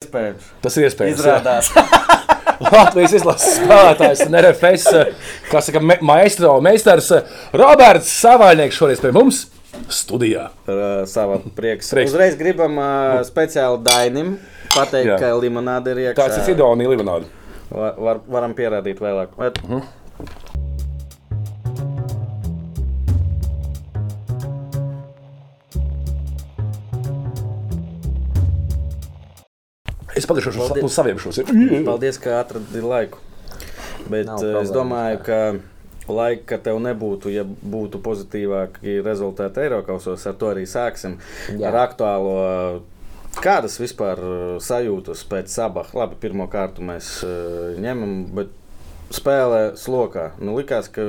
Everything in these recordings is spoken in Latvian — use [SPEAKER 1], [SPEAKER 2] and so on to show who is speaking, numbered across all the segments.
[SPEAKER 1] iespējams.
[SPEAKER 2] Tas ir iespējams. jā.
[SPEAKER 1] Izrādās,
[SPEAKER 2] Latvijas izlases spēlētājs un RFS, kā saka, eh, me- maestro, meistars eh, Roberts Savaļnieks šoreiz pie mums studijā.
[SPEAKER 1] ar uh, savu prieku.
[SPEAKER 2] Prieks. Nu.
[SPEAKER 1] Uzreiz gribam uh, speciāli Dainim pateikt,
[SPEAKER 2] Jā.
[SPEAKER 1] ka limonāde ir iekšā.
[SPEAKER 2] Tāds ir Sidonija Limonāda.
[SPEAKER 1] Va- Var, varam pierādīt vēlāk. Bet...
[SPEAKER 2] Es palikšu šo
[SPEAKER 1] Paldies.
[SPEAKER 2] uz saviem šos.
[SPEAKER 1] Paldies, ka atradīji laiku. Bet
[SPEAKER 3] Nav
[SPEAKER 1] eh, es
[SPEAKER 3] problēmas,
[SPEAKER 1] domāju, ka laika tev nebūtu, ja būtu pozitīvāki rezultāti Eiropasos. Ar to arī sāksim. Jā.
[SPEAKER 3] Jā.
[SPEAKER 1] Ar aktuālo. eh, Kādas vispār eh, sajūtas pēc sabah? Labi, pirmā kārtu mēs eh, ņemam, bet spēlē slokā. Nu, likās, ka,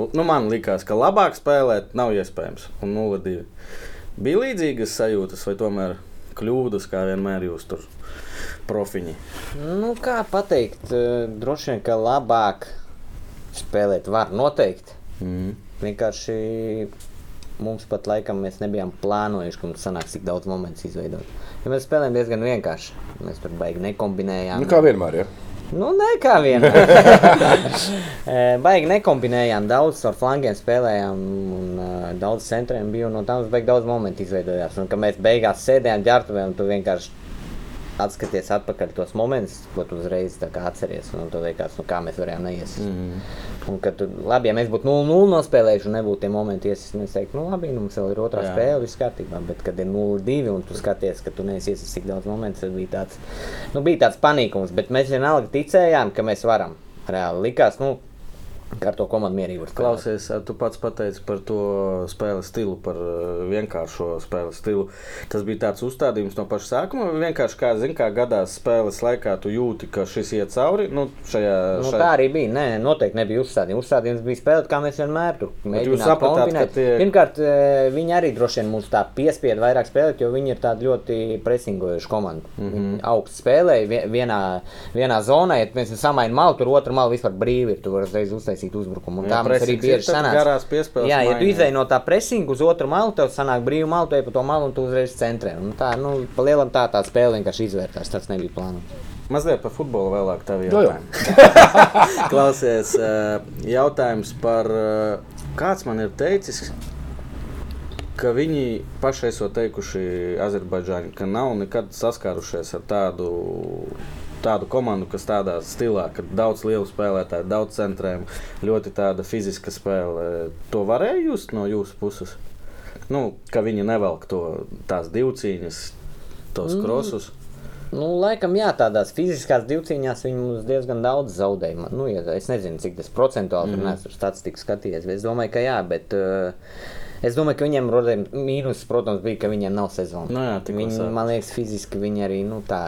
[SPEAKER 1] nu, man likās, ka labāk spēlēt nav iespējams. Un 0-2. Bija līdzīgas sajūtas, vai tomēr kļūdas, kā vienmēr jūs tur profiņi?
[SPEAKER 3] Nu, kā pateikt, eh, droši vien, ka labāk spēlēt var noteikti.
[SPEAKER 1] Mm.
[SPEAKER 3] Vienkārši mums pat laikam mēs nebijām plānojuši, ka mums sanāks tik daudz momentu izveidot. Ja mēs spēlējām diezgan vienkārši. Mēs tur baigi nekombinējām.
[SPEAKER 2] Nu, kā vienmēr, ja?
[SPEAKER 3] Nu, nē, kā vienmēr. Eh, baigi nekombinējām daudz, ar flangiem spēlējām, un eh, daudz centriem bija. un No tām mums baigi daudz momentu izveidojās. Un, kad mēs beigās sēdējām ģērbtuvē, un tu vienkārši atskaties atpakaļ tos momentus, ko tu uzreiz tā kā atceries. Un tu vienkārši, nu, kā mēs varējām neiesist. Mm. Un, kad tu, labi, ja mēs būtu 0-0 nospēlējuši un nebūtu tie momenti iesist, mēs teiktu, nu, labi, nu, mums vēl ir otrā
[SPEAKER 1] Jā.
[SPEAKER 3] Jā. spēle, viss kārtībā. Bet, kad ir 0-2 un tu skaties, ka tu neesi iesist tik daudz momentu, tad bija tāds, nu, bija tāds panikums. Bet mēs vienalga ticējām, ka mēs varam. Reāli likās, nu, ka ar to komandu mierīgi var spēlēt.
[SPEAKER 1] Klausies, ā, tu pats pateici par to spēles stilu, par ā, vienkāršo spēles stilu. Tas bija tāds uzstādījums no paša sākuma. vai Vienkārši kā, zin, kā gadās spēles laikā, tu jūti, ka šis iet cauri. Nu, šajā,
[SPEAKER 3] Nu,
[SPEAKER 1] šajā...
[SPEAKER 3] tā arī bija. Nē, noteikti nebija uzstādījums. Uzstādījums bija spēlēt, kā mēs vienmēr tur
[SPEAKER 1] jūs sapratāt, ka tie-
[SPEAKER 3] Pirmkārt, eh, viņi arī droši vien mums tā piespieda vairāk spēlēt, jo viņi ir tādi ļoti presingojuši komanda. Mm
[SPEAKER 1] Mhm.
[SPEAKER 3] -hmm. augsts spēlē vie- vienā, vienā zonā, ja mēs samainām malu, tur otrā malu vispār brīvi ir. Tu vari uzreiz uztaisīt uzbrukumu. Un
[SPEAKER 1] Ja
[SPEAKER 3] tā mums arī
[SPEAKER 1] pressings
[SPEAKER 3] bieži
[SPEAKER 1] ir, tad
[SPEAKER 3] sanāk.
[SPEAKER 1] garās piespēles
[SPEAKER 3] Jā, ja tu
[SPEAKER 1] maiņa.
[SPEAKER 3] izdeji no tā presinga uz otru malu, tev sanāk brīvi malu, tu ej pa to malu un tu uzreiz centrē. Un tā, nu, pa lielam tā tā spēle vienkārši izvērtās. Tas nebija plānots.
[SPEAKER 1] Mazliet par futbolu vēlāk. tev
[SPEAKER 2] Jā, jā.
[SPEAKER 1] jautājumu. Klausies, ā, jautājums par ā, kāds man ir teicis. Ka viņi paši esot teikuši Azerbaidžāņi, ka nav nekad saskārušies ar tādu, tādu komandu, kas tādā stilā, ka daudz lielu spēlētāju, daudz centrēm, ļoti tāda fiziska spēle. To varēja just no jūsu puses? Nu, ka viņi nevelk to tās divcīņas, tos krosus.
[SPEAKER 3] Nu, laikam, jā, tādās fiziskās divcīņās viņi mums diezgan daudz zaudēja. Man- Nu, ja, es nezinu, cik tas procentuāli mm. tur statistiski skatījies, bet es domāju, ka jā. Bet, uh, es domāju, ka viņiem rodēm, mīnus, protams, bija, ka viņiem nav sezonas.
[SPEAKER 1] Nu jā, tikko
[SPEAKER 3] viņi,
[SPEAKER 1] sākas.
[SPEAKER 3] man liekas, fiziski viņi arī, nu, tā,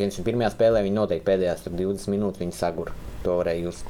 [SPEAKER 3] piemēram, pirmajā spēlē viņi noteikti pēdējās tur 20 minūtes viņi sagura. To varēja jūs.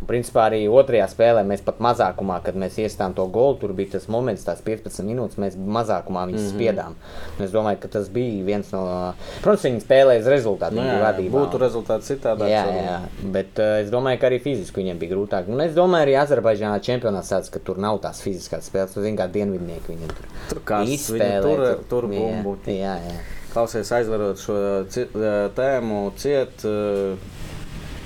[SPEAKER 3] Un, principā arī otrajā spēlē mēs pat mazākumā, kad mēs iestājām to golu, tur bija tas moments, tās 15 minūtes, mēs mazākumā viņus
[SPEAKER 1] Mhm.
[SPEAKER 3] mm -hmm. spiedām. Un Es domāju, ka tas bija viens no. Protams, viņi spēlēja uz rezultātu.
[SPEAKER 1] Nu,
[SPEAKER 3] viņi
[SPEAKER 1] jā,
[SPEAKER 3] bija
[SPEAKER 1] jā,
[SPEAKER 3] vadībā.
[SPEAKER 1] būtu rezultāts citādāk.
[SPEAKER 3] Jā, jā, bet uh, es domāju, ka arī fiziski viņiem bija grūtāk. Un es domāju, arī Azerbaidžānā čempionāts tāds, ka tur nav tās fiziskās spēles. Tur zināmā dienvidnieki viņiem tur
[SPEAKER 1] Tur kāds
[SPEAKER 3] izspēlē,
[SPEAKER 1] viņu tur, tur
[SPEAKER 3] jā,
[SPEAKER 1] bumbu.
[SPEAKER 3] Jā, jā.
[SPEAKER 1] Klausies, aizvarot šo ci- eh, tēmu, ciet. eh,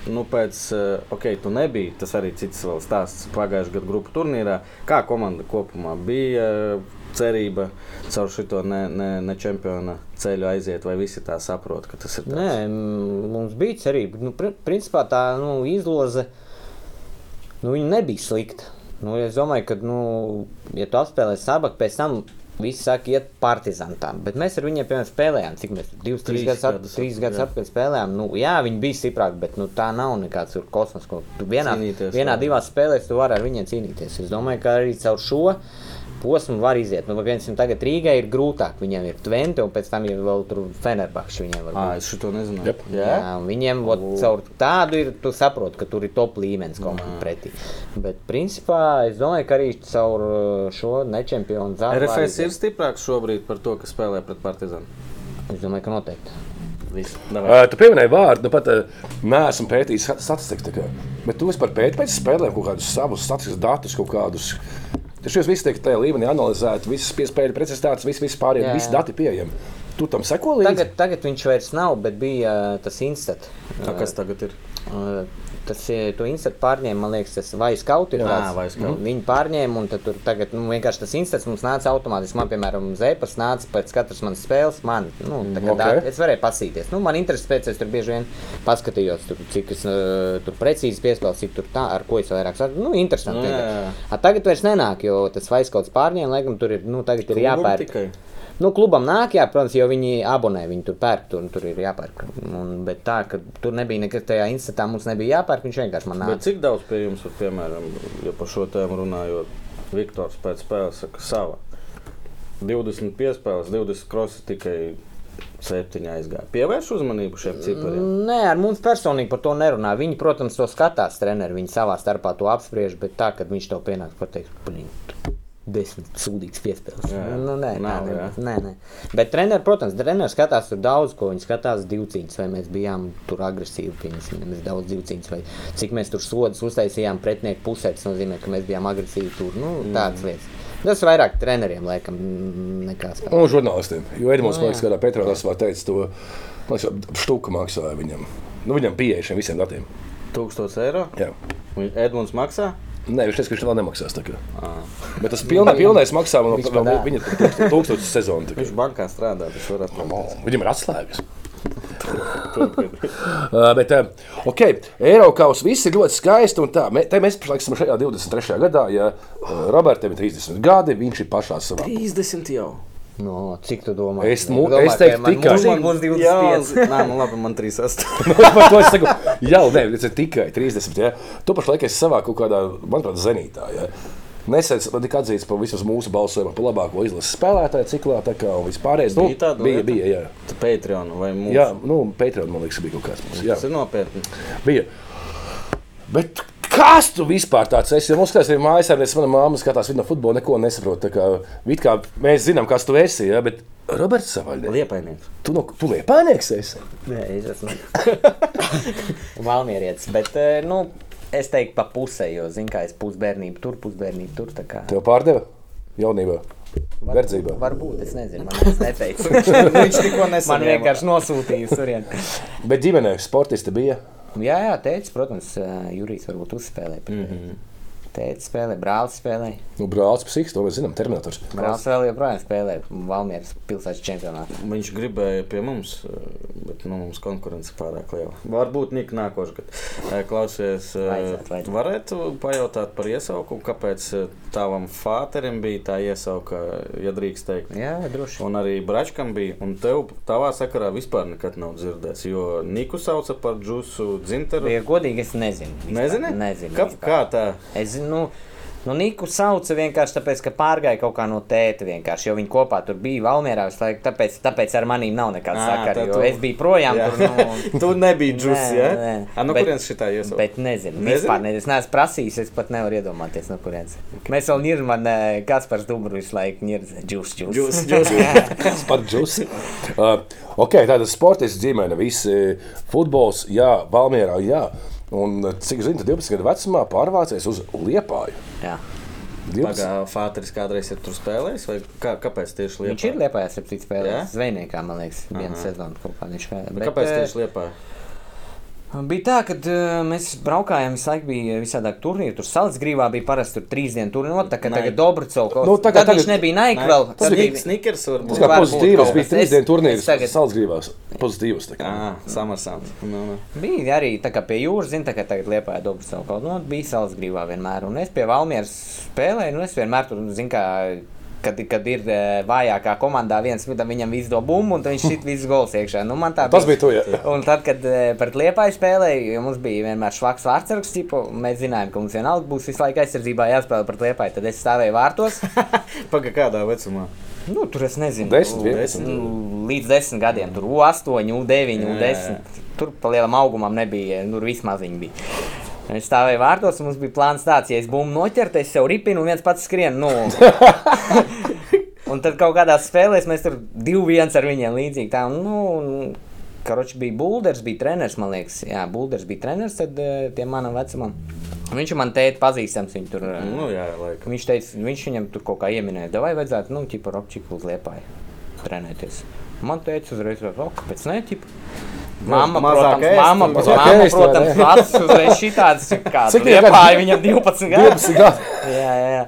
[SPEAKER 1] Nu, pēc tam, ok, tu nebija. Tas arī cits vēl stāsts pagājušā gada grupu turnīrā. Kā komanda kopumā bija eh, cerība caur šo ne, ne, ne čempiona ceļu aiziet, vai visi tā saprot, ka tas ir tāds?
[SPEAKER 3] Nē, mm, mums bija cerība. Nu, pri- principā tā nu, izloze nu, viņa nebija slikta. Nu, es domāju, ka, nu, ja tu apspēlē sabaku, pēc tam visi sāk iet partizantām. Bet mēs ar viņiem, piemēram, spēlējām, cik mēs divus, trīs
[SPEAKER 1] Trīs
[SPEAKER 3] gadus
[SPEAKER 1] gadus
[SPEAKER 3] atpakaļ, trīs
[SPEAKER 1] atpakaļ,
[SPEAKER 3] gadus
[SPEAKER 1] jā.
[SPEAKER 3] atpakaļ spēlējām. Nu, jā, viņi bija stiprāki, bet nu, tā nav nekāds tur kosmos, ko tu vienā,
[SPEAKER 1] Cīnīties,
[SPEAKER 3] vienā
[SPEAKER 1] jā.
[SPEAKER 3] divās spēlēs tu vari ar viņiem cīnīties. Es domāju, ka arī caur šo. Posmu var iziet. Nu, piemēram, tagad Rīgai ir grūtāk. Viņam ir Twente, un pēc tam jau vēl tur Fenerbahčs. Viņam var
[SPEAKER 1] À, es šo nezināju.
[SPEAKER 2] Jep.
[SPEAKER 3] Jā,
[SPEAKER 1] Jā,
[SPEAKER 3] un viņiem vot, caur tādu ir, tu saproti, ka tur ir top līmenis
[SPEAKER 1] Mm.
[SPEAKER 3] komanda pretī. Bet, principā, es domāju, ka arī caur uh, šo nečempionu zāli.
[SPEAKER 1] RFS ir stiprāks šobrīd par to, kas spēlē pret Partizānu.
[SPEAKER 3] Es domāju, ka noteikti.
[SPEAKER 1] Viss.
[SPEAKER 2] Ā, Tu pieminēji vārdu, nu pat ā, neesmu pētījis stat- statistiku. tā kā. Bet tu vispār pēti pēc spēlēm kaut kādus savus statistikas datus, kaut kādus. Šis viss tiek tajā līmenī analizēts, visas piespēļu precizitātes, viss vispār ir,
[SPEAKER 3] Jā,
[SPEAKER 2] visi
[SPEAKER 3] jā.
[SPEAKER 2] dati pieejami. Tu tam seko līdzi?
[SPEAKER 3] Tagad, tagad viņš vairs nav, bet bija uh, tas instant.
[SPEAKER 1] Tā kas tagad ir?
[SPEAKER 3] Uh, Tas ir to instants pārņēma, man liekas, tas vai skaut ir
[SPEAKER 1] Jā,
[SPEAKER 3] tāds.
[SPEAKER 1] Vai Scout.
[SPEAKER 3] Viņi pārņēma un tad tur tagad nu, vienkārši tas instants mums nāca automātiski. Man, piemēram, zēpas nāca pēc katras manas spēles. Man, nu, tā kā
[SPEAKER 2] Mm,
[SPEAKER 3] tā,
[SPEAKER 2] ok.
[SPEAKER 3] es varēju pasīties. Nu, man intereses pēc, es tur bieži vien paskatījos, tur, cik es uh, tur precīzi piespēlēju, cik tur tā, ar ko es vairāk saku. Nu, interesanti.
[SPEAKER 1] Jā,
[SPEAKER 2] Mm.
[SPEAKER 1] jā,
[SPEAKER 3] vienkārši.
[SPEAKER 1] jā.
[SPEAKER 3] A, tagad vairs nenāk, jo tas vai skauts pārņēma, laikam tur ir, nu, tagad ir
[SPEAKER 1] Klubam
[SPEAKER 3] jāpērk.
[SPEAKER 1] Tikai.
[SPEAKER 3] Nu, klubam nāk, jā, protams, jo viņi abonē, viņi tur pērk, tur, tur ir jāpērk. Un, bet tā, ka tur nebija nekas tajā institūtā, mums nebija jāpērk, viņš vienkārši man
[SPEAKER 1] Bet
[SPEAKER 3] nāca.
[SPEAKER 1] cik daudz pie jums, ir, piemēram, ja par šo tēmu runājot, Viktors pēc spēles saka, sava 20 piespēles, 20 krosas tikai 7 aizgāja. Pievērš uzmanību šiem cipariem.
[SPEAKER 3] Nē, ar mums personīgi par to nerunā. Viņi, protams, to skatās, treneri, viņi savā starpā to apspriež, bet tā, kad viņš to pienāks, pateiks, blīn. Desmit sūdīgas piespēles.
[SPEAKER 1] Jā, jā.
[SPEAKER 3] Nu, nē, nē,
[SPEAKER 1] Nav,
[SPEAKER 3] nē,
[SPEAKER 1] jā.
[SPEAKER 3] nē, nē. Bet treneris, protams, treneris skatās tur daudz, ko viņš skatās. Divcīņas, vai mēs bijām tur agresīvi, piemēram, mēs daudz divcīņas, vai cik mēs tur sodus uztaisījām pretinieku pusē. Tas nozīmē, ka mēs bijām agresīvi tur. Nu,
[SPEAKER 2] Mm.
[SPEAKER 3] tādas lietas. Tas vairāk treneriem, laikam, mm, nekā spēlētājiem.
[SPEAKER 2] Un Nu, žurnālistiem. Jo Edmunds,
[SPEAKER 3] Nu,
[SPEAKER 2] man liekas, kādā Petrā Rasvā teica to, man liekas, štuku maksāja viņam. Nu, viņam pieeja šiem visiem datiem.
[SPEAKER 1] 1000 eiro.
[SPEAKER 2] Jā.
[SPEAKER 1] Un Edmunds maksā.
[SPEAKER 2] Nē, viņš teica, ka viņš vēl nemaksās. tā kā. Bet tas pilnā, pilnais maksā man
[SPEAKER 3] Viņš
[SPEAKER 2] vēl nu,
[SPEAKER 3] pat
[SPEAKER 2] viņa tūkstošu sezonu. tā kā.
[SPEAKER 1] Viņš bankā strādā, tas var atrast.
[SPEAKER 2] Viņam ir atslēgas. uh, bet, uh, ok, Eiropas viss ir ļoti skaisti. un Tā, mē, te mēs pašlaik esam šajā 23. gadā, ja uh, Robertam ir 30 gadi, viņš ir pašā savā.
[SPEAKER 1] 30 jau.
[SPEAKER 3] No, cik tu domā?
[SPEAKER 2] Es mu- es teiktu tikai.
[SPEAKER 3] ka mums 25.
[SPEAKER 1] Jā, nē, nu labi, man 38.
[SPEAKER 2] Par to es saku, jau nē, tas ir tikai 30. Ja. Tu pašlaik esi savā kaut kādā, manuprāt, zenītā. Ja. Nesen man tika atzīts par vismaz mūsu balsojumu par labāko izlases spēlētāju ciklā, tā kā vispārējais.
[SPEAKER 1] Bija tāda
[SPEAKER 2] Nu, bija,
[SPEAKER 1] lieta?
[SPEAKER 2] bija, jā.
[SPEAKER 1] Tu Patreon vai mūsu?
[SPEAKER 2] Jā, nu, Patreon, man liekas, bija kaut kāds mums. Jā.
[SPEAKER 1] Tas ir nopietni.
[SPEAKER 2] bija. Bet kas tu vispār tāds esi? Ja mums skatās, ir mājas ar visu, mana māma skatās, viņa no futbola neko nesaprot. tā Kā, it kā mēs zinām, kas tu esi, ja? bet Roberts Savaļņē,
[SPEAKER 1] Liepainieks.
[SPEAKER 2] tu, no, tu liepānieks esi.
[SPEAKER 3] Nē, es esmu Valmierietis, bet eh, nu, es teiktu pa pusē, jo, zin kā, es pusbērnību tur, pusbērnību tur, tā kā.
[SPEAKER 2] Tev pārdeva jaunībā, verdzībā.
[SPEAKER 3] Varbūt, es nezinu, man es neteicu. Viņš tikko nesaņēma. Man vienkārši nosūtīja surien.
[SPEAKER 2] Bet ģimenē sportisti bija.
[SPEAKER 3] jā, jā, teicu, protams, eh, Jurijs varbūt uzspēlē. Mm -hmm. Tēta spēlē, brālis spēlē.
[SPEAKER 2] Nu, brālis, psihiks, to mēs zinām, terminators.
[SPEAKER 3] Brālis vēl joprojām spēlē Valmieras pilsētas čempionātā.
[SPEAKER 1] Viņš gribēja pie mums, bet nu, mums konkurence ir pārāk liela. Varbūt Nika nākošais gads. Eh, Klausies,
[SPEAKER 3] Vajadzētu, vajadzētu.
[SPEAKER 1] varētu pajautāt par iesaukumu, kāpēc eh, tavam fāterim bija tā iesauka, ja drīkst teikt.
[SPEAKER 3] Jā, droši.
[SPEAKER 1] Un arī Bračkam bija, un tev tavā sakarā vispār nekad nav dzirdēts, jo Niku sauca par džusu dzimteru.
[SPEAKER 3] Ja godīgi, es nezinu. vispār.
[SPEAKER 1] Nezini?
[SPEAKER 3] Nezinu.
[SPEAKER 1] Kā,
[SPEAKER 3] vispār.
[SPEAKER 1] kā tā?
[SPEAKER 3] Es zinu, nu, nu Niku sauca vienkārši tāpēc, ka pārgāja kaut kā no tēta vienkārši, jo viņi kopā tur bija Valmierā visu laiku, tāpēc, tāpēc ar manīm nav nekāda
[SPEAKER 1] Ā,
[SPEAKER 3] sakara,
[SPEAKER 1] tad
[SPEAKER 3] jo
[SPEAKER 1] tu-
[SPEAKER 3] es biju projām
[SPEAKER 1] Jā.
[SPEAKER 3] tur, nu,
[SPEAKER 1] Tu nebija džus,
[SPEAKER 3] Nē,
[SPEAKER 1] jā? Ja?
[SPEAKER 3] nē.
[SPEAKER 1] A, no
[SPEAKER 3] Bet-
[SPEAKER 1] kurienes šitā iesauka?
[SPEAKER 3] bet nezinu,
[SPEAKER 1] Nezini?
[SPEAKER 3] vispār nezinu, es neesmu prasījis, es pat nevaru iedomāties, no kurienes. Mēs vēl Nirman, eh, Kaspars Dubru visu laiku nirdz, džus, džus.
[SPEAKER 1] Džus, džus.
[SPEAKER 2] Par džusi. Uh, ok, tāda sportisti ģimene, visi futbols, jā, Valmierā, jā. Un, uh, cik zinu, tad 12 gadu vecumā pārvācies uz Liepāju.
[SPEAKER 3] Jā.
[SPEAKER 2] 12.
[SPEAKER 1] Pagā, Fāteris kādreiz ir tur spēlējis, vai kā, kāpēc tieši Lietuvā?
[SPEAKER 3] Viņš ir liepājās ar citu
[SPEAKER 1] Jā?
[SPEAKER 3] spēlētāju, zvejniekā, man liekas, vienu sezonu kaut kā viņš spēlē.
[SPEAKER 1] Bet, eh, kāpēc tieši Lietuvā?
[SPEAKER 3] Nu, Bija tā, ka mēs braukājām, visu laiku bija visādāk turnīri. Tur Salzgrīvā bija parasti tur trīs dienu turnīri, tā kā
[SPEAKER 1] Nai.
[SPEAKER 3] tagad Dobrcov kaut
[SPEAKER 2] Nu,
[SPEAKER 3] nu,
[SPEAKER 2] tagad-
[SPEAKER 3] tagad, tagad viņš
[SPEAKER 2] tagad-
[SPEAKER 3] nebija Nike vēl.
[SPEAKER 1] Tas
[SPEAKER 3] tad
[SPEAKER 1] bija
[SPEAKER 3] bija-
[SPEAKER 1] Snickers,
[SPEAKER 2] Tas
[SPEAKER 1] varbūt.
[SPEAKER 2] kā
[SPEAKER 3] Varbūt
[SPEAKER 2] pozitīvs,
[SPEAKER 3] kaut
[SPEAKER 2] bija
[SPEAKER 3] kas.
[SPEAKER 2] trīs
[SPEAKER 3] Es-
[SPEAKER 2] dienas
[SPEAKER 3] es
[SPEAKER 2] turnīrs,
[SPEAKER 3] tagad-
[SPEAKER 2] Salzgrīvās. Pozitīvs. tā kā.
[SPEAKER 1] Jā, samarsāns. Ah, Nu, nu.
[SPEAKER 3] Bija arī tā kā pie jūras, zina, tā kā tagad liepāja Dobrcov kaut kā. Nu, bija Salzgrīvā vienmēr. Un es pie Valmieras spēlēju, un es vienmēr tur, zina, kā. Kad, kad ir eh, vājākā komandā, viens mitam viņam izdo bumbu, un tad viņš šit visu gols iekšā. Nu, man tā
[SPEAKER 2] Tas bija tu, jā.
[SPEAKER 3] Un tad, kad eh, pret Liepāju spēlēju, jo mums bija vienmēr švaks vārdsargs, tipo, mēs zinājām, ka mums vienalga būs visu laiku aizsardzībā jāspēlē pret Liepāju, tad es stāvēju vārtos.
[SPEAKER 1] Pagaidām, kādā vecumā?
[SPEAKER 3] Nu, tur es nezinu,
[SPEAKER 2] Desmit,
[SPEAKER 3] nu,
[SPEAKER 2] vienpadsmit.
[SPEAKER 3] nu, Līdz desmit gadiem, tur U8, U9,
[SPEAKER 1] Jā, jā,
[SPEAKER 3] U10. Tur pa lielam augumam nebija, tur vismaz viņi bija. Es stāvēju vārtos, un mums bija plāns tāds, ja es būmu noķerta, es sev ripinu un viens pats skrienu. Nu. un tad kaut kādās spēlēs mēs tur divi viens ar viņiem līdzīgi. Tā, nu, un, Karoči bija Bulders, bija treneris, man liekas, Jā, Bulders bija treneris tad, eh, tiem manam vecumam. Viņš ir man teica, pazīstams, viņu tur. eh,
[SPEAKER 1] Nu, jā, laikam.
[SPEAKER 3] Viņš nu, teica, viņš viņam tur kaut kā ieminēja, vai vajadzētu, nu, tipā rokķiku uz liepāju trenēties. Man teica, uzreiz, vai ok, pēc netipa.
[SPEAKER 1] Ma-
[SPEAKER 3] Mamma,
[SPEAKER 1] mazāk
[SPEAKER 3] protams,
[SPEAKER 1] ēst,
[SPEAKER 3] mamma,
[SPEAKER 2] mazāk
[SPEAKER 3] mamma,
[SPEAKER 2] ēst, vai ne?
[SPEAKER 3] protams, acis uzreiz šitāds, kāds
[SPEAKER 2] Cik viņam gadu?
[SPEAKER 3] liepāja viņam 12 gadus.
[SPEAKER 2] 12 gadu.
[SPEAKER 3] Jā, jā.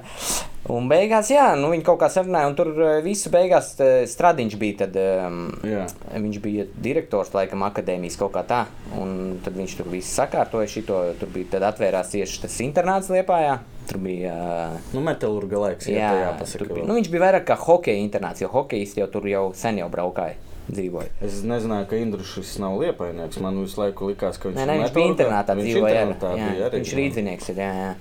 [SPEAKER 3] Un beigās, jā, nu, viņi kaut kā sarunājās, un tur eh, visu beigās eh, stradiņš bija. Tad, um,
[SPEAKER 1] Jā.
[SPEAKER 3] viņš bija direktors, laikam, akadēmijas kaut kā tā. Un tad viņš tur visu sakārtoja šito. Tur bija tad atvērās tieši tas internāts Liepājā. Tur bija. eh,
[SPEAKER 1] Nu, metālurga laiks, jā, jā
[SPEAKER 3] tur
[SPEAKER 1] jāpasaka.
[SPEAKER 3] bija.
[SPEAKER 1] vēl.
[SPEAKER 3] Nu, viņš bija vairāk kā hokeja internāts, jo hokejs jau tur jau sen jau braukāja, dzīvoja.
[SPEAKER 1] Es nezināju, ka Indrišs nav liepainieks. Man visu laiku likās, ka viņš ir
[SPEAKER 3] Nē, nē, viņš bija
[SPEAKER 1] Metalurgā.
[SPEAKER 3] internātā
[SPEAKER 1] Viņš
[SPEAKER 3] dzīvoja.
[SPEAKER 1] internātā
[SPEAKER 3] jā,
[SPEAKER 1] bija
[SPEAKER 3] jā,
[SPEAKER 1] arī,
[SPEAKER 3] viņš
[SPEAKER 1] jā.
[SPEAKER 3] rīzvinieks ir. Jā, jā.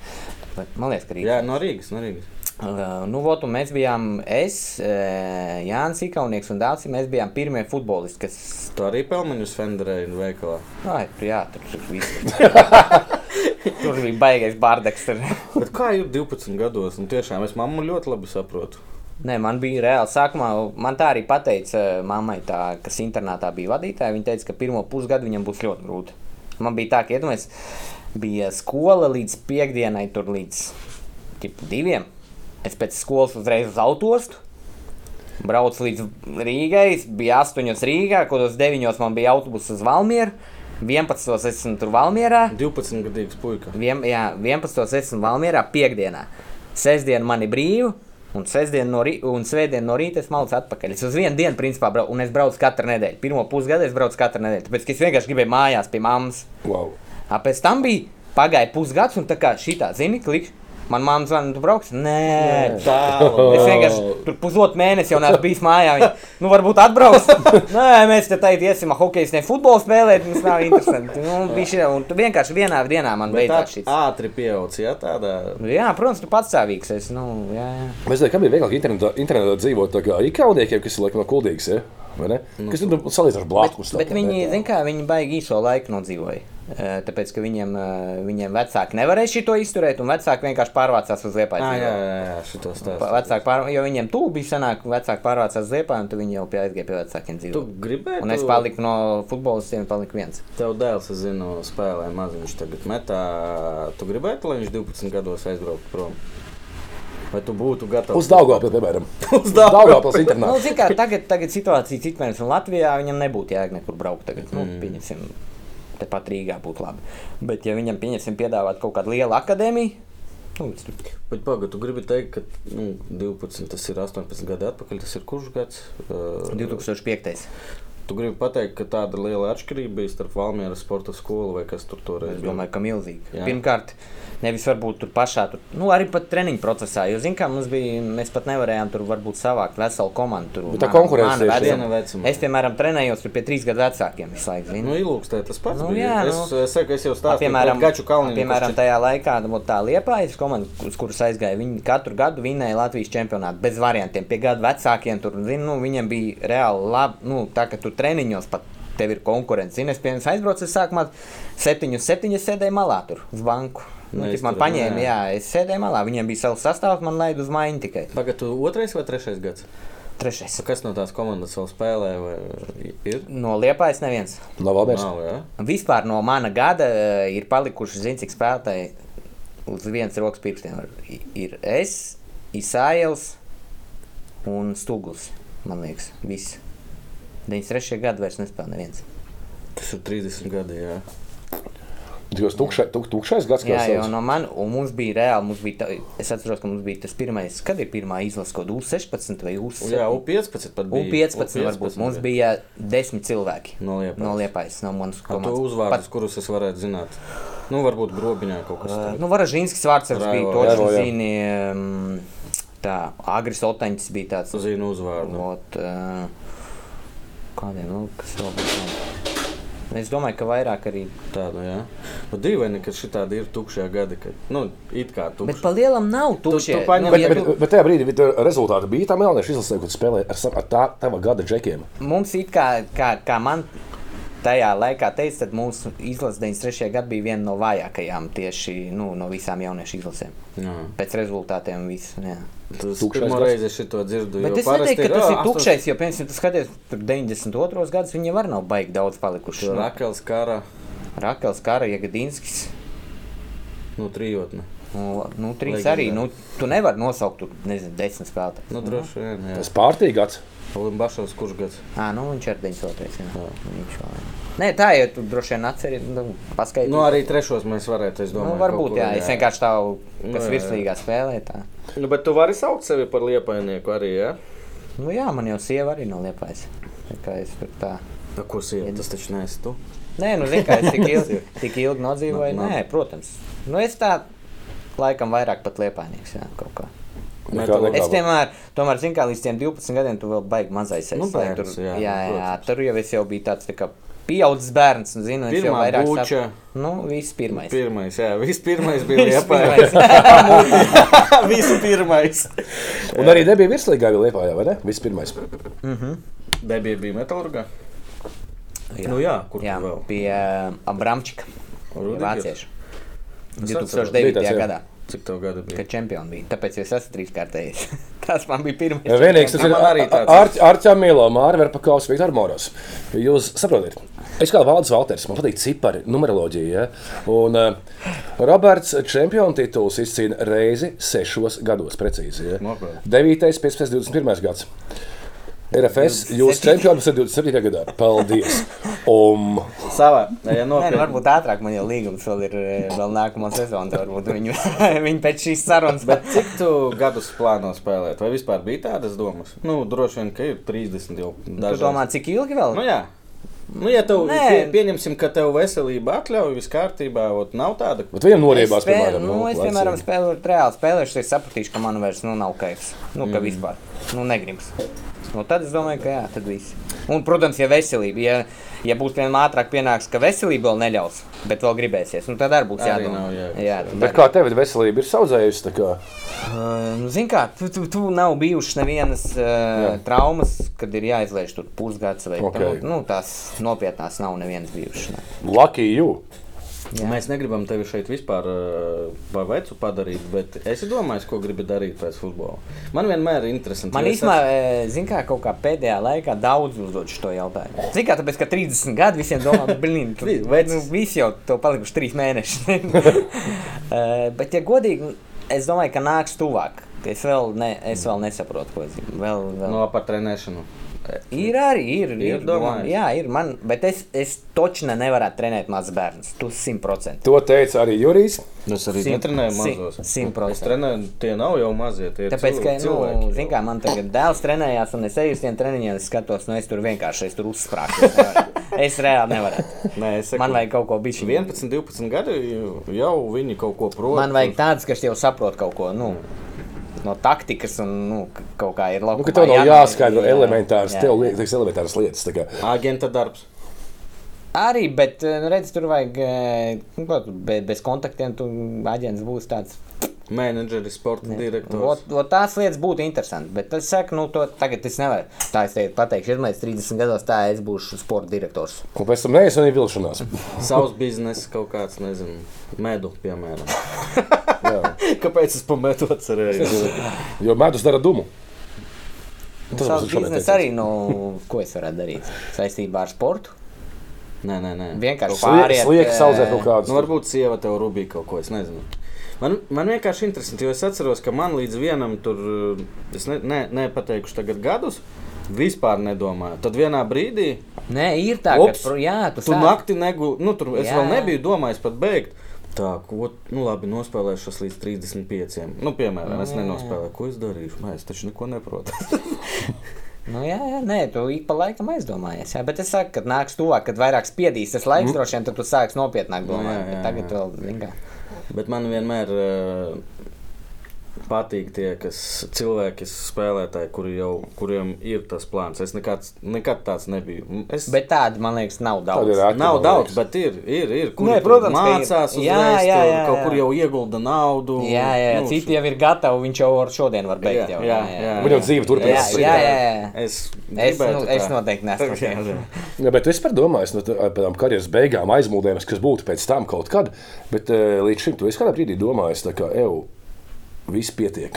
[SPEAKER 3] Bet, man liekas,
[SPEAKER 1] Jā,
[SPEAKER 3] ka rīzvinieks.
[SPEAKER 1] no Rīgas, no Rīgas.
[SPEAKER 3] Uh, nu, vot, un mēs bijām, es, eh, Jānis Ikaunieks un Dārcis. Mēs bijām pirmie futbolisti, kas.
[SPEAKER 1] Tu arī pelniņus Fenderēju veikalā.
[SPEAKER 3] Ai, tur, jā, tur, tur, viss. tur bija baisais bardeks. Tur.
[SPEAKER 1] Bet kā ir 12 gados? Nu, tiešām es mammu ļoti labi saprotu.
[SPEAKER 3] Nē, man bija reāli. Sākumā man tā arī pateica eh, mammai, tā, kas internātā bija vadītāja. Viņa teica, ka pirmo pusgadu viņam būs ļoti grūti. Man bija tā, ka iedomājieties, bija skola līdz piekdienai, tur līdz tip, diviem. Es pēc skolas uzreiz uz autostu. braucu līdz Rīgai. Es biju 8 Rīgā, kaut kādos 9 man bija autobuss uz Valmieru. 11 esmu tur Valmierā.
[SPEAKER 1] 12 gadīgs puika.
[SPEAKER 3] Vien, jā, 11 esmu Valmierā piekdienā. Sestdiena man ir brīva. Un sestdien no rīta, un svētdien no rīta es malcu atpakaļ. Es uz vienu dienu, principā, braucu, un es braucu katru nedēļu. Pirmo pusgadu es braucu katru nedēļu, tāpēc ka es vienkārši gribēju mājās pie mammas.
[SPEAKER 2] Wow.
[SPEAKER 3] A, Pēc tam bija pagāja pusgads, un tā kā šī tā, zini, klikšķi. Man māte zvanīja, tu brauks? Nē,
[SPEAKER 1] Tālu.
[SPEAKER 3] Es vienkārši
[SPEAKER 1] Oh.
[SPEAKER 3] tur pusotru mēnesi jau neesmu bijis mājā. Viņa, nu, varbūt atbrauks. Nē, mēs te tādā iesim, ah, hockey, ne futbolu spēlēt. Mums nav interesanti. Nu, bija šī, un tu vienkārši vienā dienā man
[SPEAKER 1] Bet
[SPEAKER 3] beidzās
[SPEAKER 1] tā
[SPEAKER 3] šis.
[SPEAKER 1] ātri pieauga, ja tādā.
[SPEAKER 3] Jā, protams, tu pats savīgs. Es, nu, jā, jā.
[SPEAKER 2] Mēs zinām, ka bija vieglāk internetā, internetā dzīvot tā kā ikauniekiem, kas ir laikam no kuldīgas. Ja? vai ne? Kas tur salīdzinās ar blakus?
[SPEAKER 3] Nu. Bet viņi, zin kā, viņi baigi īso laiku nodzīvoja. Eh, Tāpēc, ka viņiem, eh, viņiem vecāki nevarēja to izturēt, un vecāki vienkārši pārvācās uz liepaņu.
[SPEAKER 1] Ah, jā, jā, jā, šito
[SPEAKER 3] Pa-
[SPEAKER 1] stāstu.
[SPEAKER 3] Vecāki pārvācās, jo viņiem tuvu bija senāk, vecāki pārvācās ziepā, un tad viņi jau pie aizgāja pie vecākiem
[SPEAKER 1] Tu
[SPEAKER 3] dzīvot.
[SPEAKER 1] gribēji?
[SPEAKER 3] Un es paliku no futbolistiem, paliku viens.
[SPEAKER 1] Tev dēls, es zinu, spēlē maz, viņš tagad metā. Tu gribētu, lai viņš 12 gados aizbrauktu prom? Vai tu būtu gatavs?
[SPEAKER 2] Uz Dāngāpē, piemēram. Uz
[SPEAKER 1] Daugavpili.
[SPEAKER 2] Dāngāpē
[SPEAKER 3] Nu,
[SPEAKER 2] internetā.
[SPEAKER 3] zin kā, tagad, tagad situācija citmēnes un Latvijā viņam nebūtu jēga nekur braukt tagad. Nu,
[SPEAKER 1] Mm.
[SPEAKER 3] pieņemsim, tepat Rīgā būtu labi. Bet, ja viņam, pieņemsim, piedāvāt kaut kādu lielu akadēmiju, nu, es tur-
[SPEAKER 1] Bet, pagaidi, tu gribi teikt, ka nu, 12, tas ir 18 gadi atpakaļ, tas ir kurš gads? Uh,
[SPEAKER 3] 2005.
[SPEAKER 1] tu gribi pateikt, ka tāda liela atšķirība bija starp Valmiera sporta skolu vai kas tur toreiz
[SPEAKER 3] Es domāju, ka milzīgi. Jā.
[SPEAKER 1] Jā.
[SPEAKER 3] Pirmkārt, nevis varbūt tur pašā, tur, nu, arī pat treniņu procesā. Jo, zinām, kā mums bija, mēs pat nevarējām tur varbūt savākt veselu komandu. Tur,
[SPEAKER 2] Bet tā konkurence
[SPEAKER 3] mana
[SPEAKER 2] tieši
[SPEAKER 3] vecuma.
[SPEAKER 1] viena vecuma.
[SPEAKER 3] Es, piemēram, trenējos tur pie trīs gadu vecākiem visu laiku. Zinu.
[SPEAKER 1] Nu, ilūkstē tas pats.
[SPEAKER 3] Nu,
[SPEAKER 1] Nu,
[SPEAKER 3] jā,
[SPEAKER 1] jā,
[SPEAKER 3] nu.
[SPEAKER 1] es, es saku, es jau
[SPEAKER 3] A,
[SPEAKER 1] stāstu
[SPEAKER 3] Piemēram,
[SPEAKER 1] Gaču kalniņu.
[SPEAKER 3] a, piemēram tajā laikā nu, tā liepājas komanda, uz kuras aizgāja. Viņi katru gadu vinēja Latvijas čempionātu bez variantiem. Pie gadu vecākiem tur zin, nu, viņiem bija reāli labi. Nu, tā kā tur treniņos pat tev ir konkurence. Zini, es pie viņiem aizbraucu, es sākumā 7-7 sēdēju malā tur uz banku. Nu,
[SPEAKER 1] Nē,
[SPEAKER 3] Nē,
[SPEAKER 1] es
[SPEAKER 3] man
[SPEAKER 1] tur-
[SPEAKER 3] paņēma,
[SPEAKER 1] nē.
[SPEAKER 3] jā, es sēdēju malā. Viņiem bija savs sastāvs, man laid uz mājiņu tikai.
[SPEAKER 1] Pagaidi, tu otrais vai trešais gads?
[SPEAKER 3] Trešais.
[SPEAKER 1] Nu, Kas no tās komandas vēl spēlē? Vai ir?
[SPEAKER 3] No liepājas neviens.
[SPEAKER 2] Nav vēl mērķis.
[SPEAKER 1] Nav, jā.
[SPEAKER 3] Vispār no mana gada eh, ir palikuši, zinu, cik spēlētāji uz vienas rokas pirkstiem. var- i- Ir es, Isāļs un Stūgls. Man liekas, viss. 93. gada vairs nespēlēja neviens.
[SPEAKER 1] Tas ir 30 gadi, jā.
[SPEAKER 2] Tikos tukšais, tuk, tukšais gads,
[SPEAKER 3] Jā,
[SPEAKER 2] kas
[SPEAKER 3] jau no manis, un mums bija reāli, mums bija tā, es atceros, ka mums bija tas pirmais, kad ir pirmā izlase, kaut kāda U16 vai U17.
[SPEAKER 1] Jā, U15 pat bija.
[SPEAKER 3] U15 varbūt. Mums bija desmit cilvēki.
[SPEAKER 1] No Liepājas.
[SPEAKER 3] No Liepājas, no manas
[SPEAKER 1] Kā tu
[SPEAKER 3] komandas.
[SPEAKER 1] uzvārdus, kurus es varētu zināt? Nu, varbūt grobiņā kaut kas
[SPEAKER 3] Uh,
[SPEAKER 1] tāds.
[SPEAKER 3] Nu, Varažīnskis vārds arī bija
[SPEAKER 1] Raivo,
[SPEAKER 2] Raivo,
[SPEAKER 3] točs,
[SPEAKER 2] jā.
[SPEAKER 3] zini, em, tā, Agris Otaņs bija tāds.
[SPEAKER 1] Zinu uzvārdu.
[SPEAKER 3] Ot, uh, kādiem, nu, kas vēl bija? Es domāju, ka vairāk arī.
[SPEAKER 1] Tādu, jā. Bet dīvaini, ka šī tāda ir tukšajā gada, kad, nu, it kā
[SPEAKER 3] Bet
[SPEAKER 1] tukša.
[SPEAKER 3] pa lielam nav tukšie.
[SPEAKER 1] tu paņem-
[SPEAKER 3] Nu,
[SPEAKER 2] Bet,
[SPEAKER 3] ja
[SPEAKER 2] bet,
[SPEAKER 3] tu-
[SPEAKER 2] bet tajā brīdī bija rezultāti. Bija tā melnēša izlasē, kur spēlēja ar, sa- ar tā, tava gada džekiem.
[SPEAKER 3] Mums it kā, kā, kā man tajā laikā teica, tad mūsu izlase 93. gadā bija viena no vājākajām tieši nu, no visām jauniešu izlasēm.
[SPEAKER 1] Jā.
[SPEAKER 3] Pēc rezultātiem viss. jā.
[SPEAKER 1] Tas
[SPEAKER 2] Tukšais
[SPEAKER 1] pirmo
[SPEAKER 2] gads.
[SPEAKER 1] reizi es šito dzirdu.
[SPEAKER 3] Bet
[SPEAKER 1] jo
[SPEAKER 3] es neteiktu,
[SPEAKER 1] parasti
[SPEAKER 3] ka tas
[SPEAKER 1] "Ā,
[SPEAKER 3] ir
[SPEAKER 1] astoņas-
[SPEAKER 3] tukšais, jo, piemēram, tu skaties, tur 92. gados viņi var nav baigi daudz palikuši. Nu,
[SPEAKER 1] Rakels kara,
[SPEAKER 3] Rakels, Kara, Jagadinskis.
[SPEAKER 1] nu, trijotne.
[SPEAKER 3] Nu, nu trīs
[SPEAKER 1] Leģenda.
[SPEAKER 3] arī. Nu, tu nevari nosaukt, tur, nezinu, desmit spēlētājus.
[SPEAKER 1] Nu, droši vien, jā.
[SPEAKER 2] Tas pārtīgāts.
[SPEAKER 1] Olimbašovs kurš gads?
[SPEAKER 3] Ah, nu viņš ir 93. Jā. Viņš vēl. Nē, tā jau tu droši vien atceries, nu, paskaidro.
[SPEAKER 1] Nu, arī trešos mēs varētu, es
[SPEAKER 3] nu,
[SPEAKER 1] domāju. kaut
[SPEAKER 3] varbūt,
[SPEAKER 1] kur, Nu,
[SPEAKER 3] jā, es vienkārši tādu, kas
[SPEAKER 1] jā, jā.
[SPEAKER 3] virslīgā spēlē. Tā.
[SPEAKER 1] Nu, bet tu vari saukt sevi par liepainieku arī, jā?
[SPEAKER 3] Nu, jā, man jau sieva arī nav liepais. Tā kā es tur tā.
[SPEAKER 1] Nu, ko sievi, tas taču neesi tu.
[SPEAKER 3] Nē, nu, zini, kā es tik ilgi, tik ilgi nodzīvoju.
[SPEAKER 1] Nu, nu.
[SPEAKER 3] Nē, protams. Nu, es tā laikam vairāk pat liepainieks, jā, kaut kā.
[SPEAKER 2] Nekā-
[SPEAKER 1] Metāla-
[SPEAKER 2] nekā-
[SPEAKER 3] Es tomēr, tomēr zinu, kā līdz tiem 12 gadiem tu vēl baigi mazais.
[SPEAKER 1] Nu,
[SPEAKER 3] es, lai
[SPEAKER 1] bērns,
[SPEAKER 3] tur,
[SPEAKER 1] jā, nu,
[SPEAKER 3] jā, jā,
[SPEAKER 1] protams.
[SPEAKER 3] tur jau es jau biju tāds tā kā pieaudzis bērns. Un, zinu, es jau
[SPEAKER 1] Pirmā
[SPEAKER 3] vairāk
[SPEAKER 1] buča.
[SPEAKER 3] saprotu. Nu, viss pirmais.
[SPEAKER 1] Pirmais, jā, vispirmais bija
[SPEAKER 3] Vispirmais.
[SPEAKER 1] liepainieku. Vispirmais.
[SPEAKER 2] Un arī nebija virslīgā vēl liepā, vai ne? Vispirmais.
[SPEAKER 1] Debija bija metālurgā. Nu jā, kur
[SPEAKER 3] jā,
[SPEAKER 1] tu vēl?
[SPEAKER 3] pie uh, Abramčika.
[SPEAKER 1] Rudigers?
[SPEAKER 3] Vāciešu.
[SPEAKER 1] atceros.
[SPEAKER 3] 2009.
[SPEAKER 2] Bija tas, jā.
[SPEAKER 3] gadā,
[SPEAKER 1] Cik tev gada bija?
[SPEAKER 3] kad čempioni bija. Tāpēc es esmu trīskārtējis. Tas man bija pirmais.
[SPEAKER 2] Ja Vienīgais, kas
[SPEAKER 1] Jā,
[SPEAKER 2] ir
[SPEAKER 1] man arī tāds
[SPEAKER 2] Arčāns Milo, Mārcis Verpakaus, Viktor Moros. Jūs saprotat, es kā Valdis Valters, man patīk cipari, numeroloģija. Ja? Un uh, Roberts čempionu tituls izcīna reizi sešos gados, precīzi. Ja?
[SPEAKER 1] Nopietni.
[SPEAKER 2] 9, 15, 21 gads. RFS, jūs
[SPEAKER 3] 27.
[SPEAKER 2] čempions ir 27. gadā. Paldies! Um,
[SPEAKER 1] Savā, ja
[SPEAKER 3] Nē, nu,
[SPEAKER 1] nopietni.
[SPEAKER 3] varbūt ātrāk man jau līgums vēl ir eh, vēl nākamā sezona. tad Varbūt viņi, viņi pēc šīs sarunas.
[SPEAKER 1] Bet cik tu gadus plāno spēlēt? Vai vispār bija tādas domas? Nu, droši vien, ka ir 30 jau.
[SPEAKER 3] Nu, Tu
[SPEAKER 1] dažreiz.
[SPEAKER 3] domā, cik ilgi vēl?
[SPEAKER 1] Nu, jā. Nu, ja tev,
[SPEAKER 3] Nē.
[SPEAKER 1] pie, pieņemsim, ka tev veselība atļauj, viss kārtībā, ot, nav tāda.
[SPEAKER 2] bet viņam
[SPEAKER 3] Es
[SPEAKER 2] noriebās,
[SPEAKER 3] spēlēju-
[SPEAKER 2] piemēram,
[SPEAKER 3] nu, es vienmēr spēlēju, reāli spēlēju, tad es sapratīšu, ka man vairs nu, nav kaifs. Nu, ka mm. vispār nu, negribas. Nu, tad es domāju, ka jā, tad viss. Un, protams, ja veselība, ja, ja būs vienmēr ātrāk pienāks, ka veselība vēl neļaus, bet vēl gribēsies, nu, tad arī būs
[SPEAKER 1] Arī
[SPEAKER 3] jādomā.
[SPEAKER 1] nav jēgas,
[SPEAKER 3] jā,
[SPEAKER 1] jā.
[SPEAKER 3] tad
[SPEAKER 2] Bet
[SPEAKER 3] arī.
[SPEAKER 2] kā tev ir veselība, ir saudzējusi? tā kā?
[SPEAKER 3] Uh, nu, Zini, kā tu, tu, tu nav bijušas nevienas uh, traumas, kad ir jāizlaiž tur pusgads vai
[SPEAKER 2] Ok.
[SPEAKER 3] okay. nu, tās nopietnās nav nevienas bijušas. Ne.
[SPEAKER 2] Lucky you!
[SPEAKER 1] Jā. Mēs negribam tevi šeit vispār ā, par vecu padarīt, bet es domāju, ko gribi darīt pēc futbola. Man vienmēr ir interesanti.
[SPEAKER 3] Man
[SPEAKER 1] jo es esmu-
[SPEAKER 3] īstenībā, zināmā mērā, kaut kā pēdējā laikā daudz uzdod šo jautājumu. Ziniet, kā tāpēc, ka 30 gadi visiem domā, blīn, tu,
[SPEAKER 1] Vi- vec.
[SPEAKER 3] nu, visi jau to palikuši 3 mēneši. Eh, Bet, ja godīgi, es domāju, ka nāks tuvāk. Es vēl, ne, es vēl nesaprotu, ko es gribu. Vēl, vēl.
[SPEAKER 1] no par trenēšanu.
[SPEAKER 3] Ir arī, ir,
[SPEAKER 1] Ir
[SPEAKER 3] ir,
[SPEAKER 1] domājis?
[SPEAKER 3] doma- jā, ir man, bet es, es točne nevaru trenēt mazus bērnus. Tu 100%.
[SPEAKER 2] To teica arī Jurijs.
[SPEAKER 1] Nu, Es arī
[SPEAKER 3] Simt-
[SPEAKER 1] netrenēju
[SPEAKER 3] simt-
[SPEAKER 1] mazos.
[SPEAKER 3] simt
[SPEAKER 1] Es
[SPEAKER 3] procenti.
[SPEAKER 1] trenēju, tie nav jau mazie. Tie ir
[SPEAKER 3] Tāpēc, ka,
[SPEAKER 1] cilvēki,
[SPEAKER 3] nu,
[SPEAKER 1] cilvēki.
[SPEAKER 3] zin kā, man tagad dēls trenējās, un es eju uz tiem treniņiem, es skatos, nu, es tur vienkārši, es tur uzsprāgu. Es, nevaru. es reāli nevaru.
[SPEAKER 1] Nē, es saku,
[SPEAKER 3] Man vajag kaut ko bišķi.
[SPEAKER 1] 11, 12 gadi jau viņi kaut ko prot.
[SPEAKER 3] Man vajag tāds, kas jau saprot kaut ko, nu, no taktikas un, nu, k- kaut kā ir labi.
[SPEAKER 2] Nu, ka tev nav jāskaidro elementārs, tev liekas, elementāras lietas. tā kā.
[SPEAKER 1] Agenta darbs.
[SPEAKER 3] Arī, bet, nu, redz, tur vajag, eh, nu, ko, tu, be, bez kontaktiem tu aģents būs tāds.
[SPEAKER 1] Menedžeris, sporta direktors.
[SPEAKER 3] Ot, ot, tās lietas būtu interesantas, bet es saku, nu, to tagad es nevaru. Tā es teiktu, pateikšu, ja man ir 30 gados, tā es būšu sporta direktors.
[SPEAKER 2] Un pēc tam neesmu arī vilšanās.
[SPEAKER 1] Savs biznesa kaut kāds, nezinu, medu, piemēram. Kāpēc es pametu atcerējos?
[SPEAKER 2] Jo medus dara dumu. Tas būs
[SPEAKER 3] Tas savs
[SPEAKER 2] šodien
[SPEAKER 3] biznesa arī, nu, ko es varētu darīt saistībā ar sportu.
[SPEAKER 1] Nē, nē, nē.
[SPEAKER 3] Vienkārši
[SPEAKER 2] Slie-
[SPEAKER 3] pāriet.
[SPEAKER 2] Slieki
[SPEAKER 3] eh,
[SPEAKER 2] saudzē kaut kādus.
[SPEAKER 1] Nu, varbūt sieva tev rubīja kaut ko, es nezinu. Man, man vienkārši interesanti, jo es atceros, ka man līdz vienam tur, uh, es ne, ne, nepateikšu tagad gadus, vispār nedomāju. Tad vienā brīdī
[SPEAKER 3] Nē, ir tā,
[SPEAKER 1] Ups,
[SPEAKER 3] ka, pro- jā, tu
[SPEAKER 1] tu
[SPEAKER 3] sāc-
[SPEAKER 1] naktī negūsi, nu tur es
[SPEAKER 3] Jā,
[SPEAKER 1] jā. vēl
[SPEAKER 3] jā.
[SPEAKER 1] nebiju domājis pat beigt. Tā, ko, nu labi, nospēlēšu es līdz 35. Nu, piemēram, es nenospēlēju. Ko es darīšu? Nē, es taču neko neprotu.
[SPEAKER 3] Nu, jā, jā, nē, tu ik pa laikam aizdomājies. Jā, bet es saku, kad nāks tuvāk, kad vairāk spiedīs tas laiks, droši vien, tad tu sāks nopietnāk
[SPEAKER 1] Mm. jā,
[SPEAKER 3] domāt.
[SPEAKER 1] jā,
[SPEAKER 3] bet Tagad vēl, zini, kā.
[SPEAKER 1] Bet man vienmēr uh, patīk tie kas, cilvēki, spēlētāji, kuri jau, kuriem ir tas plāns. Es nekāds, nekad tāds nebiju. M- Es,
[SPEAKER 3] Bet tādu, man liekas, nav daudz.
[SPEAKER 2] Tādi ir aktīvi,
[SPEAKER 1] Nav
[SPEAKER 2] man
[SPEAKER 1] daudz,
[SPEAKER 2] liekas.
[SPEAKER 1] bet ir. ir, ir kuri
[SPEAKER 3] Nē,
[SPEAKER 1] tur
[SPEAKER 3] protams, ka ir.
[SPEAKER 1] mācās,
[SPEAKER 3] Jā,
[SPEAKER 1] uzreiz, jā,
[SPEAKER 3] jā,
[SPEAKER 1] jā, jā,
[SPEAKER 3] jā,
[SPEAKER 1] kaut
[SPEAKER 3] jā.
[SPEAKER 1] kur jau iegulda naudu.
[SPEAKER 3] Jā, jā, jā,
[SPEAKER 1] Nu,
[SPEAKER 3] citi jau ir gatavi, viņš jau ar šodien var beigt. Jau,
[SPEAKER 2] Un jau dzīve turpinās.
[SPEAKER 3] Jā, jā, jā.
[SPEAKER 1] Es,
[SPEAKER 3] Es,
[SPEAKER 1] gribētu
[SPEAKER 3] nu,
[SPEAKER 1] tā.
[SPEAKER 3] es noteikti nesmu.
[SPEAKER 1] Jā, jā.
[SPEAKER 2] Jā, bet es par domāju, nu, tā- par tām karjeras beigām, aizmūdēm, kas būtu pēc tam kaut kad. Bet eh, līdz šim tu esi kādā brīdī domājis, tā kā eju, viss pietiek.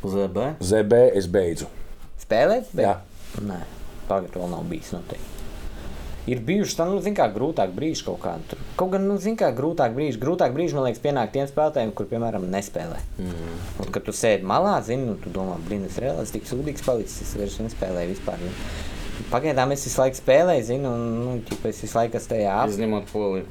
[SPEAKER 1] ZB.
[SPEAKER 2] ZB es beidzu.
[SPEAKER 3] Spēlēt?
[SPEAKER 2] Jā.
[SPEAKER 3] Nē, tagad vēl nav bijis noteikti. ir bijuši tā, nu, zin kā, grūtāk brīži kaut kādā. Tur kaut gan, nu, zin kā, grūtāk brīži, grūtāk brīži, man liekas, pienāk tiem spēlētājiem, kur, piemēram, nespēlē. Mm.
[SPEAKER 2] Mhm.
[SPEAKER 3] Un, kad tu sēdi malā, zini, nu, tu domā, blin, es reāli esmu tik sūdīgs palicis, es vairs nespēlēju vispār. Nu. Pagaidām es visu laiku spēlēju, zinu, un, nu, ķipa, es visu laiku esmu tajā apziņā.
[SPEAKER 1] Izņemot poliju.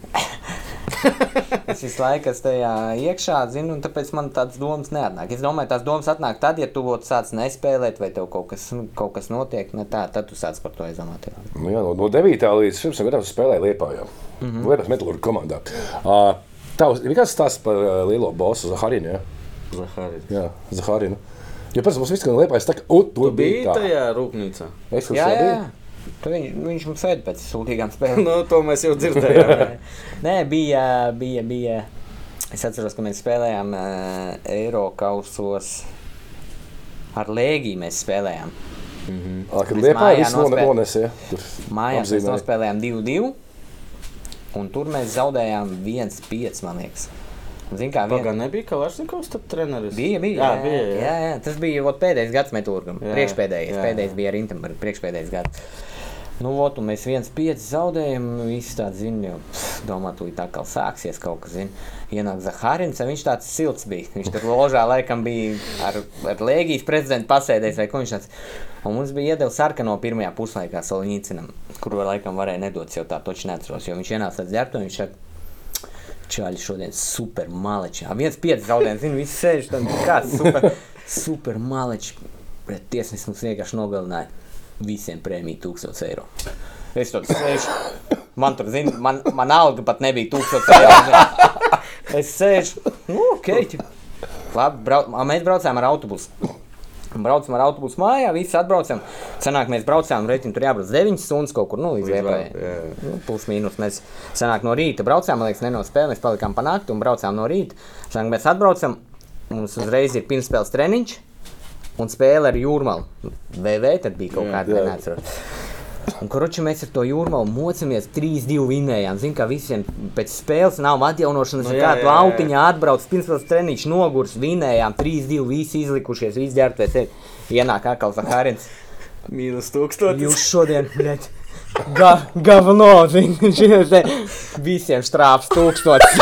[SPEAKER 3] Es visu laiku esmu tajā iekšā, zinu, un tāpēc man tādas domas nenāk. Es domāju, tās domas nāk tad, ja tu būtu sācis nespēlēt, vai tev kaut kas, nu, kaut kas notiek. Ne tā, tad tu sāc par to aizdomāt. jā.
[SPEAKER 2] Nu, jā, no, no 9. līdz 16. gadam es spēlēju Lietpā. Mm -hmm. Lietpā metālurgu komandā. Uh, Tavs ir kāds stāsts par uh, lielo bosu Zaharinu. Jā,
[SPEAKER 1] Zaharis.
[SPEAKER 2] jā Zaharinu. Jo, protams, mums viss, kas Lietpā, ir tā, ka ut, tur
[SPEAKER 1] Tu biji
[SPEAKER 2] bija tā.
[SPEAKER 1] tajā rūpnīcā.
[SPEAKER 2] Es
[SPEAKER 3] Jā, jā.
[SPEAKER 2] biju.
[SPEAKER 3] Tu Viņ, viņš mums sēž pēc sūdīgām spēlēm.
[SPEAKER 1] Nu, to mēs jau dzirdējām.
[SPEAKER 3] Nē, bija, bija, bija. Es atceros, ka mēs spēlējām uh, Eiro kausos. Ar lēgiju mēs spēlējām. Mhm.
[SPEAKER 2] Ā, Kad
[SPEAKER 3] Mēs
[SPEAKER 2] Lietpā
[SPEAKER 3] mājā
[SPEAKER 2] viss no,
[SPEAKER 3] nospēl-
[SPEAKER 2] nonesīja.
[SPEAKER 3] Mājās mēs nospēlējām 2-2. Un tur mēs zaudējām 1-5, man liekas. Ziniet, kā viens-
[SPEAKER 1] Pagaidām, nebija Kalašņikovs, tad treneris.
[SPEAKER 3] Bija, bija.
[SPEAKER 1] jā,
[SPEAKER 3] jā,
[SPEAKER 1] bija.
[SPEAKER 3] jā,
[SPEAKER 1] Jā.
[SPEAKER 3] jā. jā, tas bija vot, pēdējais gads metālurgam.
[SPEAKER 1] Jā,
[SPEAKER 3] Priekšpēdējais,
[SPEAKER 1] jā,
[SPEAKER 3] jā,
[SPEAKER 1] jā.
[SPEAKER 3] pēdējais bija ar Intambuļs, priekšpēdējais gads. Nu, vot, un mēs viens pieci zaudējam, nu, visi tādi zina, jau pff, domā, tu tā kā sāksies kaut kas, zina. Ienāk Zaharins, un viņš tāds silts bija. Viņš tur ložā laikam bija ar, ar Lēgijas prezidentu pasēdējis vai ko viņš tāds. Un mums bija iedeva sarkano pirmajā puslaikā Solņīcinam, kuru laikam varēja nedot, jau tā toči neatceros, jo viņš ienāca ar dzertu, un viņš saka, Čāļi šodien super malečā. Viens pieci zaudējums, zinu, viss sēž tam kāds super, super malečs. Pret tiesnesi mums vienkārši nogalināja visiem prēmiju 1000 eiro. Es tur sēžu. Man tur, zinu, man, man alga pat nebija 1000 eiro. zini. Es sēžu. Nu, ok. ķip. Labi, brauc, mēs braucām ar autobusu. Braucam ar autobusu mājā, visi atbraucam. Cenāk mēs braucām, reiķi tur jābrauc 9 stundas kaut kur, nu, līdz
[SPEAKER 1] Līdz vēl,
[SPEAKER 3] vērtējai.
[SPEAKER 1] jā.
[SPEAKER 3] Nu, Plus mīnus. Mēs senāk no rīta braucām, man liekas, ne no spēles. Mēs palikām pa nakti un braucām no rīta. Šodien mēs atbraucam. Mums uzreiz ir pirmspēles treniņš un spēle ar jūrmālu. VV tad bija kaut
[SPEAKER 1] Jā,
[SPEAKER 2] jā.
[SPEAKER 3] kāda neatceros. Un, korupci, mēs ar to jūrmālu mocamies 3-2 vinējām. Zinām, ka visiem pēc spēles nav
[SPEAKER 1] Nu,
[SPEAKER 3] atjaunošanas. No,
[SPEAKER 1] jā, jā,
[SPEAKER 3] Kāda
[SPEAKER 1] jā.
[SPEAKER 3] lautiņa atbrauc, pirmspēles treniņš nogurs, vinējām 3-2, visi izlikušies, visi ģērbties. Ienāk atkal Zaharins.
[SPEAKER 1] Mīnus tūkstotis.
[SPEAKER 3] Jūs šodien, blēķi, gavno, ziniet, visiem štrāps tūkstotis.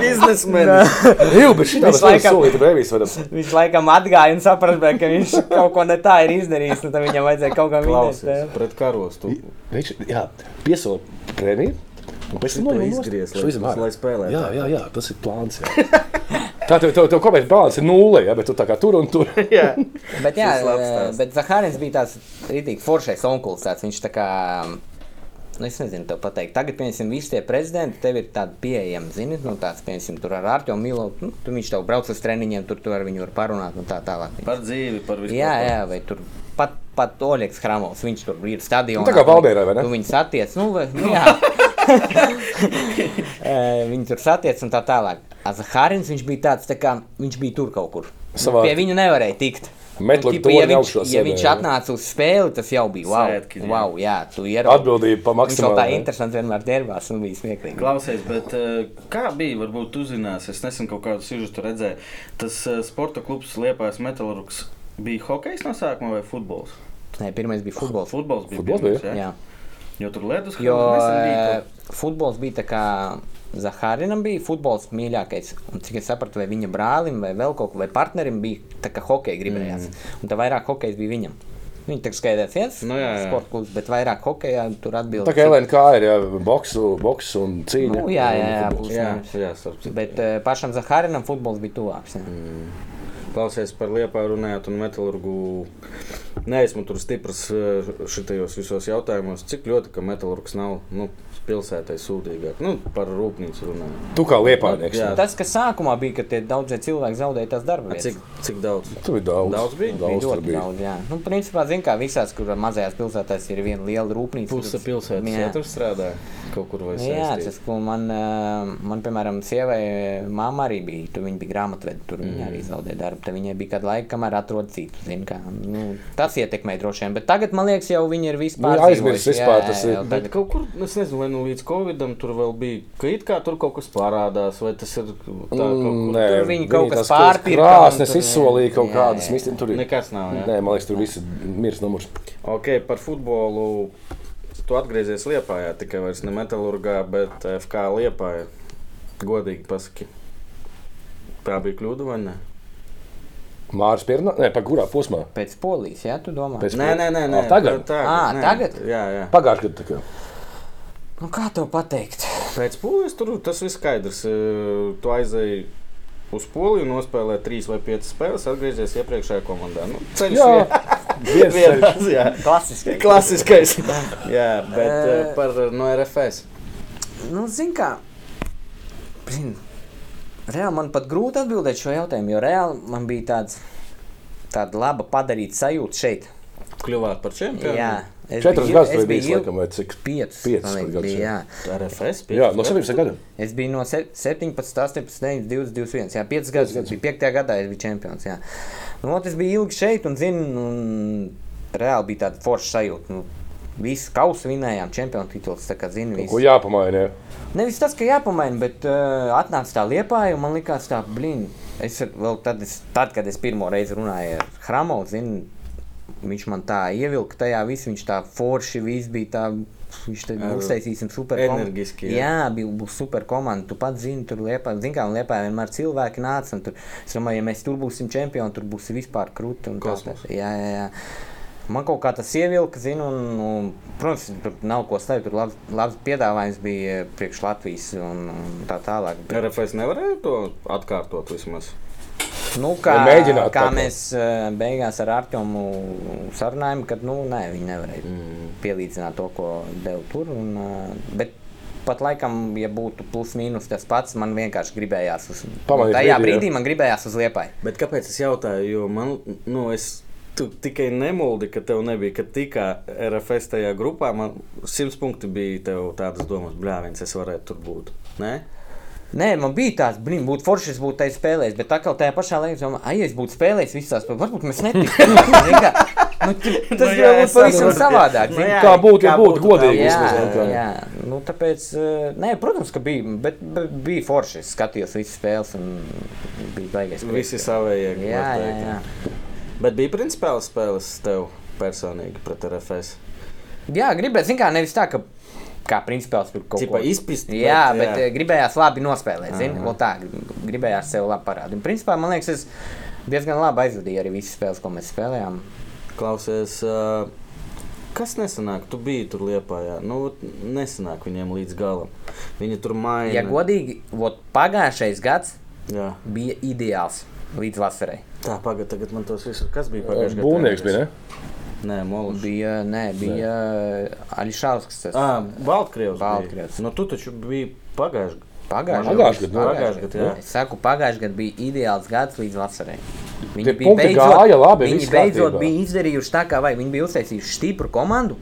[SPEAKER 1] biznesmenis.
[SPEAKER 2] Jā, bet šī tā
[SPEAKER 3] Visu
[SPEAKER 2] bija
[SPEAKER 3] laikam-
[SPEAKER 2] solīta brīvīs. vai ne?
[SPEAKER 3] Viņš laikam atgāja un saprata, ka viņš kaut ko ne tā ir izdarījis, un tad viņam vajadzēja kaut kā
[SPEAKER 1] Klausies,
[SPEAKER 3] minēt.
[SPEAKER 1] pret karos tu
[SPEAKER 2] Viņš jā, piesola prēmiju. un Pēc tam
[SPEAKER 1] Šito
[SPEAKER 2] noņem
[SPEAKER 1] izgriez,
[SPEAKER 2] nost- šo
[SPEAKER 1] lai-
[SPEAKER 2] izņem ārā.
[SPEAKER 1] lai spēlē
[SPEAKER 2] Jā,
[SPEAKER 1] tā.
[SPEAKER 2] jā, jā, tas ir plāns. jā. Tā tev, tev, tev kopējais balans ir nulle, jā, bet tu tā kā tur un tur.
[SPEAKER 3] Bet, jā,
[SPEAKER 1] Šis labs
[SPEAKER 3] eh,
[SPEAKER 1] stāsts.
[SPEAKER 3] bet Zahārins bija tāds rītīgi foršais onkulis. tāds, Viņš tā kā, nu, es nezinu, tev pateikt, tagad, piemēram, visi tie prezidenti tev ir tādi pieejami, zini, nu, tāds, piemēram, tur ar Artu Milovu, nu, tu viņš tev brauc uz treniņiem, tur tu ar viņu var parunāt un tā tālāk.
[SPEAKER 1] par dzīvi, par visu.
[SPEAKER 3] Jā, jā, vai tur pat, pat Oļegs Hramovs, viņš tur ir stadionā.
[SPEAKER 2] Nu, tā kā Valmierā, vai ne?
[SPEAKER 3] Tu viņu satiec, nu, vai, nu jā. Eh, viņi tur satiec un tā tālāk. Azahārins, viņš bija tāds, tā kā viņš bija tur kaut kur.
[SPEAKER 2] Savā-
[SPEAKER 3] Savā... Pie viņa nevarēja tikt.
[SPEAKER 2] Metlu
[SPEAKER 3] Nu, tipa,
[SPEAKER 2] torni
[SPEAKER 3] ja viņš,
[SPEAKER 2] augšā
[SPEAKER 3] ja
[SPEAKER 2] sēdēja,
[SPEAKER 3] viņš
[SPEAKER 2] jā.
[SPEAKER 3] atnāca uz spēli, tas jau bija wow.
[SPEAKER 1] Svētki, jā.
[SPEAKER 3] jā. wow jā, tu ieraugi.
[SPEAKER 2] Atbildība pa
[SPEAKER 3] Viņš jau tā
[SPEAKER 2] maksimāli. ne?
[SPEAKER 3] interesants vienmēr derbās un bija smieklīgi.
[SPEAKER 1] Klausies, bet eh, kā bija? Varbūt jūs zināt, es nesen kaut kādu sižetu redzēju. Tas eh, sporta klubs Liepājas Metālurgs bija hokejs no sākuma vai futbols?
[SPEAKER 3] Nē, pirmais bija futbols.
[SPEAKER 1] Futbols bija.
[SPEAKER 2] Futbols
[SPEAKER 1] pirmais,
[SPEAKER 2] bija?
[SPEAKER 1] jā?
[SPEAKER 3] Jā.
[SPEAKER 1] Jo tur ledus
[SPEAKER 3] Jo
[SPEAKER 1] bija.
[SPEAKER 3] eh, futbols bija tā kā Zahārinam bija futbols mīļākais. Un, cik es sapratu, vai viņa brālim vai vēl kaut kādam partnerim bija tā kā hokeja gribējās. Mm. Un tā vairāk hokeja bija viņam. Viņa tā kā skaidrs viens
[SPEAKER 1] Nu, jā, jā.
[SPEAKER 3] sporta klubs, bet vairāk hokeja tur atbildēja.
[SPEAKER 2] Tā kā LNK ir jā, boksu, boksu un cīņa.
[SPEAKER 3] Nu, jā, jā, jā,
[SPEAKER 2] un futbols.
[SPEAKER 3] būs.
[SPEAKER 1] Jā, jā, starp citu.
[SPEAKER 3] Bet eh, pašam Zahārinam futbols bija tuvāks. Mm.
[SPEAKER 1] Klausies par liepā runājot un metālurgu. Nē, esmu tur stiprs eh, šitajos visos jautājumos, cik ļoti, ka metālurgs nav nu, pilsētai sūdīgāk. Nu, par rūpnīcu runājot.
[SPEAKER 2] Tu kā liepānieks.
[SPEAKER 1] Jā.
[SPEAKER 2] ne?
[SPEAKER 3] Tas, kas sākumā bija, kad tie daudzie cilvēki zaudēja tās darba
[SPEAKER 1] A,
[SPEAKER 3] vietas.
[SPEAKER 1] Cik, cik daudz?
[SPEAKER 2] Tu biji daudz.
[SPEAKER 1] Daudz bija?
[SPEAKER 3] Bija
[SPEAKER 2] Daudz tur
[SPEAKER 3] ļoti
[SPEAKER 2] bija.
[SPEAKER 3] daudz, jā. Nu, principā, zin kā visās, kur mazajās pilsētās ir viena liela rūpnīca.
[SPEAKER 1] Puse
[SPEAKER 3] kuras-
[SPEAKER 1] pilsētas
[SPEAKER 3] Jā. Nu
[SPEAKER 1] jā. tur strādā kaut kur vai
[SPEAKER 3] Jā,
[SPEAKER 1] saistīt.
[SPEAKER 3] tas, ko man, eh, man piemēram, sievai, māma arī bija. Tur viņa bija grāmatvedi, tur mm. viņa arī zaudēja darbu. Tad viņai bija kāda laika, kamēr atrod citu. zini, Kā, nu, tas ietekmē droši vien. Bet tagad, man liekas, jau viņi ir vispār.
[SPEAKER 2] Nu, aizmirst
[SPEAKER 3] dzīvojuši,
[SPEAKER 2] vispār
[SPEAKER 3] jā,
[SPEAKER 2] tas
[SPEAKER 3] jā,
[SPEAKER 2] ir.
[SPEAKER 3] jau
[SPEAKER 1] Bet
[SPEAKER 3] tagad.
[SPEAKER 1] kaut kur, es nezinu, vai nu līdz Covidam tur vēl bija, ka it kā tur kaut kas parādās, vai tas ir tā kaut
[SPEAKER 2] Mm, Nē,
[SPEAKER 3] tur viņi kaut kas
[SPEAKER 2] tās kaut
[SPEAKER 3] pārpirka un
[SPEAKER 2] Krāsnes
[SPEAKER 3] tur-
[SPEAKER 2] izsolīja kaut
[SPEAKER 3] Jā,
[SPEAKER 2] kādas
[SPEAKER 3] jā.
[SPEAKER 2] mistīnas. Tur
[SPEAKER 1] kur
[SPEAKER 2] ir.
[SPEAKER 1] nekas nav. Jā.
[SPEAKER 2] Nē, man liekas, tur viss ir mirs numurs.
[SPEAKER 1] Ok, par futbolu. Tu atgriezies Lietpā, jā, tikai vairs ne metālurgā, bet eh, FK Lietpā. Godīgi pasaki, tā bija kļūda vai ne?
[SPEAKER 2] Māris Pierna, ne, pa kurā posmā?
[SPEAKER 3] Pēc polijas, jā, tu domā?
[SPEAKER 2] Pēc-
[SPEAKER 1] Nē, nē, nē, nē.
[SPEAKER 2] Ā, tagad?
[SPEAKER 1] tā,
[SPEAKER 3] Ā,
[SPEAKER 1] nē.
[SPEAKER 3] tagad?
[SPEAKER 1] Jā, jā.
[SPEAKER 2] Pagājušajā gadā. tā kā.
[SPEAKER 3] Nu, kā to pateikt?
[SPEAKER 1] Pēc polijas tur tas viss skaidrs. Eh, Tu aizēji uz poliju, nospēlēji trīs vai piecas spēles, atgriezies iepriekšējā komandā. Nu, ceļš
[SPEAKER 2] Jā,
[SPEAKER 1] vien-
[SPEAKER 2] viens ceļš.
[SPEAKER 1] vienāds, jā.
[SPEAKER 3] Klasiski.
[SPEAKER 1] Klasiskais. jā, bet eh,
[SPEAKER 3] Eh.
[SPEAKER 1] par eh, no RFS.
[SPEAKER 3] Nu, zini, kā. Zin, reāli man pat grūti atbildēt šo jautājumu, jo reāli man bija tāds, tāda laba padarīta sajūta šeit.
[SPEAKER 1] Kļuvāt par čempionu?
[SPEAKER 3] Jā, es
[SPEAKER 2] Četras
[SPEAKER 3] biju-
[SPEAKER 2] gadus
[SPEAKER 3] es
[SPEAKER 2] tur
[SPEAKER 3] biju
[SPEAKER 2] bijis,
[SPEAKER 3] ilg-
[SPEAKER 2] laikam, vai cik?
[SPEAKER 3] Piecas,
[SPEAKER 2] Piecas
[SPEAKER 3] man liekas,
[SPEAKER 2] gadus,
[SPEAKER 3] bija,
[SPEAKER 2] jā.
[SPEAKER 3] jā.
[SPEAKER 1] RFS.
[SPEAKER 2] Jā, no
[SPEAKER 1] piecas,
[SPEAKER 2] 17 gadiem.
[SPEAKER 3] Es biju no se- 17, 18, 19, 20, 21. Jā, 5 gadus. Es biju 5. gadā, es biju čempions. Jā, nu, tas bija ilgi šeit, un, zin, un reāli bija tāda forša sajūta. Nu, Visi kausi vinējām, čempionu tituls. Tā kā zinu,
[SPEAKER 2] Ko
[SPEAKER 3] viss.
[SPEAKER 2] jāpamaina? jā?
[SPEAKER 3] Nevis tas, ka jāpamaina, bet uh, atnāca tā liepa, un man likās, tā, blīn, es ar- vēl tad, es, tad, kad es pirmo reizi runāju ar Hramovu, zinu, viņš man tā ievilka tajā visā, viņš tā forši, viss bija tā, viņš te
[SPEAKER 1] Ar
[SPEAKER 3] uztaisīsim superkomandu.
[SPEAKER 1] energiski, jā.
[SPEAKER 3] jā. jā, bija būs superkomanda, tu pats zini, tur liepa, zini, kā un liepa vienmēr cilvēki nāca, un tur, es domāju, ja mēs tur būsim čempioni, tur būs vispār krūti un tā, tā,
[SPEAKER 1] Kosmos.
[SPEAKER 3] jā, jā, jā. Man kaut kā tas ievilka, zinu, un, un protams, tur nav ko slēpt. Tur labs, labs piedāvājums bija priekš Latvijas un, un tā tālāk. Bet,
[SPEAKER 1] RFS nevarēja to atkārtot vismaz.
[SPEAKER 3] nu, kā
[SPEAKER 2] Vai mēģināt
[SPEAKER 3] kā
[SPEAKER 2] kaut ko?
[SPEAKER 3] mēs eh, beigās ar Artemu sarunājām, kad nu, nē, viņi nevarēja mm. pielīdzināt to, ko deva tur. Un, eh, bet pat laikam, ja būtu plus mīnus tas pats, man vienkārši gribējās uz
[SPEAKER 2] Pamainīt brīdi,
[SPEAKER 3] Tajā
[SPEAKER 2] jā.
[SPEAKER 3] brīdī man gribējās uz liepai.
[SPEAKER 1] Bet kāpēc es jautāju? Jo man, nu, es tu tikai nemuldi, ka tev nebija, ka tikā RFS tajā grupā man simts punkti bija tev tādas domas, blāvins, es varētu tur būt. Nē?
[SPEAKER 3] Nē, man bija tāds, blīn, būtu forši, es būtu tajā spēlējis, bet tā kā tajā pašā laikā, es domāju, ah, ja es būtu spēlējis visās, tad varbūt mēs netiktu. nu, tu- tas
[SPEAKER 1] Nu jā,
[SPEAKER 3] jau
[SPEAKER 1] es
[SPEAKER 3] būtu pavisam
[SPEAKER 1] saprotu.
[SPEAKER 3] savādāk.
[SPEAKER 1] Nu
[SPEAKER 3] zini.
[SPEAKER 1] jā,
[SPEAKER 2] Kā būtu, ja
[SPEAKER 1] kā
[SPEAKER 2] būtu
[SPEAKER 1] būtu,
[SPEAKER 2] godīgi?
[SPEAKER 3] Jā,
[SPEAKER 2] vismaz, nu, tā.
[SPEAKER 3] jā. Nu, tāpēc, eh, nē, protams, ka bija, bet, bet bija forši. Es skatījos visas spēles un bija baigais. prieks.
[SPEAKER 1] Visi savējie.
[SPEAKER 3] Jā, jā,
[SPEAKER 1] var
[SPEAKER 3] jā,
[SPEAKER 1] teikt.
[SPEAKER 3] jā.
[SPEAKER 1] Bet bija principāli spēles tev personīgi pret RFS.
[SPEAKER 3] jā gribētu, zin kā, nevis tā, ka kā principā tur kaut
[SPEAKER 1] Cipa
[SPEAKER 3] ko
[SPEAKER 1] izpist.
[SPEAKER 3] Jā, bet, bet jā. gribējās labi nospēlēt. Zini, Vēl tā, grib- gribējās sev labi parādīt. Un, Principā, man liekas, es diezgan labi aizvadīju arī visas spēles, ko mēs spēlējām.
[SPEAKER 1] Klausies, ā, kas nesanāk? Tu biji tur liepā, jā. Nu, vot nesanāk viņiem līdz galam. Viņi tur maina.
[SPEAKER 3] Ja godīgi, vot, pagājušais gads
[SPEAKER 1] Jā.
[SPEAKER 3] bija ideāls līdz vasarai.
[SPEAKER 1] Tā, pagaidi, tagad man tos visus. Kas bija pagājušajā gadā?
[SPEAKER 2] Būvnieks bija, ne?
[SPEAKER 1] Nē, Molušs.
[SPEAKER 3] Bija, nē, bija Ališauskas. Tas
[SPEAKER 1] Ah, Baltkrievs. bija.
[SPEAKER 3] Baltkrievs.
[SPEAKER 1] Nu, tu taču biji pagājušajā gadā.
[SPEAKER 3] pagājušais
[SPEAKER 2] Pagājušajā gadā, jā.
[SPEAKER 1] Pagājušajā gadā, jā.
[SPEAKER 3] Es saku, pagājušajā gadā bija ideāls gads līdz vasarai.
[SPEAKER 2] Tie punkti gāja labi,
[SPEAKER 3] viņi
[SPEAKER 2] viss
[SPEAKER 3] beidzot
[SPEAKER 2] kārtībā.
[SPEAKER 3] bija izdarījuši tā, kā vajag. Viņi bija uztaisījuši stipru komandu.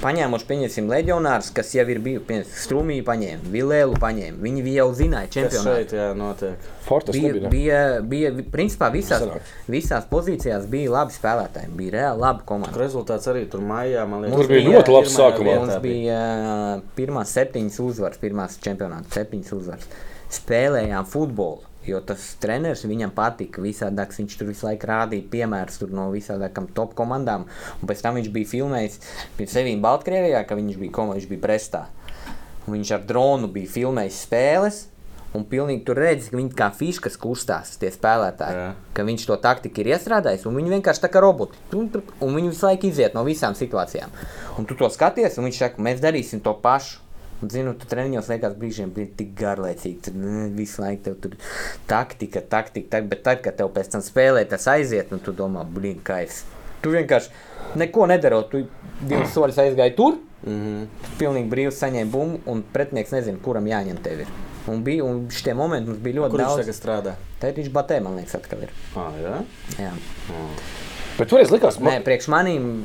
[SPEAKER 3] Paņēmuši, pieņemsim, leģionārus, kas jau ir bijuši strūmīgi, paņēma Vilēlu, paņēma. Viņi jau zināja,
[SPEAKER 1] Kas
[SPEAKER 3] čempionāts.
[SPEAKER 1] šeit, jā, notiek.
[SPEAKER 2] Fortas nebija. ne?
[SPEAKER 3] bija, bija, bija, vi- principā visās,
[SPEAKER 2] Sanāk.
[SPEAKER 3] visās pozīcijās bija labi spēlētāji, bija reāli laba komanda.
[SPEAKER 1] Rezultāts arī tur mājā, man liekas.
[SPEAKER 2] Tur bija ļoti labs
[SPEAKER 1] pirmajā
[SPEAKER 2] sākumā.
[SPEAKER 1] vietā
[SPEAKER 3] Mums bija ā, pirmās septiņas uzvaras, pirmās čempionāta septiņas uzvaras. Spēlējām futbolu, jo tas treneris viņam patika visādāks. Viņš tur visu laiku rādīja piemērus tur no visādākām top komandām. Un pēc tam viņš bija filmējis pie sevis Baltkrievijā, ka viņš bija komā, viņš bija Brestā. Un viņš ar dronu bija filmējis spēles. Un pilnīgi tur redz, ka viņi kā fiškas kustās, tie spēlētāji.
[SPEAKER 1] Jā.
[SPEAKER 3] Jā. Ka viņš to taktiku ir iestrādājis, un viņi vienkārši tā kā roboti. Un, tur- un viņi visu laiku iziet no visām situācijām. Un tu to skaties, un viņš saka, mēs darīsim to pašu. Un, Zinu, tu treniņos liekas, brīžiem bija tik garlaicīgi. Tur nē, visu laiku tev tur taktika, taktika, tak, bet tad, kad tev pēc tam spēlē, tas aiziet, un tu domā, blīn, kā es. Tu vienkārši neko nedarot, tu divus soļus aizgāji tur,
[SPEAKER 1] Mhm.
[SPEAKER 3] pilnīgi brīvi saņēma bumbu, un pretinieks nezina, kuram jāņem tevi. Un bija un šie momenti, mums bija ļoti
[SPEAKER 1] Kur viņš
[SPEAKER 3] daudz.
[SPEAKER 1] tagad strādā?
[SPEAKER 3] Tā ir viņš batē, man liekas, atkal ir.
[SPEAKER 1] Ah, jā.
[SPEAKER 3] Jā.
[SPEAKER 2] Bet toreiz likās,
[SPEAKER 3] Nē,
[SPEAKER 2] man,
[SPEAKER 3] priekš manīm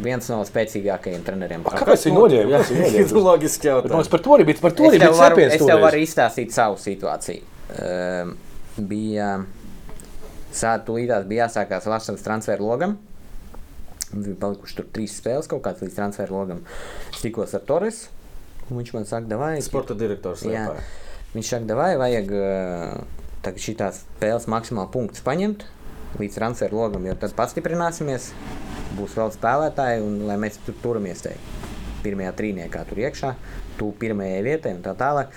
[SPEAKER 3] viens no spēcīgākajiem treneriem.
[SPEAKER 2] Kā- kāpēc viņi noņēma? Kāpēc viņi noņēma?
[SPEAKER 1] ir loģiski
[SPEAKER 2] Bet man
[SPEAKER 1] jautājums.
[SPEAKER 2] liekas, par to arī bija. Par to
[SPEAKER 3] Es
[SPEAKER 2] arī bija
[SPEAKER 3] tev varu,
[SPEAKER 2] cepiens.
[SPEAKER 3] es tev varu
[SPEAKER 2] toreiz.
[SPEAKER 3] izstāstīt savu situāciju. Um, bija sātulītās bija jāsākās Latvijas transfera logam. Bija palikuši tur trīs spēles kaut kāds līdz transfera logam. Es tikos ar Torres, un viņš man saka, davai.
[SPEAKER 1] Sporta direktors.
[SPEAKER 3] Jā.
[SPEAKER 1] Liepāja.
[SPEAKER 3] Viņš saka, davai, vajag э, šīs spēles maksimāli punktus paņemt līdz transferu logam, jo tad pastiprināsimies, būs vēl spēlētāji un lai mēs tur turamies. Te. pirmajā trīniekā tur iekšā, tu pirmajai vietai un tā tālāk.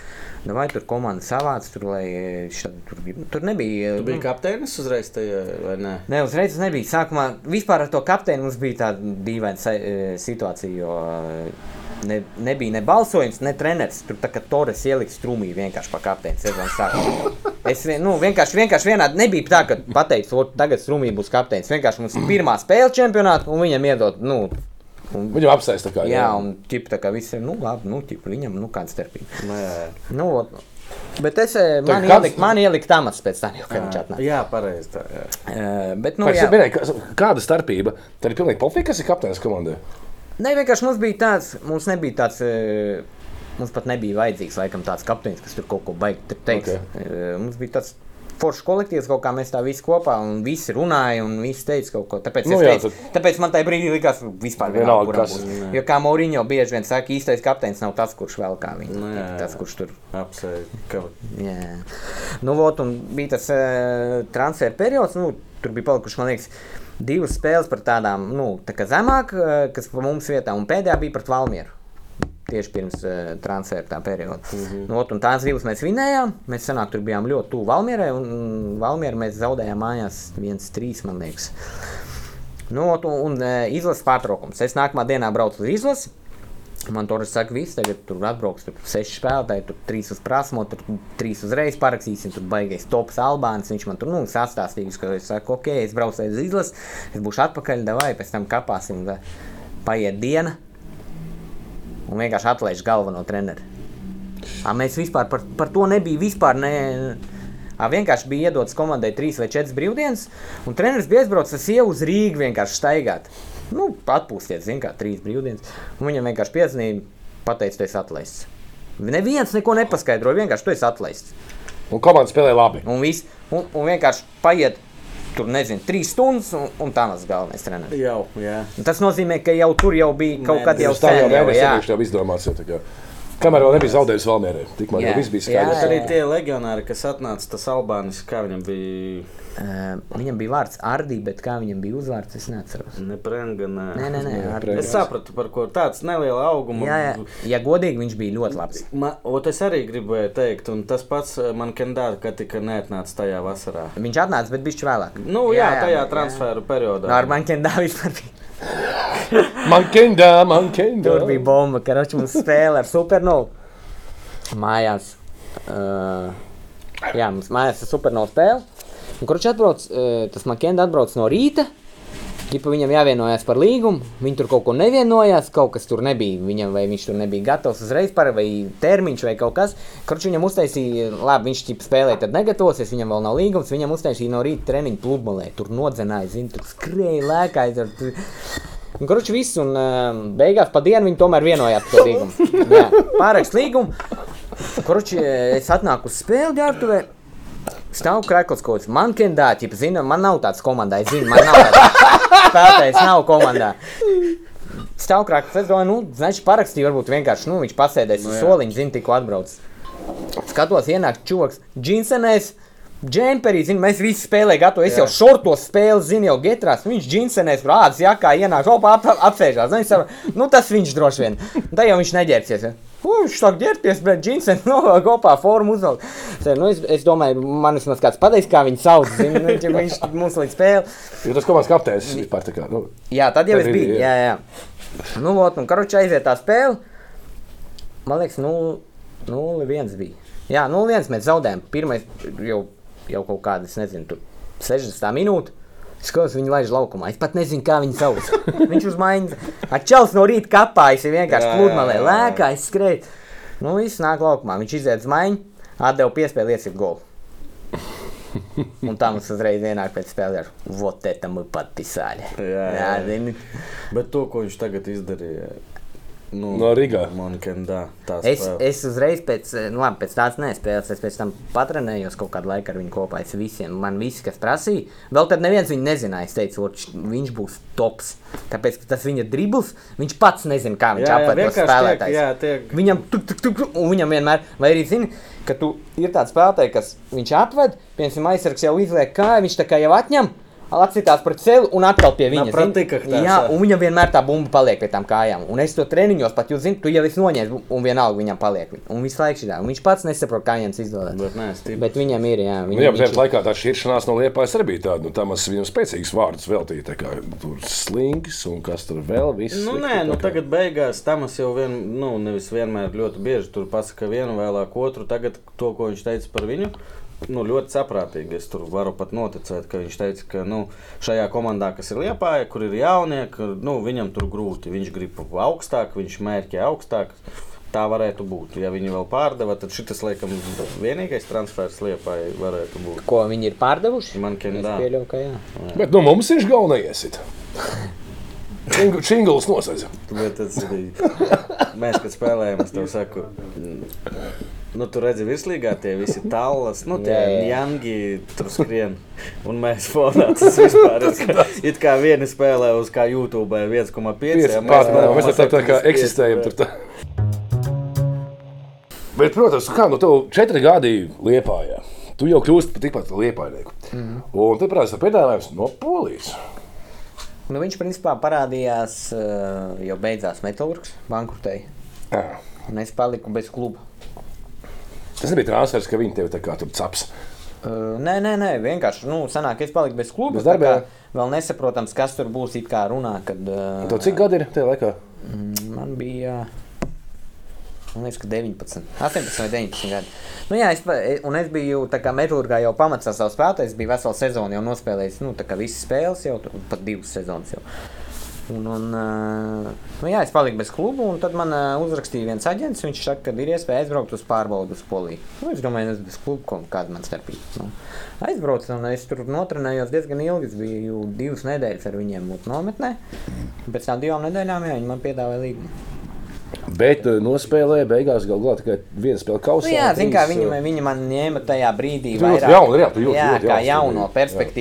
[SPEAKER 3] Nu, vai tur komanda savāca, tur, lai, eh, šad, tur, bija- tur nebija.
[SPEAKER 1] Tu biji kapteinis uzreiz tajā, vai ne?
[SPEAKER 3] Ne, uzreiz tas nebija. Sākumā vispār ar to kapteini mums bija tāda dīvaina sa- eh, situācija, jo eh, ne, nebija ne balsojums, ne treneris. Tur tā kā Torres ielika strūmī vienkārši pa kapteini sezonas sākumā. Es vien- nu, vienkārši, vienkārši vienādi nebija tā, ka pateicu, "O, tagad strūmī būs kapteinis. Vienkārši mums ir pirmā spēle čempionātā un viņam iedod. Nu, un,
[SPEAKER 2] Viņam apsēst tā kā.
[SPEAKER 3] jā, un ķip, tā kā viss ir, nu labi, nu, ķip, viņam nu, kāda starpība.
[SPEAKER 1] Nu, jā, jā.
[SPEAKER 3] Nu, vot. Bet es, eh, man
[SPEAKER 2] kāds-
[SPEAKER 3] ielika, man ielika tamats pēc tam, jau, kad viņš atnāca.
[SPEAKER 1] Ah, Jā, pareizi. tā, jā.
[SPEAKER 3] Eh, Bet, nu,
[SPEAKER 2] Vai,
[SPEAKER 3] jā.
[SPEAKER 2] minēju, ka- kāda starpība? Tad ir pilnīgi pofīgi, kas ir kapteinis komandai.
[SPEAKER 3] Nē, vienkārši mums bija tāds, mums nebija tāds. e, Mums pat nebija vajadzīgs laikam, tāds kapteinis, kas tur kaut ko baigta teikt.
[SPEAKER 2] Ok.
[SPEAKER 3] Okay. Eh, Mums bija tāds foršs kolektīvs, kaut kā mēs tā visi kopā un visi runāja un visi teica kaut ko. Tāpēc,
[SPEAKER 2] Nu
[SPEAKER 3] nu,
[SPEAKER 2] jā,
[SPEAKER 3] jā, teicu, tad... tāpēc man tajā brīdī likās, ka vispār
[SPEAKER 2] Vienalga,
[SPEAKER 3] vienalga,
[SPEAKER 2] kas-
[SPEAKER 3] kas būs. Jo kā Mauriņo bieži vien saka, īstais kapteinis nav tas, kurš vēl kā viņa.
[SPEAKER 1] Nu
[SPEAKER 3] Nu,
[SPEAKER 1] jā, jā.
[SPEAKER 3] tas, kurš tur
[SPEAKER 1] Apsveicu. ka-
[SPEAKER 3] Jā. Nu, vot, un bija tas uh, transfer periods, nu, tur bija palikuši, man liekas, divas spēles par tādām, nu, tā kā zemāk, uh, kas pa mums vietā, un pēdējā bija pret Valmieru. Tieši pirms uh, transferta perioda. Mm -hmm. Not, un tās divas mēs vinējām. Mēs senāk tur bijām ļoti tuvu Valmierai, un mm, Valmieru mēs zaudējām mājās 1-3, man liekas. Nu, ot, un un e, izlases pārtraukums. Es nākamā dienā braucu uz izlasi. Man tur ir saka, viss, tagad tur atbrauks tur seši spēlētāji, tur trīs uz prasmo, tur trīs uzreiz parakstīsim, tur baigais tops Albāns. Viņš man tur nu, sastāstījis, ka es saku, ok, es braucu aiz izlases, es būšu atpakaļ, davai, pēc tam kapāsim, da. paiet diena un vienkārši atlaiž galveno treneru. A, mēs vispār par, par to nebija vispār. Ne, A, vienkārši bija iedots komandai trīs vai četras brīvdienas, un treneris bija aizbraucis ar sievu uz Rīgā vienkārši staigāt. Nu, atpūsties, zin, kā trīs brīvdienas. Un viņam vienkārši piezvanīja, pateica, tu esi atlaists. Neviens neko nepaskaidroja, vienkārši tu esi atlaists.
[SPEAKER 2] Un komanda spēlē labi.
[SPEAKER 3] Un, vis, un, un vienkārši paiet tur, nezinu, trīs stundas, un, un tā tas galvenais treneris.
[SPEAKER 1] Jau, jā.
[SPEAKER 3] Un Tas nozīmē, ka jau tur jau bija kaut
[SPEAKER 1] Nē,
[SPEAKER 3] kad jau
[SPEAKER 2] Jūs nu, tā jau
[SPEAKER 3] sen
[SPEAKER 2] nevarat
[SPEAKER 3] jā.
[SPEAKER 2] iepriekš jau izdomāt. jau tā kā. Kamēr vēl nebija zaudējis Valmērē, tikmēr jau
[SPEAKER 3] Jā.
[SPEAKER 2] viss bija
[SPEAKER 3] Jā,
[SPEAKER 1] Bet
[SPEAKER 2] skaidrs.
[SPEAKER 1] arī tie legionāri, kas atnāca, tas Albānis, kā viņam bija
[SPEAKER 3] Ē, Viņam bija vārds Ardī, bet kā viņam bija uzvārds, es neatceros.
[SPEAKER 1] neprenga. Nē,
[SPEAKER 3] Nē, nē, nē, Ardī.
[SPEAKER 1] eh, Es sapratu, par ko tāds neliela auguma.
[SPEAKER 3] Jā, jā. Ja godīgi, viņš bija ļoti labs.
[SPEAKER 1] Ma, ot, es arī gribēju teikt, un tas pats eh, man kandidāts, ka tika neatnāca tajā vasarā.
[SPEAKER 3] Viņš atnāca, bet bija vēlāk.
[SPEAKER 1] Nu, jā, jā tajā transferu periodā.
[SPEAKER 3] Nu, ar Bankiem Dāvis bija.
[SPEAKER 2] Mankendā, mankendā.
[SPEAKER 3] Tur bija bomba, ka viņš mums spēlēja ar supernovu. Mājās. Uh, jā, mums mājās ir supernovu spēle. Un, kurš atbrauc, uh, tas Makenda atbrauc no rīta. Tipa viņam jāvienojās par līgumu, viņi tur kaut ko nevienojās, kaut kas tur nebija. Viņam, vai viņš tur nebija gatavs uzreiz par, vai termiņš, vai kaut kas. Kurš viņam uztaisīja, labi, viņš tipa spēlēja, tad negatavosies, viņam vēl nav līgums. Viņam uztaisīja no rīta treniņu pludmalē, tur nodzenāja, zina, tur skrēja, lēkāja. Tur, tur. Un, Kurš viss, un um, beigās pa dienu viņi tomēr vienojās par to līgumu. Jā, Pārakst līgumu. Kurš es atnāku uz spēļu ģērbtuvē. Stāv krāklis kaut kāds. Man kandidāts, ja zina, man nav tāds komandā. Es zinu, man nav tāds spēlētājs, nav komandā. Stāv krāklis, es domāju, nu, znači parakstīju, varbūt vienkārši, nu, viņš pasēdēs uz soliņa, zina, tikko atbrauc. Skatos, ienāk čūlas, džinsenēs. Džemperī, zinu, mēs visi spēlējām, gatavojamies. Es jau šortos spēli, zinu, jau getrās. nu, Viņš džinsenēs, rāds, jākā ienāk, opa, ap, ap, apsēžās. Nu, es saprotu, Nu, tas viņš droši vien. Tā jau viņš neģērbsies. ja. U, Viņš sāk ģērbties, bet džinsenēs no kopā formu uzvelk. Tā, Nu, es, es domāju, man vismaz kāds pateiks, kā viņi sauc. Zinu, nu, ja viņš mums līdz spēlei.
[SPEAKER 2] Jo tas komandas kapteinis vispār tā kā. Nu,
[SPEAKER 3] Jā, tad jau
[SPEAKER 2] Tad
[SPEAKER 3] es
[SPEAKER 2] bija,
[SPEAKER 3] biju. Jā, jā. Nu, lūk, un karoči aiziet tā spēle. Man liekas, 0-1 bija. Jā, 0-1 mēs zaudējām. Pirmais jau, jau kaut kādas, nezinu, tur 60 minūtes. Skatos, viņu laiž laukumā. Es pat nezinu, kā viņu sauc. Viņš uzmaina. Atčels no rīta kapājas, ir vienkārši
[SPEAKER 1] Jā, jā,
[SPEAKER 3] pludmalē.
[SPEAKER 1] jā, jā.
[SPEAKER 3] Lēkā, es skrēju. Nu, viss nāk laukumā. Viņš iziet uz maiņu, atdeva piespēli, iesiet golu. Un tā mums uzreiz ienāk pēc spēles. Vot tā mums patīk.
[SPEAKER 1] Jā, jā.
[SPEAKER 3] jā zini.
[SPEAKER 1] Bet to, ko viņš tagad izdarīja, nu,
[SPEAKER 2] No Rīgā.
[SPEAKER 1] Mankendā, tā
[SPEAKER 3] Es,
[SPEAKER 1] spēle.
[SPEAKER 3] es uzreiz pēc, eh, nu, labi, pēc tās nespēles, es pēc tam patrenējos kaut kādu laiku ar viņu kopā. Es visiem, man visi, kas prasīja, vēl tad neviens viņu nezināja. Es teicu, "Ot, š- viņš būs tops. Tāpēc, ka tas viņa dribbles, viņš pats nezina, kā viņš
[SPEAKER 1] Jā, jā,
[SPEAKER 3] apēd to
[SPEAKER 1] vienkārši tiek, jā,
[SPEAKER 3] spēlētāju.
[SPEAKER 1] tiek.
[SPEAKER 3] Viņam, tuk, tuk, tuk, tuk, un viņam vienmēr, vai arī zini, ka tu ir tāds spēlētājs, kas viņš apved, piemēram, aizsargs jau izliek kāju, viņš tā kā jau atņem. Atcitās pret sevi un atkal pie viņa. zini?
[SPEAKER 1] pratikah tās,
[SPEAKER 3] Jā,
[SPEAKER 1] jā.
[SPEAKER 3] un viņam vienmēr tā bumba paliek pie tām kājām. Un es to treniņos pat jūs zinu, tu jau esi noņēmis, bu- un vienalga viņam paliek. viņa. Un visu laiku šī tā. Un Viņš pats nesaprot, kā viņam tas izdodas.
[SPEAKER 1] Bet nē, stipri.
[SPEAKER 3] Bet viņam ir, jā,
[SPEAKER 2] Nu, jā,
[SPEAKER 3] viņam
[SPEAKER 2] bet tajā laikā tā šķiršanās no liepājas arī bija tāda. Nu, tā mums viņam spēcīgs vārds veltīja. tā Kā, tur slings un kas tur vēl viss.
[SPEAKER 1] Nu,
[SPEAKER 2] slikti,
[SPEAKER 1] nē, nu
[SPEAKER 2] tā kā-
[SPEAKER 1] tagad beigās Tamas jau vien, nu, nevis vienmēr ļoti bieži tur pasaka vienu, vēlāk otru. Tagad to, ko viņš teica par viņu. Nu, ļoti saprātīgi. Es tur varu pat noticēt, ka viņš teica, ka nu, šajā komandā, kas ir liepā, kur ir jaunie, ka, nu, viņam tur grūti. Viņš grib augstāk, viņš mērķē augstāk. Tā varētu būt. Ja viņi vēl pārdeva, tad šis, laikam, vienīgais transfers liepā varētu būt.
[SPEAKER 3] Ko viņi ir pārdevuši?
[SPEAKER 1] Man
[SPEAKER 3] Es
[SPEAKER 1] kendā.
[SPEAKER 3] pieļauju, ka jā.
[SPEAKER 2] Bet nu, mums viņš galvenais ir. Čingls noslēdz.
[SPEAKER 1] Bet tas bija. Mēs, kad spēlējām, es tev saku, "Mm, nu, tur redzi, virslīgā tie visi tālas, nu, tie
[SPEAKER 3] Jā, jā.
[SPEAKER 1] jangi tur skrien. Un mēs fonā tas vispār. It kā, it kā vieni spēlē uz kā YouTube 1,5.
[SPEAKER 2] Pieci
[SPEAKER 1] ja
[SPEAKER 2] partneri,
[SPEAKER 1] spēlējam
[SPEAKER 2] mēs tā, tā kā
[SPEAKER 1] 85,
[SPEAKER 2] eksistējam
[SPEAKER 1] bet-
[SPEAKER 2] tur. Tā. Bet, protams, kā nu, tev četri gadi liepā, tu jau kļūsi par tikpat liepainieku. Mm -hmm. Un te prasa piedāvājums no Polijas.
[SPEAKER 4] Nu, viņš principā parādījās, eh, jau beidzās metālurgs, bankrutēji.
[SPEAKER 2] Jā.
[SPEAKER 4] Un es paliku bez kluba.
[SPEAKER 2] Tas nebija transfers, ka viņi tevi tā kā tur caps.
[SPEAKER 4] Eh, Nē, nē, nē, vienkārši. Nu, sanāk, es paliku bez kluba.
[SPEAKER 2] Bez darba,
[SPEAKER 4] tā
[SPEAKER 2] jā.
[SPEAKER 4] kā Vēl nesaprotams, kas tur būs. It kā runā, kad. eh,
[SPEAKER 2] Tev cik gadi ir tajā laikā?
[SPEAKER 4] Man bija. Man liekas, ka 19, 18 vai 19 gadi. Nu, jā, es, pa- e- un es biju Metlurgā jau pamatā savu spēlēju. Es biju veselu sezonu jau nospēlējis. Nu, tā kā visas spēles jau tur pat divas sezonas. Jau. Un, un, ā, nu, jā, es paliku bez kluba, un tad man ā, uzrakstīja viens aģents. Viņš saka, ka ir iespēja aizbraukt uz pārbaudi uz Poliju. Nu, es domāju, es bez kluba, ko- kāda man starpība. Nu, aizbraucu, un es tur notrenējos diezgan ilgi. Es biju divas nedēļas ar viņiem būt nometnē. Un Pēc tam divām nedēļām jā, viņi man piedāvāja līgumu.
[SPEAKER 2] Bet eh, nospēlēja beigās galu galā tikai viena spēle kausā.
[SPEAKER 4] Nu, jā,
[SPEAKER 2] un
[SPEAKER 4] zin, kā
[SPEAKER 2] trīs,
[SPEAKER 4] viņi,
[SPEAKER 2] eh,
[SPEAKER 4] viņi man ņēma tajā brīdī.
[SPEAKER 2] Tu jūti
[SPEAKER 4] vairāk-
[SPEAKER 2] jaunu, jā, tu jūti,
[SPEAKER 4] jā,
[SPEAKER 2] jūti
[SPEAKER 4] kā
[SPEAKER 2] jaunu
[SPEAKER 4] jauno
[SPEAKER 2] stilīti,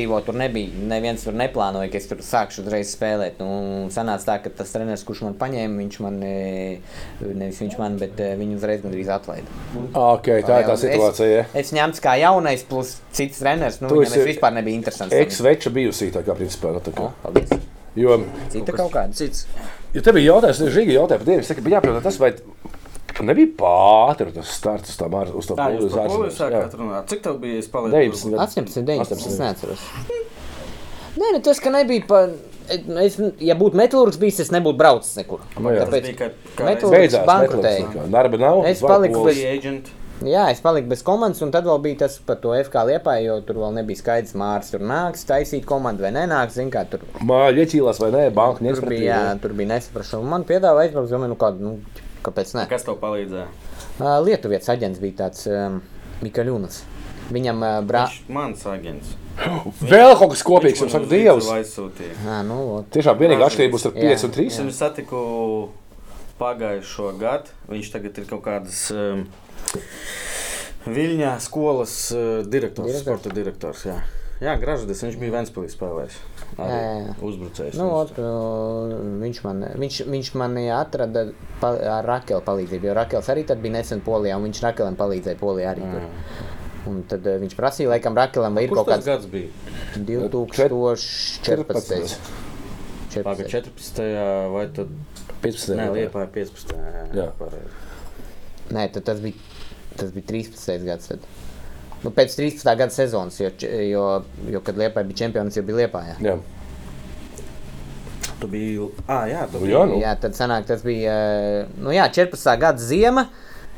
[SPEAKER 4] perspektīvo. Tur nebija. Neviens tur neplānoja, ka es tur sākšu uzreiz spēlēt. Nu, sanāca tā, ka tas treneris, kurš man paņēma, viņš man, e, nevis viņš man, bet e, viņu uzreiz gandrīz atlaida.
[SPEAKER 2] Okay, Ah, tā ir tā situācija. ja.
[SPEAKER 4] Es, es ņemts kā jaunais, plus cits treneris. Nu,
[SPEAKER 2] Tu
[SPEAKER 4] viņam
[SPEAKER 2] esi
[SPEAKER 4] es vispār nebija interesants.
[SPEAKER 2] Ex-veča bijusī tā kā principā. Nu, tā kā.
[SPEAKER 4] Paldies.
[SPEAKER 2] Jo,
[SPEAKER 4] Cita kaut kāda.
[SPEAKER 1] Cits.
[SPEAKER 2] jo te bija jautājums, kas bija jautājums par dienu. Es tikai jāpajautā tas, vai t- nebija pāri tas starts uz tā mār, uz to
[SPEAKER 1] Tā jūs par Poliju
[SPEAKER 2] ārzemēs. Jā.
[SPEAKER 1] sākāt runāt. Cik tev bija spēlēt?
[SPEAKER 2] 19 gadu.
[SPEAKER 3] 18, 19. Es
[SPEAKER 2] 18.
[SPEAKER 3] neatceros. Nē, nu tas, ka nebija. Pa... Es, ja būtu metālurgs bijis, es nebūtu braucis nekur.
[SPEAKER 2] Nu, jā.
[SPEAKER 3] Tāpēc-
[SPEAKER 1] Bija kā, kā
[SPEAKER 3] Metu-
[SPEAKER 1] reiz-
[SPEAKER 2] Beidzās
[SPEAKER 3] bankrutēja.
[SPEAKER 2] bankrotēji. Darba nav.
[SPEAKER 3] Es
[SPEAKER 2] zvana
[SPEAKER 3] paliku
[SPEAKER 2] polis.
[SPEAKER 3] bez-
[SPEAKER 1] Free agent.
[SPEAKER 3] Jā, es paliku bez komandas, un tad vēl bija tas par to FK liepā, jo tur vēl nebija skaidrs, mārcis tur nāks, taisīt komandu vai nenāks. Zin, kā, tur,
[SPEAKER 2] Māja iecīlās vai nē, banka
[SPEAKER 3] tur, bija, jā,
[SPEAKER 2] neizpratīja.
[SPEAKER 3] tur bija nesaprašana. Man piedāvāja aizbraukt, domāju, nu, kā, nu, kāpēc ne?
[SPEAKER 1] Kas tev palīdzēja?
[SPEAKER 3] Ā, Lietuvietis aģents bija tāds um, Mikaļunas. Viņam uh, brālis.
[SPEAKER 1] Viņš mans agents.
[SPEAKER 2] Vēl kaut kas
[SPEAKER 1] Viņš
[SPEAKER 2] kopīgs, jums
[SPEAKER 1] man
[SPEAKER 2] saka,
[SPEAKER 1] uz
[SPEAKER 2] Dievs.
[SPEAKER 1] Lidzi aizsūtīja.
[SPEAKER 3] Nu, vot.
[SPEAKER 2] Tiešām vienīgā atšķirība būs ar
[SPEAKER 3] Jā.
[SPEAKER 2] 5 un
[SPEAKER 1] Es
[SPEAKER 2] 3.
[SPEAKER 1] viņu satiku pagājušo gadu. Viņš tagad ir kaut kādas um, Viļņā skolas uh, direktors,
[SPEAKER 3] Direktors.
[SPEAKER 1] direktors, sporta direktors. Jā, jā Gražudis, viņš bija Vēnspilsē spēlējis. Arī
[SPEAKER 3] Jā, jā, jā.
[SPEAKER 1] uzbrucējs.
[SPEAKER 3] Nu,
[SPEAKER 1] viņš
[SPEAKER 3] ot, ā, viņš, man, viņš, viņš man atrada pa, ar Rakela palīdzību, jo Rakels arī tad bija nesen Polijā, un viņš Rakelam palīdzēja Polijā arī. Tur. Un tad ā, viņš prasīja, laikam, Rakelam, vai ir
[SPEAKER 1] Mm. Kurš
[SPEAKER 3] kaut
[SPEAKER 1] tas gads
[SPEAKER 3] kāds
[SPEAKER 1] bija?
[SPEAKER 3] 2014.
[SPEAKER 1] 14.
[SPEAKER 3] 14.
[SPEAKER 1] 14. vai tad
[SPEAKER 2] 15.
[SPEAKER 1] ne,
[SPEAKER 2] jā.
[SPEAKER 1] Liepāja 15.
[SPEAKER 2] Jā.
[SPEAKER 1] pareizi.
[SPEAKER 3] Nē, tad tas bija, tas bija 13. gads. Tad. Nu, pēc 13. gada sezonas, jo, č- jo, jo kad Lietuvā bija čempions, jau bija Lietuvā. Jā.
[SPEAKER 2] Jā.
[SPEAKER 1] Tu biji. Ah, jā, tu
[SPEAKER 2] Nu,
[SPEAKER 1] biji.
[SPEAKER 2] jā, nu.
[SPEAKER 3] jā, tad sanāk, tas bija eh, nu, jā, 14. gada ziema.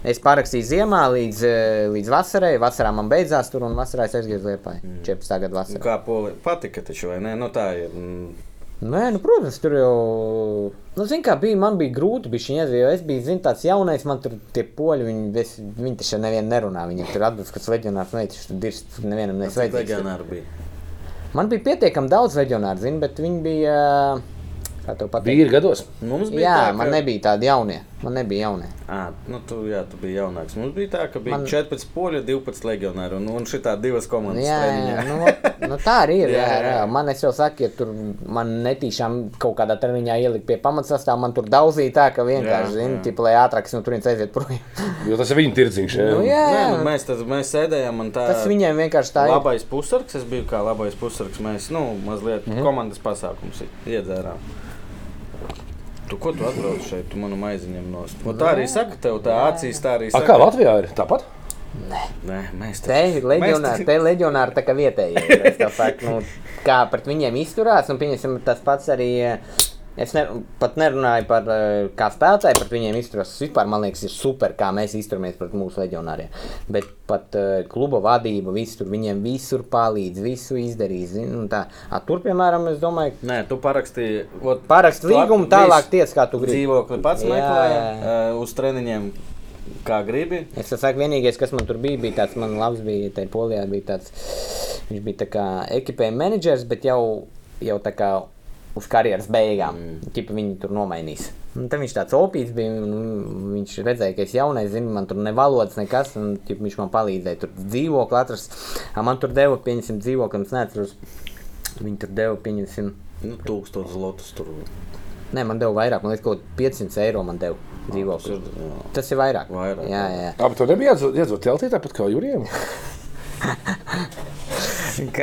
[SPEAKER 3] Es pārakstīju ziemā līdz, eh, līdz vasarai. Vasarā man beidzās tur, un vasarā es aizgāju uz Lietuvā.
[SPEAKER 2] Mm.
[SPEAKER 3] 14. gada
[SPEAKER 1] Nu,
[SPEAKER 3] vasarā.
[SPEAKER 1] Kā poli patika, taču vai ne? Nu, tā ir. mm,
[SPEAKER 3] Nē, nu, protams, tur jau. Nu, zin, kā bija, man bija grūti, bija šī ideja. Es biju zin, tāds jaunais, man tur tie poļi, viņi, es, viņi taču ar nevienu nerunā. Viņiem tur atbildēs, kas leģionārs neicis, tur dirst, nevienam
[SPEAKER 1] Cik
[SPEAKER 3] nesveicīgs.
[SPEAKER 1] legionāri bija.
[SPEAKER 3] Man bija pietiekami daudz leģionāru, zin, bet viņi bija. Kā tev patīk?
[SPEAKER 2] Vīri gados.
[SPEAKER 1] Mums bija.
[SPEAKER 3] Jā,
[SPEAKER 1] tā,
[SPEAKER 3] man nebija tādi jaunie. Man nebija jaunē.
[SPEAKER 1] À, nu, tu, jā, tu biji jaunāks. Mums bija tā, ka bija Man...
[SPEAKER 3] Man-
[SPEAKER 1] 14 poļi, 12 legionāri un, un šitā divas komandas.
[SPEAKER 3] Jā, jā,
[SPEAKER 1] treniņā.
[SPEAKER 3] nu, ot- nu, tā arī ir. jā,
[SPEAKER 1] Jā,
[SPEAKER 3] jā.
[SPEAKER 1] jā.
[SPEAKER 3] Man es jau saku, ja tur man netīšām kaut kādā treniņā ielikt pie pamatsastāvā, man tur daudzīja tā, ka
[SPEAKER 1] Jā,
[SPEAKER 3] vienkārši,
[SPEAKER 1] jā.
[SPEAKER 3] zini, tip, lai ātrāk no turienes aiziet prom.
[SPEAKER 2] Jo tas ir viņa tirdziņš. jā.
[SPEAKER 3] Nu, jā,
[SPEAKER 1] Nē,
[SPEAKER 3] jā.
[SPEAKER 1] nu, mēs, tad, mēs sēdējām un tā.
[SPEAKER 3] Tas viņiem vienkārši tā ir.
[SPEAKER 1] Labais pusargs, es biju kā labais pusargs. Mēs, nu, mazliet
[SPEAKER 3] Mhm.
[SPEAKER 1] mm -hmm. komandas pasākums iedzērām. Tu, ko tu atbrauc šeit? Tu manu maiziņu nost. Nu, tā arī saka, tev tā acīs tā arī
[SPEAKER 2] A,
[SPEAKER 1] saka.
[SPEAKER 2] kā Latvijā ir? Tāpat?
[SPEAKER 1] Nē, mēs
[SPEAKER 3] Te ir leģionāri, te ir leģionāri tā kā vietējie. ir, es tā saku, Nu, kā pret viņiem izturās, un pieņemsim tas pats arī. eh, Es ne, pat nerunāju par eh, kā spēlētāju, pret viņiem izturās. Tas Vispār man liekas, ir super, kā mēs izturamies pret mūsu leģionāriem. Bet pat eh, kluba vadība visur, viņiem visur palīdz, visu izdarīs. zini, un tā. A, Tur, piemēram, es domāju,
[SPEAKER 1] Nē, tu parakstīji. ot,
[SPEAKER 3] parakst
[SPEAKER 1] tu at-
[SPEAKER 3] līgumu,
[SPEAKER 1] visu
[SPEAKER 3] tālāk tiec, kā tu gribi.
[SPEAKER 1] Dzīvokli pats
[SPEAKER 3] Jā,
[SPEAKER 1] meklēji
[SPEAKER 3] jā.
[SPEAKER 1] uh, uz treniņiem, kā gribi.
[SPEAKER 3] Es tā saku, vienīgais, kas man tur bija, bija tāds, man labs bija tajā polijā, bija tāds, viņš bija tā kā ekipējuma menedžers, bet jau, jau tā kā uz karjeras beigām, mm. tipa viņi tur nomainīs. Un tad viņš tāds opīts bija, un un viņš redzēja, ka es jaunais, zinu, man tur ne valodas nekas, un tipa, viņš man palīdzēja tur dzīvokli atrast, Ā, man tur deva, pieņemsim, dzīvokli, un es neatceros, viņi tur deva, pieņemsim,
[SPEAKER 1] Nu, tūkstotis lotus tur.
[SPEAKER 3] nē, man deva vairāk, man liekas, kaut 500 eiro man deva dzīvokli.
[SPEAKER 1] ir, jā.
[SPEAKER 3] Tas ir vairāk.
[SPEAKER 1] Vairāk,
[SPEAKER 3] jā,
[SPEAKER 1] jā.
[SPEAKER 3] jā.
[SPEAKER 2] Abi tur nebija iedzot teltī, tāpat kā jūrijiem.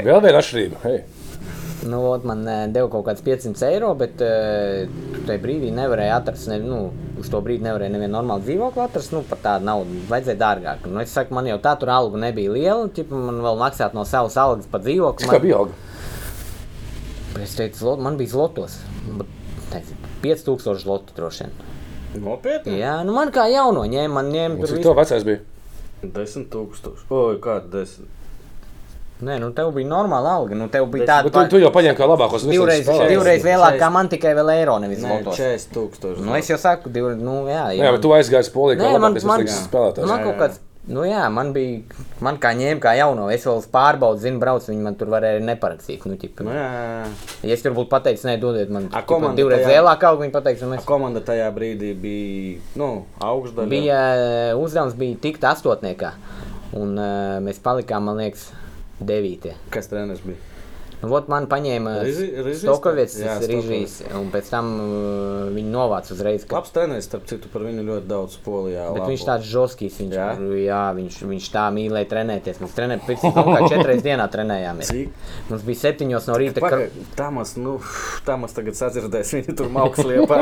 [SPEAKER 2] Vēl viena atšķirība. Hei.
[SPEAKER 3] Nu, ot, man eh, deva kaut kāds 500 eiro, bet eh, tajā brīdī nevarēja atrast, ne, nu, uz to brīdi nevarēja nevienu normālu dzīvokli atrast, nu, par tādu naudu vajadzēja dārgāk. Nu, es saku, man jau tā tur alga nebija liela, tipa, man vēl maksāt no savas algas par dzīvokli.
[SPEAKER 2] Cik tā
[SPEAKER 3] Man,
[SPEAKER 2] bija alga?
[SPEAKER 3] es teicu, zlot, man bija zlotos. Bet, nezinu, 5000 zlotu droši vien.
[SPEAKER 1] Nopietni?
[SPEAKER 3] Jā, nu man kā jauno ņēma, man ņēma tur
[SPEAKER 2] Cik
[SPEAKER 3] visu.
[SPEAKER 2] to vecais bija?
[SPEAKER 1] Desmit tūkstoši. Oi, kāda desmit?
[SPEAKER 3] Nē, nu tev bija normāla alga, nu tev bija
[SPEAKER 2] Bet
[SPEAKER 3] tāda
[SPEAKER 2] tu,
[SPEAKER 3] pa-
[SPEAKER 2] tu jau paņēmi kā labākos visos
[SPEAKER 3] divreiz,
[SPEAKER 2] spēlētājus.
[SPEAKER 3] divreiz lielāka, kā
[SPEAKER 1] Šeit-
[SPEAKER 3] man tikai vēl eiro, nevis
[SPEAKER 1] Nē,
[SPEAKER 3] zlotos.
[SPEAKER 1] 40 tūkstoši.
[SPEAKER 3] Nu, es jau saku, divreiz, nu jā.
[SPEAKER 2] Jā, bet tu aizgāji uz Poliju.
[SPEAKER 3] Nē, man, man,
[SPEAKER 2] spēlētājs.
[SPEAKER 1] Jā,
[SPEAKER 3] man
[SPEAKER 1] jā.
[SPEAKER 3] kaut kāds. Nu jā, man bija, man kā ņēma, kā jauno, es vēl pārbaudu, zinu, braucu, viņi man tur varēja neparakstīt. Nu, ķipa,
[SPEAKER 1] Nu, jā, jā, jā.
[SPEAKER 3] ja es tur būtu pateicis, nē, dodiet man
[SPEAKER 1] A
[SPEAKER 3] ķipa,
[SPEAKER 1] komanda
[SPEAKER 3] divreiz
[SPEAKER 1] tajā-
[SPEAKER 3] lielāku algu, viņi pateiks, un mēs.
[SPEAKER 1] Komanda tajā brīdī bija nu, augstdaļā.
[SPEAKER 3] Bija eh, uzdevums, bija tikt astotniekā, un uh, mēs palikām, man liekas, devītie.
[SPEAKER 1] Kas treneris bija?
[SPEAKER 3] Nu, vot man paņēma
[SPEAKER 1] Rizi- Rizis,
[SPEAKER 3] Stokovits,
[SPEAKER 1] jā,
[SPEAKER 3] tas Rižīs, un pēc tam uh, viņi novāca uzreiz. Ka...
[SPEAKER 1] Labs treneris, starp citu, par viņu ļoti daudz polijā.
[SPEAKER 3] Bet
[SPEAKER 1] labo.
[SPEAKER 3] viņš tāds žoskīs, viņš,
[SPEAKER 1] Jā?
[SPEAKER 3] jā? Jā, viņš, viņš tā mīlēja trenēties. Mēs trenējām, pirms tam kā četras dienā trenējāmies.
[SPEAKER 1] Cik?
[SPEAKER 3] Mums bija septiņos no rīta. Kar...
[SPEAKER 1] Pagaid, Tamas, nu, Tamas tagad sadzirdēs, viņi tur mākslā liepā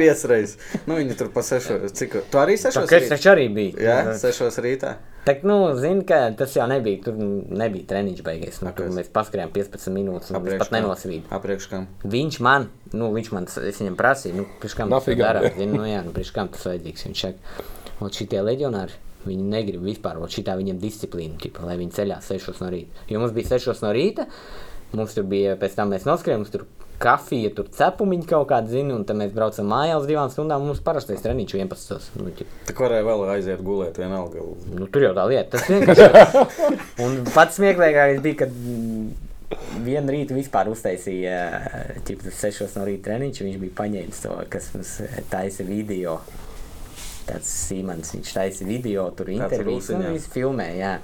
[SPEAKER 1] piesreiz. Nu, viņi tur pa sešos. Cik? Tu arī
[SPEAKER 3] Tā
[SPEAKER 1] sešos?
[SPEAKER 3] kā es
[SPEAKER 1] rīt?
[SPEAKER 3] taču arī biju.
[SPEAKER 1] Jā, sešos rītā.
[SPEAKER 3] Tā, nu, zini, ka tas jau nebija. Tur nebija treniņš beigas. Nu, tur
[SPEAKER 1] Kāpēc?
[SPEAKER 3] mēs paskrējām 15 minūtes, un
[SPEAKER 1] Apriekš
[SPEAKER 3] viņš pat
[SPEAKER 1] kam?
[SPEAKER 3] nenosvīd.
[SPEAKER 1] Apriekš kam?
[SPEAKER 3] Viņš man, nu, viņš man, es viņam prasīju, nu, pirms kam tas
[SPEAKER 2] Nafiga?
[SPEAKER 3] darām. Zini, nu, jā, nu, pirms kam tas vajadzīgs. Viņš saka, un šitie leģionāri, viņi negrib vispār, un šitā viņam disciplīna, tipa, lai viņi ceļā 6 no rīta. Jo mums bija 6 no rīta, mums tur bija, pēc tam mēs noskrējām, mums tur kafija, tur cepumiņi kaut kādi, zini, un tad mēs braucam mājās divām stundām, un mums parastais treniņš 11. Nu, tipa,
[SPEAKER 1] Tā varēja vēl aiziet gulēt vienalga.
[SPEAKER 3] Nu, tur jau tā lieta. Tas vienkārši. Un pats smieklīgākais bija, kad mm, vienu rītu vispār uztaisīja, tipā 6 no rīta treniņš. Viņš bija paņēmis to, kas mums eh, taisa video. Tāds Simons, viņš taisa video, tur intervijas, un
[SPEAKER 1] rūsiņā.
[SPEAKER 3] viņš filmē. Jā.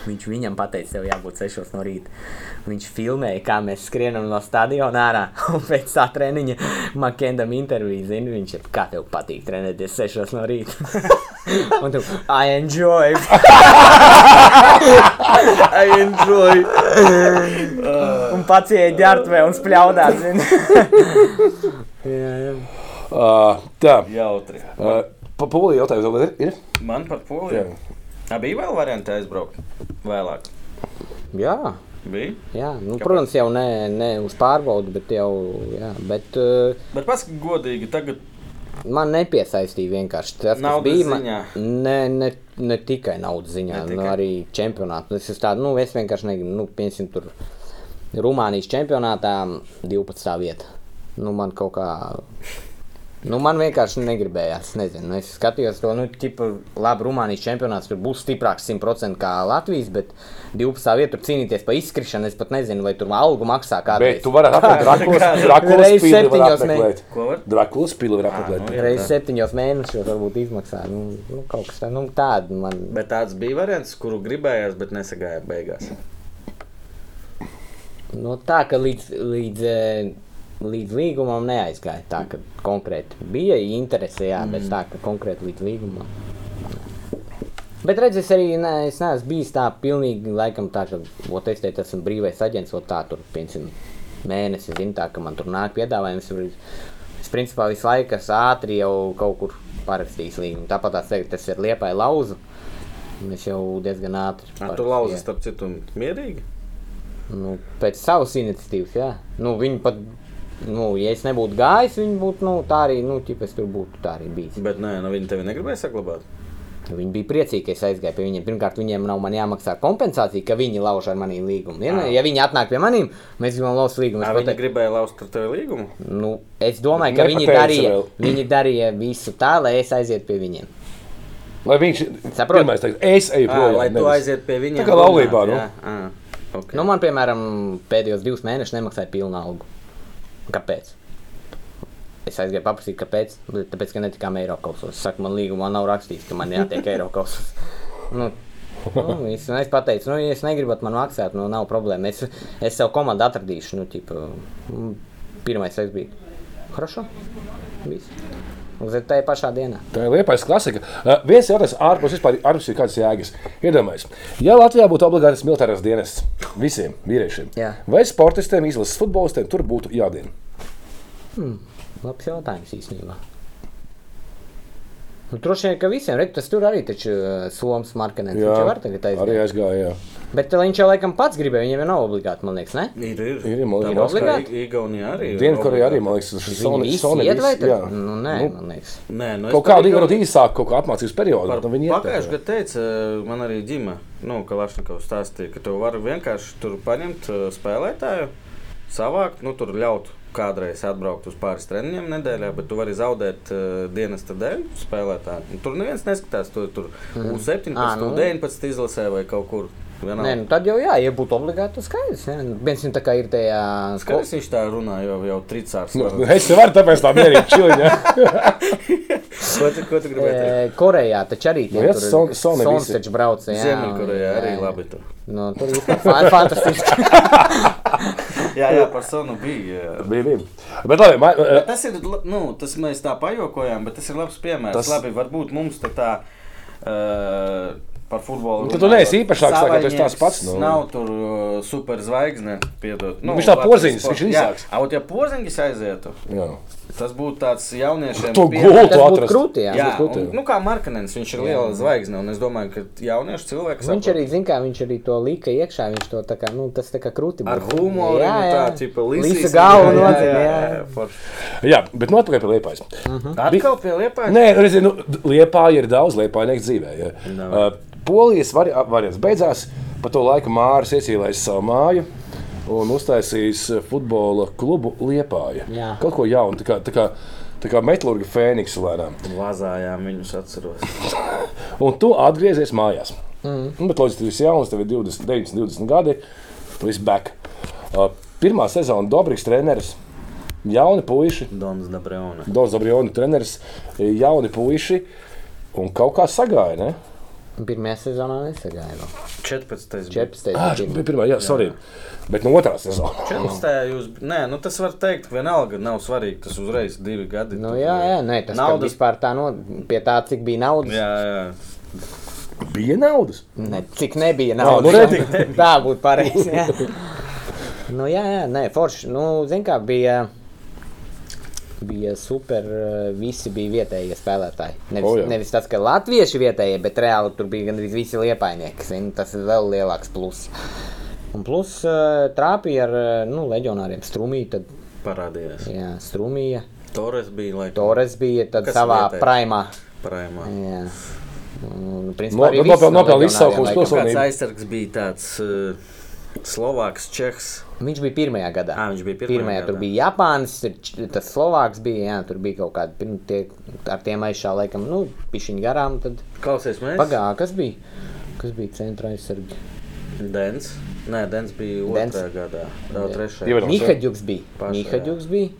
[SPEAKER 3] Viņš viņam pateica, tev jābūt 6 no rīta. Viņš filmēja, kā mēs skrienam no stadiona ārā. Un pēc tā treniņa Makendam intervija, zini, viņš ir, kā tev patīk trenēties 6 no rīta. un tu, I enjoy.
[SPEAKER 1] I enjoy!
[SPEAKER 3] un pats ieeja ģērbtuvē un spļaudā, zini. jā, jā.
[SPEAKER 2] Uh, tā.
[SPEAKER 1] Jautri.
[SPEAKER 2] Uh, pa Poliju jautājums vēl ir? ir?
[SPEAKER 1] Man par
[SPEAKER 2] Jā.
[SPEAKER 1] poliju. Tā bija vēl varianti aizbraukt vēlāk.
[SPEAKER 3] jā.
[SPEAKER 1] Bija.
[SPEAKER 3] Jā, nu, protams, jau ne, ne uz pārbaudi, bet jau, jā, bet uh,
[SPEAKER 1] Bet paskatās godīgi, tagad
[SPEAKER 3] Man nepiesaistīja vienkārši tas, kas
[SPEAKER 1] Naudas
[SPEAKER 3] bija. Man,
[SPEAKER 1] ziņā?
[SPEAKER 3] ne, ne, ne tikai naudas
[SPEAKER 1] Ne
[SPEAKER 3] ziņā, ne tikai.
[SPEAKER 1] tikai.
[SPEAKER 3] Nu, arī čempionātā. Es, uz tādu, nu, es vienkārši negribu, nu, piemēram, tur Rumānijas čempionātā 12. vieta. Nu, man kaut kā Nu, man vienkārši negribējās. Nezinu, es skatījos to, nu, tipu, labi, Rumānijas čempionāts tur būs stiprāks 100% kā Latvijas, bet 12. vietā tur cīnīties par izkrišanu. Es pat nezinu, vai tur algu maksā
[SPEAKER 2] Bet
[SPEAKER 3] kādreiz.
[SPEAKER 2] tu vari apmeklēt Drakulas, Drakulas
[SPEAKER 3] Reiz
[SPEAKER 2] pili var
[SPEAKER 3] septiņos
[SPEAKER 2] apmeklēt.
[SPEAKER 4] Ko var?
[SPEAKER 2] Drakulas pili var apmeklēt.
[SPEAKER 1] nu,
[SPEAKER 3] Reiz septiņos mēnešos varbūt izmaksā. Nu, nu, kaut kas tāds, nu, tāda man.
[SPEAKER 1] Bet tāds bija variants, kuru gribējās, bet nesagāja beigās.
[SPEAKER 3] Nu, tā kā līdz, līdz, eh, līdz līgumam neaizgāja. Tā kā konkrēti bija interese, jā, mm. bet tā kā konkrēti līdz līgumam. Bet redziet, es arī ne, es neesmu bijis tā pilnīgi, laikam, tā kā, ot, es teicu, esmu brīvais aģents, ot, tā tur, piemēram, mēnesis, zinu, tā, ka man tur nāk piedāvājums. tur ir- Es, principā, visu laiku esmu ātri jau kaut kur parakstījis līgumu. Tāpat tās teikt, tas ir liepai lauzu. un Es jau diezgan ātri.
[SPEAKER 1] Ar to
[SPEAKER 3] parakstīju.
[SPEAKER 1] lauzi starp citu mierīgi.
[SPEAKER 3] Nu, pēc savas iniciatīvas, jā. Nu, viņi pat, nu, ja es nebūtu gājis, viņi būtu, nu, tā arī, nu, tipā es tur būtu, tā arī bijis.
[SPEAKER 1] Bet nē, nu, viņi tevi negribēja saglabāt.
[SPEAKER 3] Viņi bija priecīgi, ka es aizgāju pie viņiem. Pirmkārt, viņiem nav man jāmaksā kompensācija, ka viņi lauž ar manī līgumu.
[SPEAKER 2] Ah.
[SPEAKER 3] Ja, ne- ja viņi atnāk pie maniem, mēs gribam lauzt līgumu.
[SPEAKER 1] Nē,
[SPEAKER 3] Es,
[SPEAKER 1] viņi
[SPEAKER 3] pateiktu,
[SPEAKER 1] gribēja lauzt ar tevi līgumu.
[SPEAKER 3] nu, es domāju, ka viņi
[SPEAKER 2] Nepateica
[SPEAKER 3] darīja,
[SPEAKER 2] vēl.
[SPEAKER 3] viņi darīja visu tā, lai es aizietu pie viņiem.
[SPEAKER 2] Lai viņš
[SPEAKER 3] Saprot?
[SPEAKER 2] pirmais teikt, es eju
[SPEAKER 1] Ā,
[SPEAKER 2] projām.
[SPEAKER 1] lai tu
[SPEAKER 2] nevis-
[SPEAKER 1] aiziet pie viņiem.
[SPEAKER 2] Tā kā laulībā, nu.
[SPEAKER 1] Okay.
[SPEAKER 3] Nu, man, piemēram, pēdējos divus mēnešus nemaksāja pilnu algu. Kāpēc? Es aizgāju paprasīt, kāpēc. Bet Tāpēc, ka netikām eiro kausos. Es saku, man līgumā nav rakstīts, ka man jātiek eiro kausos. Nu, Nu, es, es pateicu, nu, ja es negribu, lai man maksātu, nu, nav problēma. Es, es sev komandu atradīšu. Nu, tipa, mm, pirmais es biju. Хорошо. Viss. Uz tā pašā dienā.
[SPEAKER 2] Tā ir liepais klasika. Uh, viens jautājums ārpus vispār ārpus ir kādas jēgas. Iedomājieties, ja Latvijā būtu obligāts militārais dienests visiem vīriešiem,
[SPEAKER 3] Jā.
[SPEAKER 2] vai sportistiem, izlases futbolistiem tur būtu jādien?
[SPEAKER 3] Labs jautājums īstenībā. Nu, droši vien, ka visiem ir tas tur arī taču Somijas marketinga. Viņš jau var tagad
[SPEAKER 2] arī
[SPEAKER 3] aiziet.
[SPEAKER 2] aizgāja. Jā.
[SPEAKER 3] Bet eh, viņš jau laikam pats gribēja, viņam jau nav obligāti, man liekas, ne?
[SPEAKER 1] Ir, ir.
[SPEAKER 2] Ir, man liekas,
[SPEAKER 1] Tāpat kā
[SPEAKER 3] obligāti?
[SPEAKER 1] I- Igaunijā arī. ir
[SPEAKER 2] Dienvidkorejā arī,
[SPEAKER 1] obligāti.
[SPEAKER 2] man liekas, tas ir
[SPEAKER 3] Sony,
[SPEAKER 2] Sony.
[SPEAKER 3] visi
[SPEAKER 2] Sony
[SPEAKER 3] iet vai
[SPEAKER 2] visi,
[SPEAKER 3] tad?
[SPEAKER 2] jā.
[SPEAKER 3] Nu, nē, nu, man liekas.
[SPEAKER 1] Nē, nu, es
[SPEAKER 2] Kaut
[SPEAKER 1] par
[SPEAKER 2] kādu
[SPEAKER 1] Igauni-
[SPEAKER 2] īru īsāku, kaut kā apmācības periodu.
[SPEAKER 1] Par
[SPEAKER 2] tad viņi iet
[SPEAKER 1] Pagājušajā
[SPEAKER 2] tā,
[SPEAKER 1] gadā teica, eh, man arī ģimene, nu, ka Lašņakovs stāstīja, ka tu vari vienkārši tur paņemt eh, spēlētāju, savākt, nu, tur ļaut kādreiz atbraukt uz pāris treniņiem nedēļā, bet tu vari zaudēt uh, dienas dēļ spēlētāju. Un Tur neviens neskatās, tu tur mm. U17,
[SPEAKER 3] Ā, nu.
[SPEAKER 1] nu. U19 izlasē vai kaut kur. vienalga.
[SPEAKER 3] Nē, nu, tad jau jā, ja būtu obligāti, tas skaidrs. ne? Nu, Viens jau tā kā ir tajā
[SPEAKER 1] Skaidrs, viņš tā runā jau, jau tricārs.
[SPEAKER 2] Nu, Es nevaru tāpēc tā mierīgi čiliņā.
[SPEAKER 1] Ko tu, ko tu gribēji teikt?
[SPEAKER 3] eh, Korejā, taču arī
[SPEAKER 2] Nu,
[SPEAKER 3] tie
[SPEAKER 2] jā,
[SPEAKER 3] tur
[SPEAKER 2] Sony- Sony
[SPEAKER 3] Sony
[SPEAKER 2] visi.
[SPEAKER 3] taču brauc. jā,
[SPEAKER 1] Ziemeļkorejā
[SPEAKER 3] jā,
[SPEAKER 1] arī
[SPEAKER 3] jā.
[SPEAKER 1] labi tur.
[SPEAKER 3] Nu, tur vispār fan- fantastiski.
[SPEAKER 1] Jā, jā, personu bija. eh, jā.
[SPEAKER 2] Bija, bija. Bet labi, man, eh,
[SPEAKER 1] Tas ir, la- nu, tas mēs tā pajokojām, bet tas ir labs piemērs.
[SPEAKER 2] Tas-
[SPEAKER 1] Tas... Labi, varbūt mums tā tā. Uh, Par futbolu.
[SPEAKER 2] Nu, tad tu neesi
[SPEAKER 1] runājot.
[SPEAKER 2] īpašāks, tā kā tu esi tāds
[SPEAKER 1] Savainieks
[SPEAKER 2] pats, nu.
[SPEAKER 1] Nav tur uh, superzvaigzne, piedod. Nu,
[SPEAKER 2] Viņš tā
[SPEAKER 1] Latvijas
[SPEAKER 2] Porziņš,
[SPEAKER 1] sporta-
[SPEAKER 2] viņš ir
[SPEAKER 1] Jā,
[SPEAKER 2] īsāks.
[SPEAKER 1] A, ot, ja porziņš aizietu,
[SPEAKER 2] jā.
[SPEAKER 1] tas būtu tāds jauniešiem.
[SPEAKER 2] To
[SPEAKER 1] piemērs.
[SPEAKER 2] gultu
[SPEAKER 3] Tas būtu
[SPEAKER 2] atrast.
[SPEAKER 3] krūti, jā.
[SPEAKER 1] Jā,
[SPEAKER 2] Tas būtu,
[SPEAKER 1] un,
[SPEAKER 2] jā.
[SPEAKER 1] nu kā Markanens, viņš ir liela zvaigzne, un es domāju, ka jauniešu cilvēks
[SPEAKER 3] Viņš arī zina, kā viņš arī to lika iekšā. Viņš to tā kā, nu, tas tā kā krūti.
[SPEAKER 1] ar
[SPEAKER 3] būtu.
[SPEAKER 1] humoru,
[SPEAKER 3] Jā,
[SPEAKER 1] nu,
[SPEAKER 3] jā.
[SPEAKER 1] tā, tipa, līsīs,
[SPEAKER 3] Līsa galva
[SPEAKER 1] jā,
[SPEAKER 3] nodzer,
[SPEAKER 1] jā,
[SPEAKER 3] jā.
[SPEAKER 1] jā, forši.
[SPEAKER 2] jā, bet nu atpakaļ pie liepais.
[SPEAKER 3] Mm.
[SPEAKER 1] Atkal pie liepājas.
[SPEAKER 2] Nē, nu, redziet, nu, liepā ir daudz liepainieku dzīvē. Ja. Uh, polijas vari- variants beidzās, pa to laiku Māris iesīlēs savu māju. Un uztaisīs eh, futbola klubu liepāju.
[SPEAKER 3] Jā.
[SPEAKER 2] Kaut ko jaunu, tā kā, tā kā, tā kā metālurga fēniks lēnām.
[SPEAKER 1] Vazājām viņus atceros.
[SPEAKER 2] Un tu atgriezies mājās. Mm. Nu, bet, loģiski, tas ir jauns, tev ir 20, 19, 20 gadi. Tu esi back. Uh, pirmā sezona Dobriks treneris, jauni puiši.
[SPEAKER 1] Dons Dabrēna.
[SPEAKER 2] Daudz Dobriona treneris, jauni puiši. Un kaut kā sagāja, ne?
[SPEAKER 3] Pirmajā sezonā nesagāja. vēl.
[SPEAKER 1] 14. bija.
[SPEAKER 3] 14.
[SPEAKER 2] Ah, šī bija pirmā, jā, sorry. Bet no otrā sezona.
[SPEAKER 1] 14. jūs, nē, nu tas var teikt, ka vienalga nav svarīgi. Tas uzreiz divi gadi.
[SPEAKER 3] Nu,
[SPEAKER 1] tur-
[SPEAKER 3] jā, jā, nu. nē, tas
[SPEAKER 1] Naudas-
[SPEAKER 3] naudas... vispār tā, nu, pie tā, cik bija naudas.
[SPEAKER 1] Jā, jā.
[SPEAKER 2] Bija naudas.
[SPEAKER 3] Ne, cik nebija
[SPEAKER 2] Ā,
[SPEAKER 3] naudas.
[SPEAKER 2] nu, redzi.
[SPEAKER 3] tā būtu pareizi. Jā. nu, jā, jā, nē, forši. Nu, zin kā bija. Bija super, eh, visi bija vietējie spēlētāji. Nevis,
[SPEAKER 2] O,
[SPEAKER 3] oh,
[SPEAKER 2] jā.
[SPEAKER 3] nevis tas, ka latvieši vietējie, bet reāli tur bija gandrīz visi liepainieki. zini, Tas ir vēl lielāks pluss. Un plus eh, trāpīja ar eh, nu, leģionāriem Strumiju, tad
[SPEAKER 1] Parādījās.
[SPEAKER 3] jā, Strumija,
[SPEAKER 1] Torres bija laikam.
[SPEAKER 3] Torres bija tad
[SPEAKER 1] Kas
[SPEAKER 3] savā
[SPEAKER 1] vietējais?
[SPEAKER 3] primā.
[SPEAKER 1] Prājumā.
[SPEAKER 3] Jā, Un,
[SPEAKER 2] No-
[SPEAKER 3] principā arī
[SPEAKER 2] nu,
[SPEAKER 3] viss
[SPEAKER 2] nopel-
[SPEAKER 3] no
[SPEAKER 2] nopelnīja
[SPEAKER 3] leģionāriem
[SPEAKER 2] izsaukums
[SPEAKER 3] laikam.
[SPEAKER 2] tos-
[SPEAKER 1] Kāds
[SPEAKER 2] Personība.
[SPEAKER 1] aizsargs bija tāds uh, eh, Slovāks, Čehs.
[SPEAKER 3] Viņš bija pirmajā gadā.
[SPEAKER 1] Ā, viņš bija pirmajā
[SPEAKER 3] pirmajā. Tur
[SPEAKER 1] gadā.
[SPEAKER 3] bija Japāns, tur č- tas Slovāks bija. Jā, tur bija kaut kāda pirmā, tie, ar tiem aizšā laikam, nu, pišķiņa garām. Tad
[SPEAKER 1] Klausies, mēs.
[SPEAKER 3] pagāja, kas bija? Kas bija centra aizsargi?
[SPEAKER 1] Dens. Nē, Dens bija
[SPEAKER 3] Dens.
[SPEAKER 1] otrā gadā. Ā, Trešajā.
[SPEAKER 2] Divi. Protams, jā.
[SPEAKER 3] Nihaģuks bija.
[SPEAKER 1] Pašā, jā.
[SPEAKER 3] Nihaģuks bija.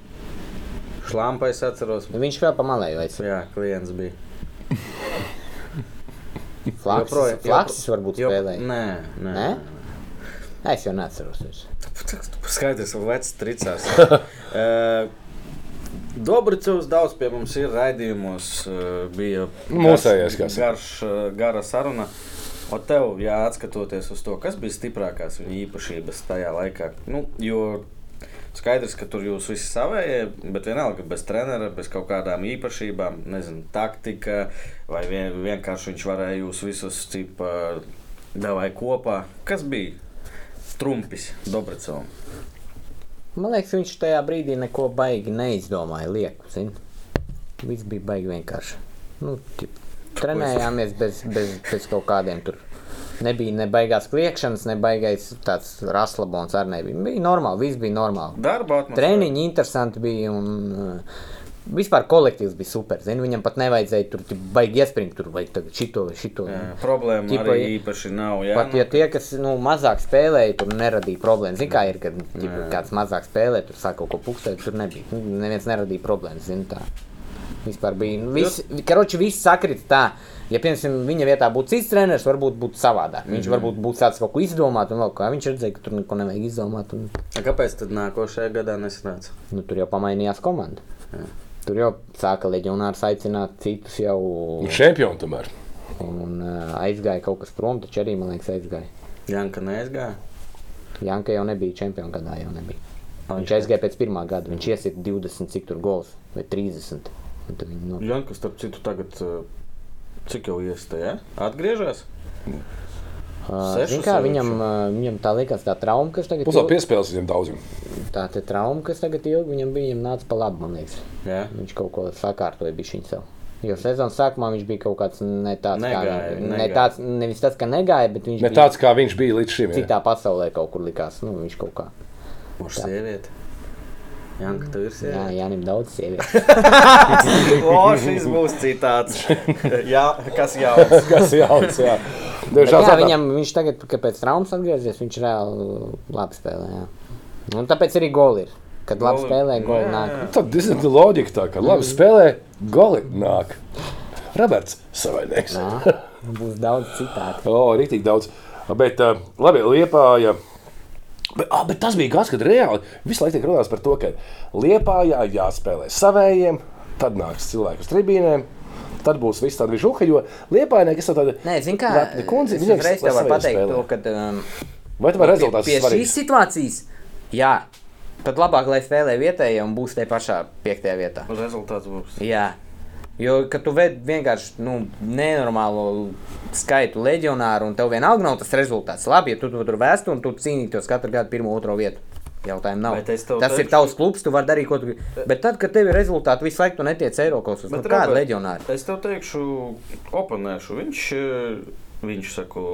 [SPEAKER 1] Šlampa es atceros.
[SPEAKER 3] Nu, Viņš vēl pamanīja, vai
[SPEAKER 1] Jā, klients bija.
[SPEAKER 3] Flaksis,
[SPEAKER 1] Joprojām-
[SPEAKER 3] Flaksis varbūt
[SPEAKER 1] jop-
[SPEAKER 3] spēlēja.
[SPEAKER 1] Nē, nē.
[SPEAKER 3] Nē? Es jau neatceros. Viņš.
[SPEAKER 1] Skaidrs, ka vecs tricās. Eh, Dobricovs daudz pie mums ir raidījumos. eh, Bija
[SPEAKER 2] Mūsējais, kas.
[SPEAKER 1] garš, garš, eh, gara saruna. O tev jāatskatoties uz to, kas bija stiprākās viņa īpašības tajā laikā. Nu, jo skaidrs, ka tur jūs visi savējie, bet vienalga bez trenera, bez kaut kādām īpašībām, nezinu, taktika vai vien, vienkārši viņš varēja jūs visus tipā davai kopā. Kas bija? Trumpis Dobricovam.
[SPEAKER 3] Man liekas, viņš tajā brīdī neko baigi neizdomāja. Lieku, zini. Viss bija baigi vienkārši. Nu, tip, trenējāmies bez, bez, bez kaut kādiem tur. Nebija ne baigās kliēkšanas, ne baigās tāds raslabons ar nebija. Bija normāli, viss bija normāli.
[SPEAKER 1] Darba atmosfēra.
[SPEAKER 3] Treniņi interesanti bija un uh, vispār kolektīvs bija super. Zini, viņam pat nevajadzēja tur tip, baigi iespringt tur vai tagad šito vai šito.
[SPEAKER 1] Jā,
[SPEAKER 3] Jā.
[SPEAKER 1] Problēma
[SPEAKER 3] Ķipa,
[SPEAKER 1] Ķipa, arī
[SPEAKER 3] ja-
[SPEAKER 1] īpaši nav. Jā,
[SPEAKER 3] Pat ja tie, kas nu, mazāk spēlēja, tur neradīja problēmas. Zini, kā ir, kad ģip, kāds mazāk spēlē, tur sāk kaut ko pukstēt, tur nebija. Nu, Neviens neradīja problēmas, zini, tā. Vispār bija. Nu, viss, karoči, viss sakrita tā. Ja, piemēram, viņa vietā būtu cits treneris, varbūt būtu savādāk. Viņš mm -hmm. varbūt būtu sācis kaut ko izdomāt, un vēl kā viņš redzēja, ka tur neko nevajag izdomāt. Un,
[SPEAKER 1] A kāpēc tad nākošajā gadā nesanāca?
[SPEAKER 3] nu, tur jau pamainījās komanda. Tur jau sāka leģionārs aicināt citus jau,
[SPEAKER 2] Un čempioni tomēr.
[SPEAKER 3] un uh, aizgāja kaut kas prom, taču arī, man liekas, aizgāja.
[SPEAKER 1] Janka neaizgāja.
[SPEAKER 3] Janka jau nebija čempionu gadā, jau nebija. Viņš aizgāja pēc pirmā gada. Viņš iesita 20, cik tur gols vai 30. Un tad viņi nu, no-
[SPEAKER 1] Janka, starp citu, tagad eh, cik jau iestāja? Atgriežas?
[SPEAKER 3] Ā,
[SPEAKER 1] Sešus
[SPEAKER 3] zini kā,
[SPEAKER 1] jau
[SPEAKER 3] Viņam, ā, viņam tā likās, tā trauma, kas tagad
[SPEAKER 2] Pusē
[SPEAKER 3] ilg,
[SPEAKER 2] piespēles viņiem daudziem.
[SPEAKER 3] tā te trauma, kas tagad ilgi viņam bija, viņam nāca pa labi, man liekas.
[SPEAKER 1] Jā.
[SPEAKER 3] Viņš kaut ko sakārtoja bišķiņ sev. Jo sezonas sākumā viņš bija kaut kāds ne tāds,
[SPEAKER 1] Negāja,
[SPEAKER 3] kā, ne
[SPEAKER 1] negāja.
[SPEAKER 3] tāds, nevis tas, ka negāja, bet viņš
[SPEAKER 2] Ne
[SPEAKER 3] bija
[SPEAKER 2] tāds, kā viņš bija līdz šim. jā.
[SPEAKER 3] citā pasaulē kaut kur likās. Nu, viņš kaut kā.
[SPEAKER 1] Mūsu sieviete. Janka, tev ir
[SPEAKER 3] Jā,
[SPEAKER 1] sieviete.
[SPEAKER 3] Jānim daudz sievietes.
[SPEAKER 1] O, šis būs citāts. jā, kas jau?
[SPEAKER 2] Kas jauns, jā.
[SPEAKER 3] Bet
[SPEAKER 2] Dažāds
[SPEAKER 3] jā,
[SPEAKER 2] atnāk.
[SPEAKER 3] viņam, viņš tagad, kad pēc traumas atgriezies, viņš reāli labi spēlē. Jā. Nu, Un tāpēc arī goli ir. Kad labi
[SPEAKER 1] Goli-
[SPEAKER 3] spēlē, goli
[SPEAKER 1] Jā,
[SPEAKER 3] nāk.
[SPEAKER 2] Tad tas ir loģika, tā, ka labi spēlē, goli nāk. Roberts savainieks.
[SPEAKER 3] Jā, būs daudz citādi.
[SPEAKER 2] O, rītīgi daudz. Bet, ā, labi, liepā. Ja... Bet, ah, bet tas bija gads, kad reāli visu laiku tiek runāts par to, ka liepā jāspēlē savējiem, tad nāks cilvēki uz tribīnēm. Tad būs viss tāds žuka, jo liepaņā ir tāda
[SPEAKER 4] Nē, zināmā
[SPEAKER 2] lepna kundze. Viņa ir
[SPEAKER 4] reizē var pateikt to, ka um,
[SPEAKER 2] Vai
[SPEAKER 3] Nu,
[SPEAKER 2] tomēr rezultāts
[SPEAKER 4] pie
[SPEAKER 2] ir
[SPEAKER 4] šīs
[SPEAKER 2] svarīgs?
[SPEAKER 4] situācijas, jā, pat labāk, lai spēlē vietējie un būs te pašā piektajā vietā.
[SPEAKER 1] Rezultāts būs.
[SPEAKER 4] Jā. Jo, kad tu ved vienkārši nu, nenormālu skaitu leģionāru, un tev vienalga nav tas rezultāts. Labi, ja tu to tur vēstu un tu cīnītos katru gadu pirmo, otro vietu. Jautājumu nav.
[SPEAKER 1] Bet es tev
[SPEAKER 4] Tas
[SPEAKER 1] teikšu-
[SPEAKER 4] ir tavs klubs, tu vari darīt, ko tu gribi. Bet tad, kad tev ir rezultāti, visu laiku tu netiec Eiropas uz nu, kādu leģionāru.
[SPEAKER 1] Es tev teikšu, oponēšu. Viņš, eh, viņš saka,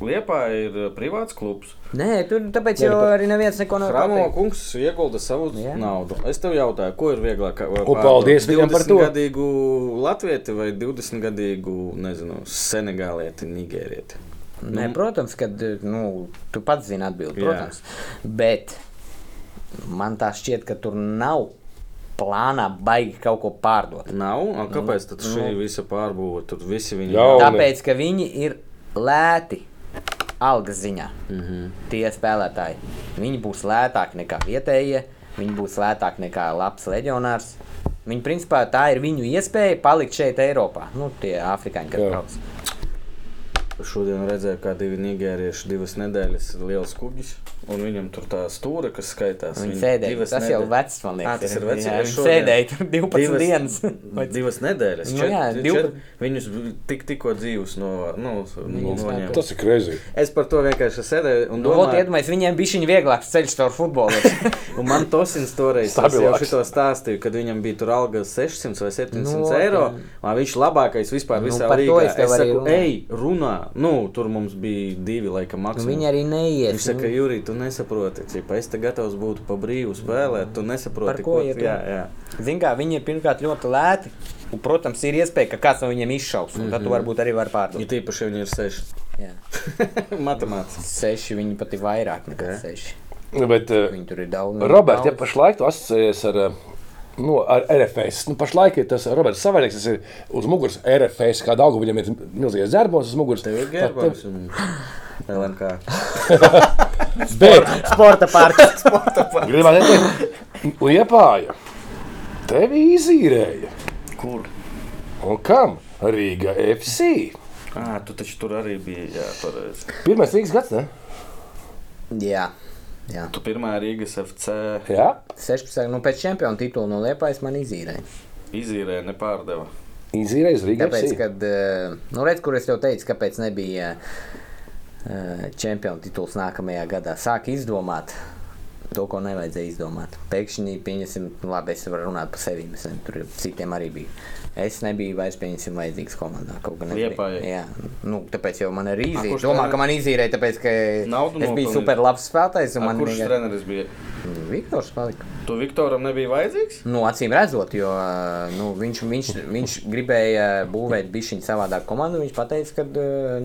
[SPEAKER 1] Liepā ir eh, privāts klubs.
[SPEAKER 4] Nē, tur tāpēc jau arī neviens neko nav
[SPEAKER 1] Rāmo
[SPEAKER 4] pateicis.
[SPEAKER 1] kungs iegulda savu
[SPEAKER 4] Jā.
[SPEAKER 1] Jā. naudu. Es tev jautāju, ko ir vieglāk?
[SPEAKER 2] O, paldies viņam par to.
[SPEAKER 1] 20-gadīgu latvieti vai 20-gadīgu, nezinu, senegālieti, nigērieti.
[SPEAKER 4] Nē, protams, ka nu, tu pats zini atbildi,
[SPEAKER 1] Jā.
[SPEAKER 4] protams. Jā. Bet man tā šķiet, ka tur nav plānā baigi kaut ko pārdot.
[SPEAKER 1] Nav? A, kāpēc tad šī visa pārbūve? Tur visi viņi
[SPEAKER 2] Jau.
[SPEAKER 1] nav.
[SPEAKER 4] Tāpēc, ka viņi ir lēti algas ziņā. Mm -hmm. Tie spēlētāji. Viņi būs lētāki nekā vietējie, viņi būs lētāki nekā labs leģionārs. Viņi, principā, tā ir viņu iespēja palikt šeit, Eiropā. Nu, tie afrikāņi, kas
[SPEAKER 2] Jā.
[SPEAKER 4] brauc.
[SPEAKER 1] Šodien redzēju, kā divi nigērieši divas nedēļas ir liels kuģis, un viņam tur tā stūra, kas skaitās.
[SPEAKER 4] Viņi sēdēja.
[SPEAKER 1] divas
[SPEAKER 4] Tas jau
[SPEAKER 1] nedēļas-
[SPEAKER 4] vecs, man liekas.
[SPEAKER 1] Ā, tas
[SPEAKER 4] ir.
[SPEAKER 1] ir vecs,
[SPEAKER 4] Jā,
[SPEAKER 1] es
[SPEAKER 4] Viņi
[SPEAKER 1] šodien-
[SPEAKER 4] sēdēja tur 12 divas... dienas.
[SPEAKER 1] Vai divas nedēļas?
[SPEAKER 4] Nu
[SPEAKER 1] Čet,
[SPEAKER 4] jā,
[SPEAKER 1] čet,
[SPEAKER 4] divpa-
[SPEAKER 1] Viņus tik, tikko dzīvus no, nu, no, noņēma.
[SPEAKER 2] Tas ir krēsli.
[SPEAKER 1] Es par to vienkārši sēdēju un
[SPEAKER 4] Nu, Lūk,
[SPEAKER 1] domāju,
[SPEAKER 4] iedomājieties, viņiem bija šī vieglāks ceļš caur futbolu.
[SPEAKER 1] Un man Tosins toreiz tas jau
[SPEAKER 2] Stabilāks.
[SPEAKER 1] šito stāstīja, kad viņam bija tur alga 600 vai 700
[SPEAKER 4] Nu,
[SPEAKER 1] no, eiro. Man viņš labākais vispār
[SPEAKER 4] Nu,
[SPEAKER 1] visā
[SPEAKER 4] par to
[SPEAKER 1] līgā.
[SPEAKER 4] es tev
[SPEAKER 1] Es
[SPEAKER 4] arī
[SPEAKER 1] saku,
[SPEAKER 4] runāju.
[SPEAKER 1] ej, runā, Nu, tur mums bija divi, laikam,
[SPEAKER 3] Nu,
[SPEAKER 1] maksimumi.
[SPEAKER 3] Viņi arī neies.
[SPEAKER 1] Viņš
[SPEAKER 4] nu.
[SPEAKER 1] saka, Jurij, tu nesaproti, cipa, es te gatavs būtu pa brīvu spēlēt, tu
[SPEAKER 3] Par
[SPEAKER 1] nesaproti,
[SPEAKER 3] ko
[SPEAKER 1] tu-
[SPEAKER 3] ir runa?
[SPEAKER 1] jā, jā.
[SPEAKER 3] Ziniet, kā viņi ir pirmkārt ļoti lēti. Un, protams, ir iespēja, ka kāds no viņiem izšaus. Mm -hmm. Tad tu varbūt arī var
[SPEAKER 1] Ir
[SPEAKER 3] pārdot.
[SPEAKER 1] tīpaši, ja viņi ir seši.
[SPEAKER 3] Jā.
[SPEAKER 1] Matemātiski.
[SPEAKER 3] Seši viņi pat ir vairāk nekā okay. seši.
[SPEAKER 2] Bet, eh,
[SPEAKER 3] Viņi tur ir daudz.
[SPEAKER 2] Roberts, ja
[SPEAKER 3] daudz.
[SPEAKER 2] pašlaik tu asociējies ar, eh, nu, ar RFS, nu, pašlaik ir tas Roberts Savainieks, kas ir uz muguras RFS, kā daudz viņam ir milzīgs dzērbons uz muguras.
[SPEAKER 1] Tev ir
[SPEAKER 2] Pat
[SPEAKER 1] gerbams un LNK.
[SPEAKER 2] Bet,
[SPEAKER 5] Sporta parks.
[SPEAKER 2] gribētu teikt, liepāja, tevi izīrēja.
[SPEAKER 1] Kur?
[SPEAKER 2] Un kam? Rīga FC.
[SPEAKER 1] Ā, tu taču tur arī biji, jā, pareizi.
[SPEAKER 2] Pirmais Rīgas gads, ne?
[SPEAKER 3] Jā. Jā.
[SPEAKER 1] Tu pirmā Rīgas FC
[SPEAKER 2] Jā,
[SPEAKER 3] 16. nu pēc čempionu titula no Liepājas man izīrēja.
[SPEAKER 1] izīrē nepārdeva.
[SPEAKER 2] izīrēja uz Rīgas
[SPEAKER 3] Tāpēc,
[SPEAKER 2] FC.
[SPEAKER 3] kad, eh, nu redz, kur es tev teicu, kāpēc nebija eh, čempionu tituls nākamajā gadā, sāk izdomāt to, ko nevajadzēja izdomāt. Pēkšņi, pieņemsim, nu, labi, es varu runāt par sevi, es nezinu, tur citiem arī biju. Es nebiju vairs, pieņemsim, vajadzīgs komandā. Kaut gan es biju-
[SPEAKER 1] Liepājai.
[SPEAKER 3] Jā, nu, tāpēc jau man arī
[SPEAKER 1] A,
[SPEAKER 3] izīrēja.
[SPEAKER 1] kurš
[SPEAKER 3] Domā,
[SPEAKER 1] tev-
[SPEAKER 3] ka man izīrēja, tāpēc, ka
[SPEAKER 1] Naudu
[SPEAKER 3] es biju
[SPEAKER 1] nopelnīja?
[SPEAKER 3] super labs spēlētājs. un
[SPEAKER 1] A,
[SPEAKER 3] man
[SPEAKER 1] Kurš
[SPEAKER 3] vienkār-
[SPEAKER 1] treneris bija?
[SPEAKER 3] Viktors palika.
[SPEAKER 1] Tu Viktoram nebija vajadzīgs?
[SPEAKER 3] Nu, acīm redzot, jo ā, nu, viņš, viņš, viņš gribēja būvēt bišķiņu savādāk komandu. Viņš teica, ka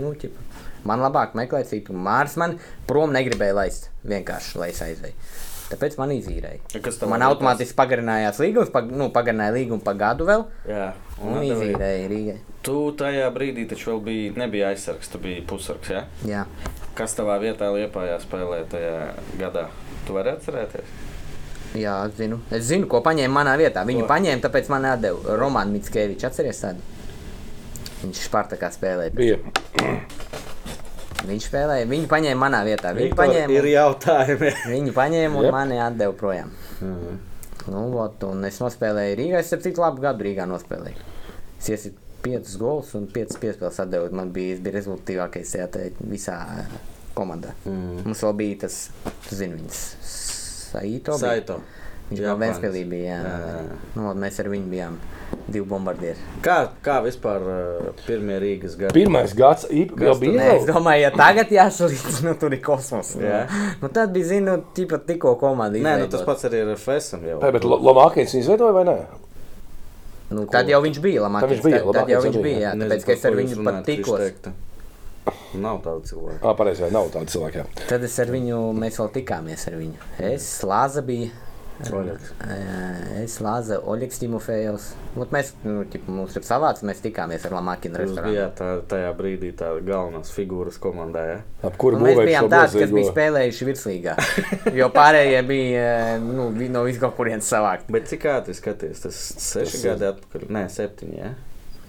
[SPEAKER 3] nu, ķipa, man labāk meklēt citu. Mārs man prom negribēja laist. Vienkārši lai es aizēju. Tāpēc man izīrēja.
[SPEAKER 1] Ja kas tev
[SPEAKER 3] man
[SPEAKER 1] vēl
[SPEAKER 3] automātiski pagarinājās līgums, pag, nu, pagarināja līgumu pa gadu vēl.
[SPEAKER 1] Jā.
[SPEAKER 3] Un
[SPEAKER 1] atdevīja.
[SPEAKER 3] izīrēja Rīgai.
[SPEAKER 1] Tu tajā brīdī taču vēl biji, nebija aizsargs, tu biji pusargs, jā?
[SPEAKER 3] Jā.
[SPEAKER 1] Kas tavā vietā Liepājā spēlēja tajā gadā? Tu vari atcerēties?
[SPEAKER 3] Jā, es zinu. Es zinu, ko paņēma manā vietā. Viņu
[SPEAKER 1] Ko?
[SPEAKER 3] paņēma, tāpēc man atdeva Romanis Mitskevičs. Atceries tādu? Viņš Spartakā spēlēja.
[SPEAKER 2] Bija.
[SPEAKER 3] Viņš spēlēja, viņu paņēma manā vietā. Viņu paņēma,
[SPEAKER 1] ir
[SPEAKER 3] un,
[SPEAKER 1] jautājumi.
[SPEAKER 3] viņu paņēma un
[SPEAKER 2] Jep.
[SPEAKER 3] yep. mani atdeva projām.
[SPEAKER 1] Mhm.
[SPEAKER 3] Nu, vot, un es nospēlēju Rīgā. Es saprotu, labi, gadu Rīgā nospēlēju. Es iesitu piecus gols un piecas piespēles atdevu. Man bija, es biju rezultātīvākais jā, te visā eh, komandā. Mm.
[SPEAKER 1] Mhm.
[SPEAKER 3] Mums vēl bija tas, tu zini, viņas Saito. bija?
[SPEAKER 1] Saito.
[SPEAKER 3] Viņš jau
[SPEAKER 1] Japānis.
[SPEAKER 3] Vēnspēlī bija. Jā,
[SPEAKER 1] Jā,
[SPEAKER 3] jā,
[SPEAKER 1] jā,
[SPEAKER 3] jā. Nu, vot, mēs ar viņu bijām divi bombardieri.
[SPEAKER 1] Kā, kā vispār uh, pirmie Rīgas gadi?
[SPEAKER 2] Pirmais gads īp- jau
[SPEAKER 1] Kas tu-
[SPEAKER 2] bija.
[SPEAKER 3] Nē, es domāju, ja tagad jāsalīdzina, nu, tur ir kosmos. Nu,
[SPEAKER 1] Jā.
[SPEAKER 3] nu, tad bija, zinu, tipa tikko komanda.
[SPEAKER 1] Nē, nu,
[SPEAKER 3] izveidota.
[SPEAKER 1] tas pats arī ir ar FSM. Jau.
[SPEAKER 2] Tā, bet Lomākins viņu izveidoja vai nē?
[SPEAKER 3] Nu, tad jau viņš bija Lamakins.
[SPEAKER 2] Tad viņš bija,
[SPEAKER 3] Tad, tad jau
[SPEAKER 2] Lamakins
[SPEAKER 3] viņš
[SPEAKER 2] arī,
[SPEAKER 3] bija. Jā,
[SPEAKER 1] Nezinu,
[SPEAKER 3] tāpēc, ka es
[SPEAKER 1] par
[SPEAKER 3] ar
[SPEAKER 1] ko
[SPEAKER 3] viņu
[SPEAKER 1] jūs
[SPEAKER 3] pat
[SPEAKER 1] runājat,
[SPEAKER 3] tikos.
[SPEAKER 1] Frištekta. Nav daudz cilvēku.
[SPEAKER 2] Jā, pareizi, vai nav tāda cilvēka. jā.
[SPEAKER 3] Tad es ar viņu, mēs vēl tikāmies ar viņu. Es, Lāza bija.
[SPEAKER 1] Oļegs.
[SPEAKER 3] eh, Es, Lāza, Oļegs Timofejovs. Ot Mēs, nu, tipa, mums ir savāds, mēs tikāmies ar Lamakinu
[SPEAKER 1] Jūs
[SPEAKER 3] restorānu.
[SPEAKER 1] bijāt tā, tajā brīdī tā galvenās figūras komandā. Ja?
[SPEAKER 2] Ap kuru
[SPEAKER 3] Un Nu, mēs
[SPEAKER 2] būvēja
[SPEAKER 3] bijām
[SPEAKER 2] šo
[SPEAKER 3] tādi, kas
[SPEAKER 2] milzīgo-
[SPEAKER 3] bija spēlējuši virslīgā. Jo pārējie bija eh, nu, vi- no vis kaut kurienes savākt.
[SPEAKER 1] Bet cik ātri skaties, tas seši
[SPEAKER 2] Tas ir-
[SPEAKER 1] gadi atpakaļ. Nē, septiņi. Ja?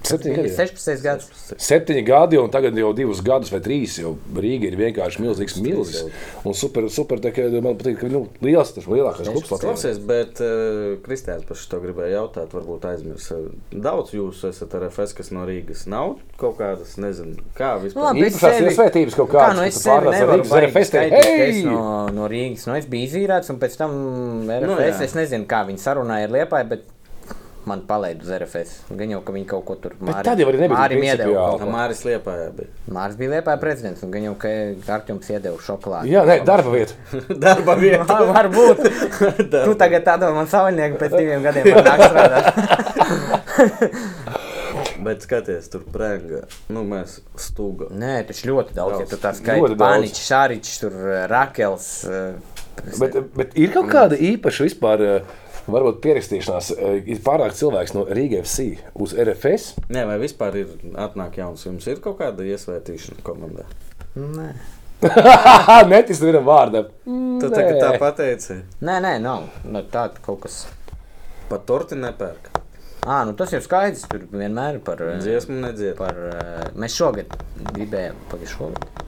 [SPEAKER 2] Septiņi
[SPEAKER 3] Bija
[SPEAKER 2] gadi, jā.
[SPEAKER 3] 16 gadus.
[SPEAKER 2] Septiņi gadi, un tagad jau divus gadus vai trīs. Jau Rīga ir vienkārši milzīgs milzis. Un super, super, tā kā man patīk, ka nu, liels, tas lielākais klubs Latvijā.
[SPEAKER 1] Klausies, bet uh, Kristēns par šo gribēju jautāt, varbūt aizmirst. Daudz jūs esat ar FS, kas no Rīgas nav kaut kādas, nezinu, kā
[SPEAKER 3] Nu,
[SPEAKER 1] vispār.
[SPEAKER 3] labi, es
[SPEAKER 2] Īpašās
[SPEAKER 3] sevi-
[SPEAKER 2] iesvētības kaut
[SPEAKER 3] Kā,
[SPEAKER 2] kādas,
[SPEAKER 3] nu
[SPEAKER 2] kas
[SPEAKER 3] es
[SPEAKER 2] tu
[SPEAKER 3] sevi
[SPEAKER 2] pārnāc ar
[SPEAKER 3] nevaru
[SPEAKER 2] Rīgas
[SPEAKER 3] baigt
[SPEAKER 2] RFS, teikt,
[SPEAKER 3] skaidrot, ka es
[SPEAKER 2] "Hei!"
[SPEAKER 3] no, no Rīgas. Nu, es biju izīrēts, un pēc tam RFS.
[SPEAKER 1] jā.
[SPEAKER 3] Nu, es nezinu, kā viņi sarunāja ar Liepāju, bet man palaida uz RFS. Gan jau, ka viņi kaut ko tur Māri-
[SPEAKER 2] tad jau arī nebija
[SPEAKER 3] Mārim
[SPEAKER 2] principu,
[SPEAKER 3] iedeva
[SPEAKER 2] jā.
[SPEAKER 3] kaut ko.
[SPEAKER 1] Māris Liepājā bija.
[SPEAKER 3] Māris bija Liepāja prezidents, un gan jau, ka Artjums iedeva šokolādi. Ah,
[SPEAKER 2] Jā, nē, darba vieta.
[SPEAKER 1] Darba vietā.
[SPEAKER 3] Varbūt. Tu tagad tādā man savainieku pēc diviem gadiem man nāk strādāt.
[SPEAKER 1] Bet skaties, tur prēngā. Nu, mēs stūga.
[SPEAKER 3] Nē, taču ļoti daudz, ja tu tā
[SPEAKER 2] Ļoti
[SPEAKER 3] skaiti.
[SPEAKER 2] daudz.
[SPEAKER 3] Paničs, Šāričs, tur eh, Rakels. eh,
[SPEAKER 2] Bet, bet ir kaut kāda īpaša vispār, eh, varbūt pierakstīšanās. eh, Ir pārāk cilvēks no Rīgas FC uz RFS.
[SPEAKER 1] Nē, vai vispār ir atnāk jauns? Jums ir kaut kāda iesvētīšana komandā?
[SPEAKER 3] Nē.
[SPEAKER 2] Netis vienam vārdam.
[SPEAKER 1] Tu tagad tā pateici.
[SPEAKER 3] Nē, nē, nav. Nu, tā kaut kas.
[SPEAKER 1] Pa torti nepērk.
[SPEAKER 3] À, nu tas jau skaidrs, tur vienmēr ir par eh,
[SPEAKER 1] Dziesmu nedzied.
[SPEAKER 3] Par, eh, mēs šogad gribējām, pagājušajā gadā.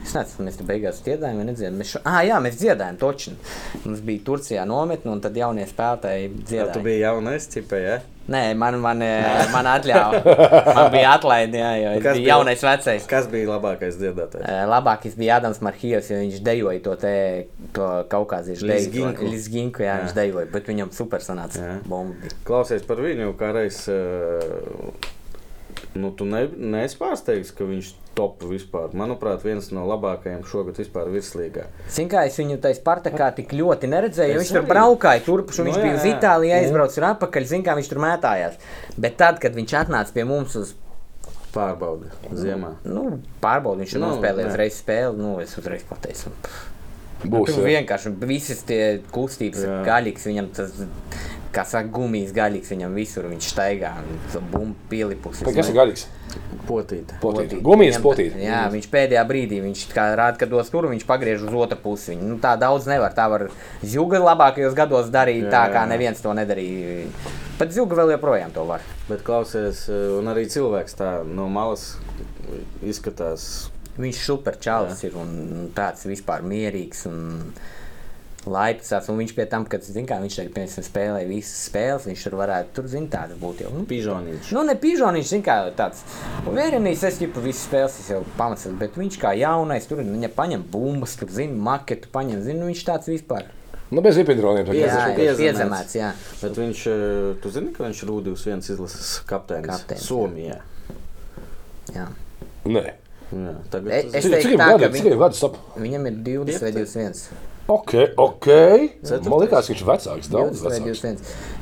[SPEAKER 3] Es nezinu, mēs te beigās dziedājām, vai nedziedājām. Mēs šo... ah, jā, mēs dziedājām, točni. Mums bija Turcijā nometne, un tad jaunie spēlētāji
[SPEAKER 1] Jā, tu
[SPEAKER 3] dziedāja.
[SPEAKER 1] biji jaunais, cipē, ja?
[SPEAKER 3] Nē, man, man, eh, man atļāva. Man bija atlaide, jā, jo es
[SPEAKER 1] Nu, Kas
[SPEAKER 3] biju
[SPEAKER 1] bija?
[SPEAKER 3] jaunais vecais.
[SPEAKER 1] Kas bija labākais dziedātājs?
[SPEAKER 3] Eh, Labākais bija Adams Marhijas, jo viņš dejoja to, te, to kaukāziešu deju.
[SPEAKER 1] Lizginku.
[SPEAKER 3] Lizginku, jā, jā, viņš dejoja, bet viņam super sanāca.
[SPEAKER 1] Jā.
[SPEAKER 3] Bomba bija.
[SPEAKER 1] Klausies par viņu, kā reiz. eh, Nu, tu ne, neesi pārsteigts, ka viņš top vispār. Manuprāt, viens no labākajiem šogad vispār virslīgā.
[SPEAKER 3] Zini, kā es viņu taisa partakā tik ļoti neredzēju, jo
[SPEAKER 1] Es
[SPEAKER 3] viņš tur
[SPEAKER 1] arī.
[SPEAKER 3] braukāja turp, un
[SPEAKER 1] Nu
[SPEAKER 3] viņš
[SPEAKER 1] jā,
[SPEAKER 3] bija uz
[SPEAKER 1] jā.
[SPEAKER 3] Itāliju, aizbraucis un atpakaļ, zini, kā viņš tur mētājās. Bet tad, kad viņš atnāca pie mums uz
[SPEAKER 1] Pārbauda ziemā.
[SPEAKER 3] nu, pārbaudi, viņš jau
[SPEAKER 1] Nu,
[SPEAKER 3] nospēlēja
[SPEAKER 1] jā.
[SPEAKER 3] uzreiz spēli, nu, es uzreiz pateicu. un
[SPEAKER 2] Būs eh.
[SPEAKER 3] Tur
[SPEAKER 2] jā.
[SPEAKER 3] vienkārši visas tie kustības
[SPEAKER 1] Jā.
[SPEAKER 3] gaļīgs viņam tas. Kā saka, gumijas gaļīgs viņam visur, viņš staigā un bumbu pielipus.
[SPEAKER 2] Bet Kas ir garīgs?
[SPEAKER 1] Potīte.
[SPEAKER 2] Potīt. Gumijas potīt.
[SPEAKER 3] Jā, viņš pēdējā brīdī, viņš kā rāda, kad dos tur, viņš pagriež uz otru pusi. Viņu. Nu, tā daudz nevar. Tā var Zjuga labākajos gados darīt
[SPEAKER 1] Jā,
[SPEAKER 3] tā,
[SPEAKER 1] jā,
[SPEAKER 3] kā
[SPEAKER 1] jā.
[SPEAKER 3] neviens to nedarīja. Pat Zjuga vēl joprojām to var.
[SPEAKER 1] Bet klausies, eh, un arī cilvēks tā no malas izskatās.
[SPEAKER 3] Viņš super čalis ir un tāds vispār mierīgs. Un... Laipsās, un viņš pie tam, kad zin, kā, viņš tagad, piemēram, spēlē visas spēles, viņš tur varētu tur zināt, tāds būtu jau. Nu,
[SPEAKER 1] Pižoniņš.
[SPEAKER 3] Nu, ne pižoniņš, zin, kā tāds. Vērenīs, es jau visu spēles es jau pamatu, bet viņš kā jaunais, tur viņa paņem bumbas, tur zina, maketu paņem, zina, viņš tāds vispār.
[SPEAKER 2] Nu, bez ipindroniem.
[SPEAKER 1] Jā,
[SPEAKER 3] Jā,
[SPEAKER 1] jā,
[SPEAKER 3] jā,
[SPEAKER 1] piezemēts.
[SPEAKER 3] piezemēts, jā.
[SPEAKER 1] Bet viņš, eh, tu zini, ka viņš Rūdījus viens izlases kapteinis
[SPEAKER 3] Kapteinis, jā.
[SPEAKER 1] Somijā.
[SPEAKER 3] jā.
[SPEAKER 2] Nē.
[SPEAKER 1] Jā, tagad
[SPEAKER 3] E-
[SPEAKER 1] tu
[SPEAKER 3] es-
[SPEAKER 1] zini.
[SPEAKER 2] Cik
[SPEAKER 3] teiktu
[SPEAKER 2] cik viņam
[SPEAKER 3] tā, ka
[SPEAKER 2] gadi?
[SPEAKER 3] viņ-
[SPEAKER 2] Cik viņam gadi? Stop.
[SPEAKER 3] Viņam ir 20 vai 21.
[SPEAKER 2] Ok, ok. Man liekas, ka viņš ir vecāks, daudz
[SPEAKER 3] 20 vai
[SPEAKER 2] vecāks.
[SPEAKER 3] 21.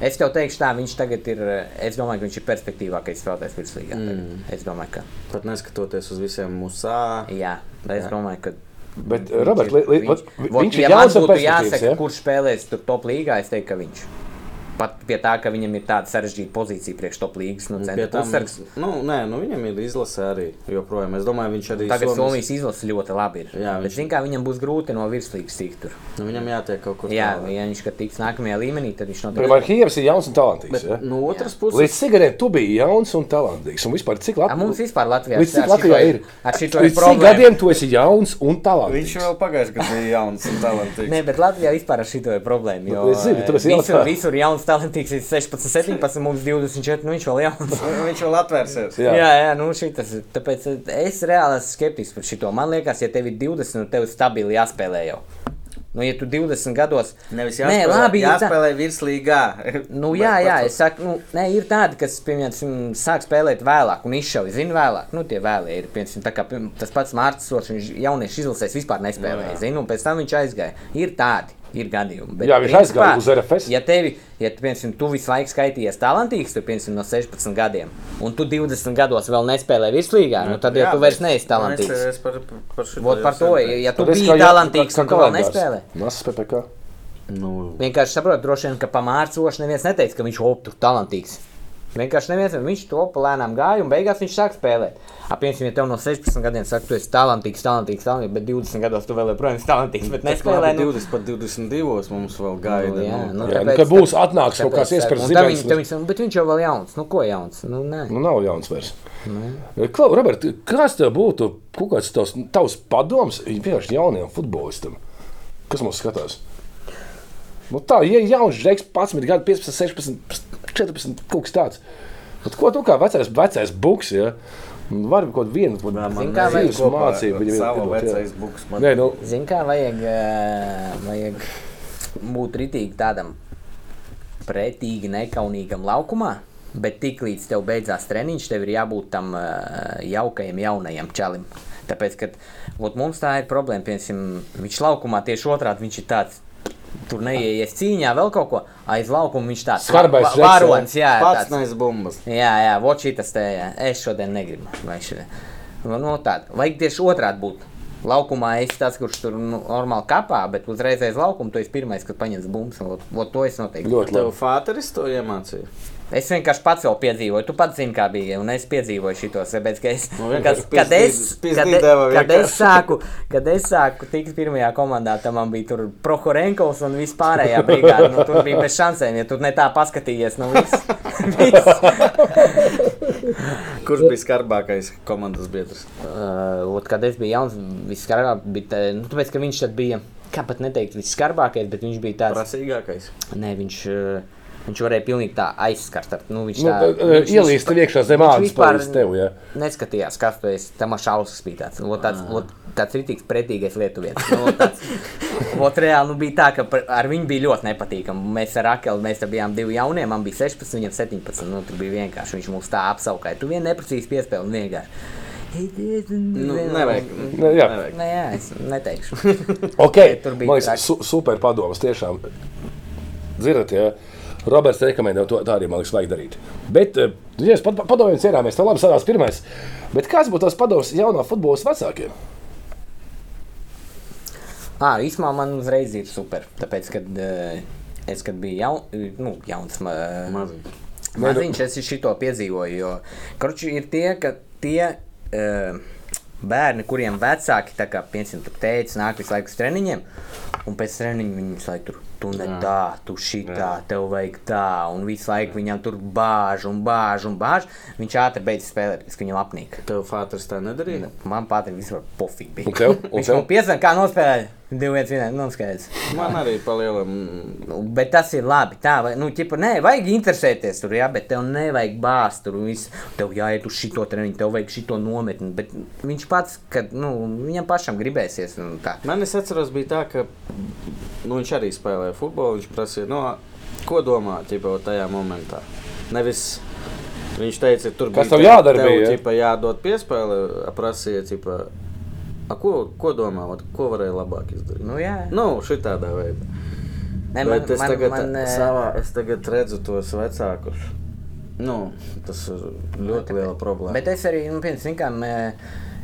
[SPEAKER 3] Es tev teikšu, tā viņš tagad ir. Es domāju, ka viņš ir perspektīvākais spēlētājs virslīgā. Mm. Es domāju, ka.
[SPEAKER 1] Pat neskatoties uz visiem musā.
[SPEAKER 3] Jā, es jā. domāju, ka.
[SPEAKER 2] Bet, Robert, li- li-
[SPEAKER 3] viņš,
[SPEAKER 2] vi-
[SPEAKER 3] Vot,
[SPEAKER 2] viņš ir
[SPEAKER 3] ja man
[SPEAKER 2] jauns un
[SPEAKER 3] būtu
[SPEAKER 2] perspektīvs,
[SPEAKER 3] jāsaka,
[SPEAKER 2] ja?
[SPEAKER 3] kurš spēlēs tur top līgā, es teiktu, ka viņš. Pat pie tā, ka viņam ir tāda sarežģīta pozīcija priekš top līgas, nu,
[SPEAKER 1] Pie
[SPEAKER 3] centra
[SPEAKER 1] tam,
[SPEAKER 3] uzsargs.
[SPEAKER 1] nu, nē, nu, viņam ir izlase arī joprojām. Es domāju, viņš arī
[SPEAKER 3] Tagad
[SPEAKER 1] Somijas-
[SPEAKER 3] Somijas izlase ļoti labi ir.
[SPEAKER 1] Jā,
[SPEAKER 3] bet,
[SPEAKER 1] viņš-
[SPEAKER 3] zin, kā viņam būs grūti no virslīgas tikt tur.
[SPEAKER 1] Nu, viņam jātiek kaut kur
[SPEAKER 3] Jā,
[SPEAKER 1] tālāk.
[SPEAKER 3] ja viņš kad tiks nākamajā līmenī, tad viņš noteikti.
[SPEAKER 2] Vai Hievs ir jauns un talantīgs?
[SPEAKER 1] Bet
[SPEAKER 2] ja?
[SPEAKER 3] nu,
[SPEAKER 1] no otras puses,
[SPEAKER 2] Līdz cigaretēm tu biji jauns un talantīgs. Un vispār, cik
[SPEAKER 3] A,
[SPEAKER 2] labi
[SPEAKER 3] mums vispār Latvijā
[SPEAKER 2] Līdz
[SPEAKER 3] ar
[SPEAKER 2] cik
[SPEAKER 3] šito
[SPEAKER 2] Latvijā ir?
[SPEAKER 3] Ar šito ir
[SPEAKER 2] Līdz cik
[SPEAKER 3] problēma.
[SPEAKER 2] gadiem tu esi jauns un talantīgs?
[SPEAKER 1] pagājušajā gadā bija jauns un talantīgs.
[SPEAKER 3] Nē, bet Latvijā vispār ar šito ir problēma. Jo,
[SPEAKER 2] Nu, Es zinu, tāpēc
[SPEAKER 3] eh, visur,
[SPEAKER 2] jautāju.
[SPEAKER 3] visur jauns talantīgs ir 16, 17, mums 24, nu viņš vēl jauns.
[SPEAKER 1] Viņš vēl atvērsies.
[SPEAKER 2] Jā.
[SPEAKER 3] Jā, jā, jā nu šitas, ir. tāpēc eh, es reāli esmu skeptisks par šito. Man liekas, ja tev ir 20, tad tev stabili jāspēlē jau. Nu, ja tu 20 gados.
[SPEAKER 1] Nevis
[SPEAKER 3] Nē, labi, ir tā-
[SPEAKER 1] virslīgā.
[SPEAKER 3] Nu, jā, jā, es saku, nu, nē, ir tādi, kas, piemēram, sāk spēlēt vēlāk un izšauja, zina, vēlāk. Nu, tie vēlēji ir, piemēram, tā kā piem- tas pats Mārcis Kalniņš, viņš jauniešu izlasēs vispār nespēlēja, no, zina, un pēc tam viņš aizgāja. Ir tādi. Ir gadījumi. Bet,
[SPEAKER 2] Jā, viņš
[SPEAKER 3] principā,
[SPEAKER 2] aizgāja uz RFS.
[SPEAKER 3] Ja tevi, ja tu, piemēram, tu visu laiku skaitījies talantīgs, tu, piemēram, no 16 gadiem, un tu 20 gados vēl nespēlēji virslīgā, nu, tad jau tu vairs neesi talantīgs.
[SPEAKER 1] eh, Es par, par šo
[SPEAKER 3] Vot par to, ja, ja tu
[SPEAKER 2] Tad eh, es
[SPEAKER 3] biji
[SPEAKER 2] kā jau-
[SPEAKER 3] talantīgs,
[SPEAKER 2] kā-
[SPEAKER 3] tad
[SPEAKER 2] kā
[SPEAKER 3] tu vēl
[SPEAKER 2] kalendārs.
[SPEAKER 3] nespēlēji.
[SPEAKER 2] Nu, es PPK.
[SPEAKER 1] Nu,
[SPEAKER 3] Vienkārši saprotu, droši vien, ka pamācoši neviens neteica, ka viņš op, tur talantīgs. Vienkārši neviens, viņš to lēnām gāja un beigās viņš sāk spēlēt. Apmēram, ja tev no 16 gadiem saka, tu esi talantīgs, talantīgs, talantīgs, bet 20 gados tu vēl joprojām esi talantīgs, bet nespēlē
[SPEAKER 1] nespēlēja
[SPEAKER 3] nu,
[SPEAKER 1] 20 pat 22 mums vēl gaida.
[SPEAKER 3] jā,
[SPEAKER 1] nu,
[SPEAKER 2] Jā,
[SPEAKER 3] nu,
[SPEAKER 2] nu,
[SPEAKER 3] Tāpēc
[SPEAKER 2] kad
[SPEAKER 3] tā-
[SPEAKER 2] būs atnāks kaut kāds iespējas
[SPEAKER 3] zināms.
[SPEAKER 2] zināms.
[SPEAKER 3] Bet viņš jau vēl jauns, nu ko jauns? Nu, nē.
[SPEAKER 2] Nu, nav jauns vairs. Eh, Klau, Robert, kāds tev būtu kaut kāds tavs, tavs padoms vienkārši jaunajam futbolistam? Kas mums skatās? Nu, tā, ja jauns žeks 11, gadu, 15, 16, 14, kaut kas tāds. Bet ko tu kā vecais, vecais buks, ja? Varbūt kaut vienu kaut
[SPEAKER 1] man
[SPEAKER 3] kā, vai-
[SPEAKER 2] dzīves mācību viņam iedot, jā.
[SPEAKER 1] buks.
[SPEAKER 2] Nē, nu,
[SPEAKER 3] Zini, kā vajag, ā, vajag būt ritīgi tādam pretīgi nekaunīgam laukumā, bet tik līdz tev beidzās treniņš, tev ir jābūt tam ā, jaukajam, jaunajam čalim. Tāpēc, kad vot, mums tā ir problēma, piemēram, viņš laukumā tieši otrādi viņš ir tāds. Tur neieies cīņā, vēl kaut ko aiz laukuma. Viņš tāds
[SPEAKER 2] Skarbais
[SPEAKER 3] va-
[SPEAKER 2] žeks, jā.
[SPEAKER 3] varons, jā,
[SPEAKER 1] Pats
[SPEAKER 3] tāds.
[SPEAKER 1] nais bumbas.
[SPEAKER 3] Jā, jā, voči tas te jā. Es šodien negribu. Vai šodien. Nu, no tāda. Vajag tieši otrādi būt. Laukumā es esmu tas, kurš tur nu, normāli kapā, bet uzreiz aiz laukuma tu esi pirmais, kas paņems bumbu. Vot, vot to es noteikti.
[SPEAKER 2] ļoti
[SPEAKER 1] Tev
[SPEAKER 2] labi.
[SPEAKER 1] fāteris to iemācīja.
[SPEAKER 3] Es vienkārši pats vēl piedzīvoju, tu pats zini, kā bija. Un es piedzīvoju šitos, tāpēc, ka es,
[SPEAKER 1] Nu,
[SPEAKER 3] kad,
[SPEAKER 1] vienkārši
[SPEAKER 3] kad, kad,
[SPEAKER 1] pizdī-
[SPEAKER 3] es, kad, e-
[SPEAKER 1] pizdī deva
[SPEAKER 3] kad,
[SPEAKER 1] vienkārši.
[SPEAKER 3] es sāku, kad es sāku tikt pirmajā komandā, tad man bija tur Prohorenkovs un vispārējā brigāde. Nu, tur bija bez šansēm, ja tu ne tā paskatījies. Nu, viss,
[SPEAKER 1] Kurš bija skarbākais komandas biedrs?
[SPEAKER 3] Uh, ot, kad es biju jauns, viskarbākais bija. tā- Nu, tāpēc, ka viņš tad bija, kā pat neteikt, viskarbākais, bet viņš bija tāds.
[SPEAKER 1] Prasīgākais.
[SPEAKER 3] Nē, viņš. Uh, Viņš varēja pilnīgi tā aizskart. ar- Nu, viņš
[SPEAKER 2] Nu,
[SPEAKER 3] tā,
[SPEAKER 2] tā, eh,
[SPEAKER 3] viņš
[SPEAKER 2] ielīst
[SPEAKER 3] vispār-
[SPEAKER 2] tev iekšā zem
[SPEAKER 3] viņš
[SPEAKER 2] ādas
[SPEAKER 3] vispār
[SPEAKER 2] palīdz tev, jā.
[SPEAKER 3] Neskatījās, kas tu esi. Tam šausmas bija tāds. Lo, tāds, lo, tāds rītīgs pretīgais lietuvietis. Nu, tāds, lo, reāli nu, bija tā, ka par- ar viņu bija ļoti nepatīkami. Mēs ar Akelu, mēs te bijām divi jaunie, man bija 16, viņam 17. Nu, tur bija vienkārši, viņš mūs tā apsaukāja. Tu vien neprecīzi piespēli un vienkārši.
[SPEAKER 1] Nu, nevajag.
[SPEAKER 2] Ne, jā.
[SPEAKER 1] nevajag.
[SPEAKER 3] Nē, jā, es neteikšu.
[SPEAKER 2] Okay.
[SPEAKER 3] Tur bija
[SPEAKER 2] Man liekas,
[SPEAKER 3] traki.
[SPEAKER 2] su, super padoms. Tiešām dzirdat, ja Roberts rekomendē to tā arī, man liekas, vajag darīt. Bet, eh, ja es padomāju, cerāmies, tā labi sarās pirmais. Bet kāds būtu tās padoms jaunā futbola vecākiem?
[SPEAKER 3] Ah, īsumā man uzreiz ir super. Tāpēc, kad eh, es kad biju jaun, nu, jauns, ma-
[SPEAKER 1] Maziņš.
[SPEAKER 3] maziņš, es šito piedzīvoju. Jo, karuči, ir tie, ka tie uh, bērni, kuriem vecāki, tā kā piemēram, tur teica, nāk visu laiku uz treniņiem, un pēc treniņa viņi visu laiku tur. Tu ne
[SPEAKER 1] Jā.
[SPEAKER 3] tā, tu šitā,
[SPEAKER 1] Jā.
[SPEAKER 3] tev vajag tā, un visu laiku viņam tur bāž, un bāž, un bāž. Viņš ātri beidz spēlēt, kas viņam apnīk.
[SPEAKER 1] Tev fāters tā nedarīja?
[SPEAKER 3] Man patīk, vispār pofīgi bija.
[SPEAKER 2] Un tev? Un
[SPEAKER 3] Viņš
[SPEAKER 2] tev?
[SPEAKER 3] man piezvanīja, kā nospēlēja 2-1, nu skaidrs.
[SPEAKER 1] Man arī mm, palielam
[SPEAKER 3] Nu, Bet tas ir labi. Tā, vai, nu, ķipa, nē, vajag interesēties tur, jā, bet tev nevajag bāzt tur. Visu. Tev jāiet uz šito treniņu, tev vajag šito nometni. Bet viņš pats, kad nu, viņam pašam gribēsies. Nu, tā.
[SPEAKER 1] Man es atceros, bija tā, ka nu, viņš arī spēlēja futbolu. Viņš prasīja, no, ko domā ķipa, vot tajā momentā. Nevis viņš teica, tur
[SPEAKER 2] Kas
[SPEAKER 1] bija
[SPEAKER 2] tev
[SPEAKER 1] te-
[SPEAKER 2] jādara
[SPEAKER 1] tev,
[SPEAKER 2] bija, ja?
[SPEAKER 1] Ķipa, jādod piespēle, a, prasīja, ķipa, a, ko, ko domā, vot, ko varēja labāk izdarīt.
[SPEAKER 3] Nu, jā.
[SPEAKER 1] nu šitādā veidā.
[SPEAKER 3] Nē,
[SPEAKER 1] Bet
[SPEAKER 3] man,
[SPEAKER 1] es,
[SPEAKER 3] man,
[SPEAKER 1] tagad,
[SPEAKER 3] man, eh,
[SPEAKER 1] savā, es tagad redzu tos vecākus. Nu, tas ir ļoti liela problēma.
[SPEAKER 3] Bet es arī, nu, piemēram,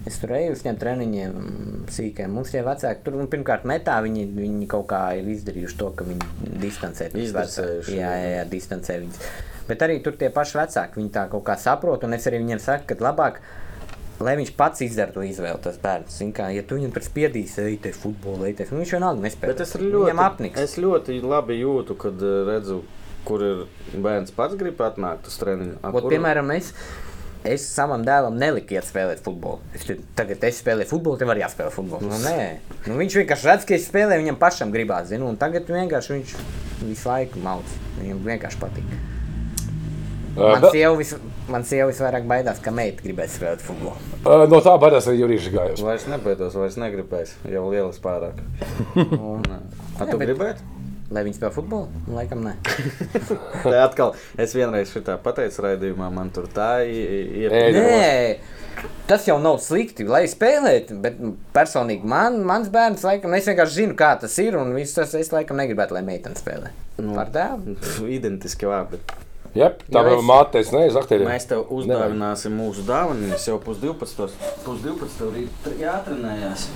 [SPEAKER 3] es tur eju uz tiem treniņiem, mm, sīkiem. Mums tie vecāki tur, nu, pirmkārt, metā viņi, viņi kaut kā ir izdarījuši to, ka viņi distancē tos
[SPEAKER 1] Izdistancējuši,
[SPEAKER 3] vecākus. Jā, jā, jā, distancē viņus. Bet arī tur tie paši vecāki, viņi tā kaut kā saprot, un es arī viņiem saku, ka labāk. Lai viņš pats izdara to izvēli, tas bērns. Zini Kā, ja tu viņam tur spiedīsi, ej, te futbolā, ej, te nu, viņš vienalga nespēja.
[SPEAKER 1] Bet es ļoti,
[SPEAKER 3] Viņam apniks.
[SPEAKER 1] es ļoti labi jūtu, kad eh, redzu, kur ir bērns pats grib atnākt uz treniņu. a
[SPEAKER 3] Ot,
[SPEAKER 1] kur-
[SPEAKER 3] piemēram, es, es savam dēlam neliku iet spēlēt futbolu. Es te, tagad es spēlēju futbolu, tev arī jāspēlē futbols. Nu, nē, nu, viņš vienkārši redz, ka es spēlēju, viņam pašam gribās, zinu, un tagad vienkārši viņš visu laiku mauc. Viņam vienkārši patīk.
[SPEAKER 2] Uh,
[SPEAKER 3] Man
[SPEAKER 2] vēl-
[SPEAKER 3] sieva, vis, man sieva visvairāk baidās, ka meita gribēs spēlēt futbolu.
[SPEAKER 2] uh, no tā baidās arī Jurīša gājus.
[SPEAKER 1] Vairs nebaidos, vairs negribēs. Jau lielas pārāk. Nē. A tu
[SPEAKER 3] bet-
[SPEAKER 1] gribētu?
[SPEAKER 3] Lai viņi spēlē futbolu? Nu, Laikam nē.
[SPEAKER 1] Tā atkal, es vienreiz šitā pateicu raidījumā, man tur tā ir.
[SPEAKER 2] Ej,
[SPEAKER 3] Nē, tas jau nav slikti, lai spēlētu, bet nu, personīgi man, mans bērns, laikam, es vienkārši zinu, kā tas ir, un viss tas es laikam negribētu, lai meitene spēlē. Nu. Par dēlu?
[SPEAKER 1] Identiski labi.
[SPEAKER 2] Jā, tā
[SPEAKER 3] Jo
[SPEAKER 2] vēl
[SPEAKER 3] es-
[SPEAKER 2] māte, es nezinu, aktieriem.
[SPEAKER 1] Mēs tev uzdāvināsim mūsu dāvanas jau pusdivpadsmitos. Pusdivpadsmitos ir jāatrenējās.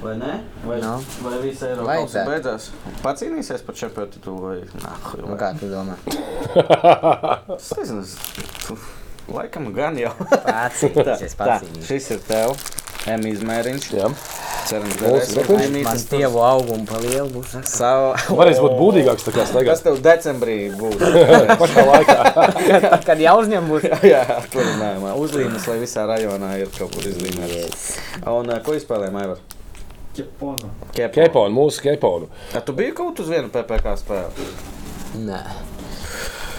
[SPEAKER 1] Vai ne? Vai, no.
[SPEAKER 3] Nu.
[SPEAKER 1] vai viss Eiropas
[SPEAKER 3] Vajadzētu.
[SPEAKER 1] kausa beidzās? Pacīnīsies par čempionu titulu vai nākamā?
[SPEAKER 3] Nu, kā tu domā?
[SPEAKER 1] Es nezinu, tu- laikam gan jau.
[SPEAKER 3] Pacīnīsies, pacīnīsies.
[SPEAKER 1] šis ir tev. M izmēriņš.
[SPEAKER 2] Jā,
[SPEAKER 1] Cerams,
[SPEAKER 2] Mūsu rekuģis?
[SPEAKER 3] Man
[SPEAKER 1] mainītas
[SPEAKER 3] tievu augumu palielu būs.
[SPEAKER 1] savu.
[SPEAKER 2] varēs būt būdīgāks tā kā
[SPEAKER 1] Kas
[SPEAKER 2] staigās.
[SPEAKER 1] tev decembrī būs?
[SPEAKER 2] Pašā laikā.
[SPEAKER 3] Kad jau uzņem būs.
[SPEAKER 1] Jā, atvaļinājumā. Uzlīmes, lai visā rajonā ir kaut kur izlīmēts. Un ā, ko izspēlēja Maivar?
[SPEAKER 6] Ķepona.
[SPEAKER 1] Kepo.
[SPEAKER 2] Keponu, mūsu keponu.
[SPEAKER 1] A tu biji kaut uz vienu PPC spēli?
[SPEAKER 3] Nē,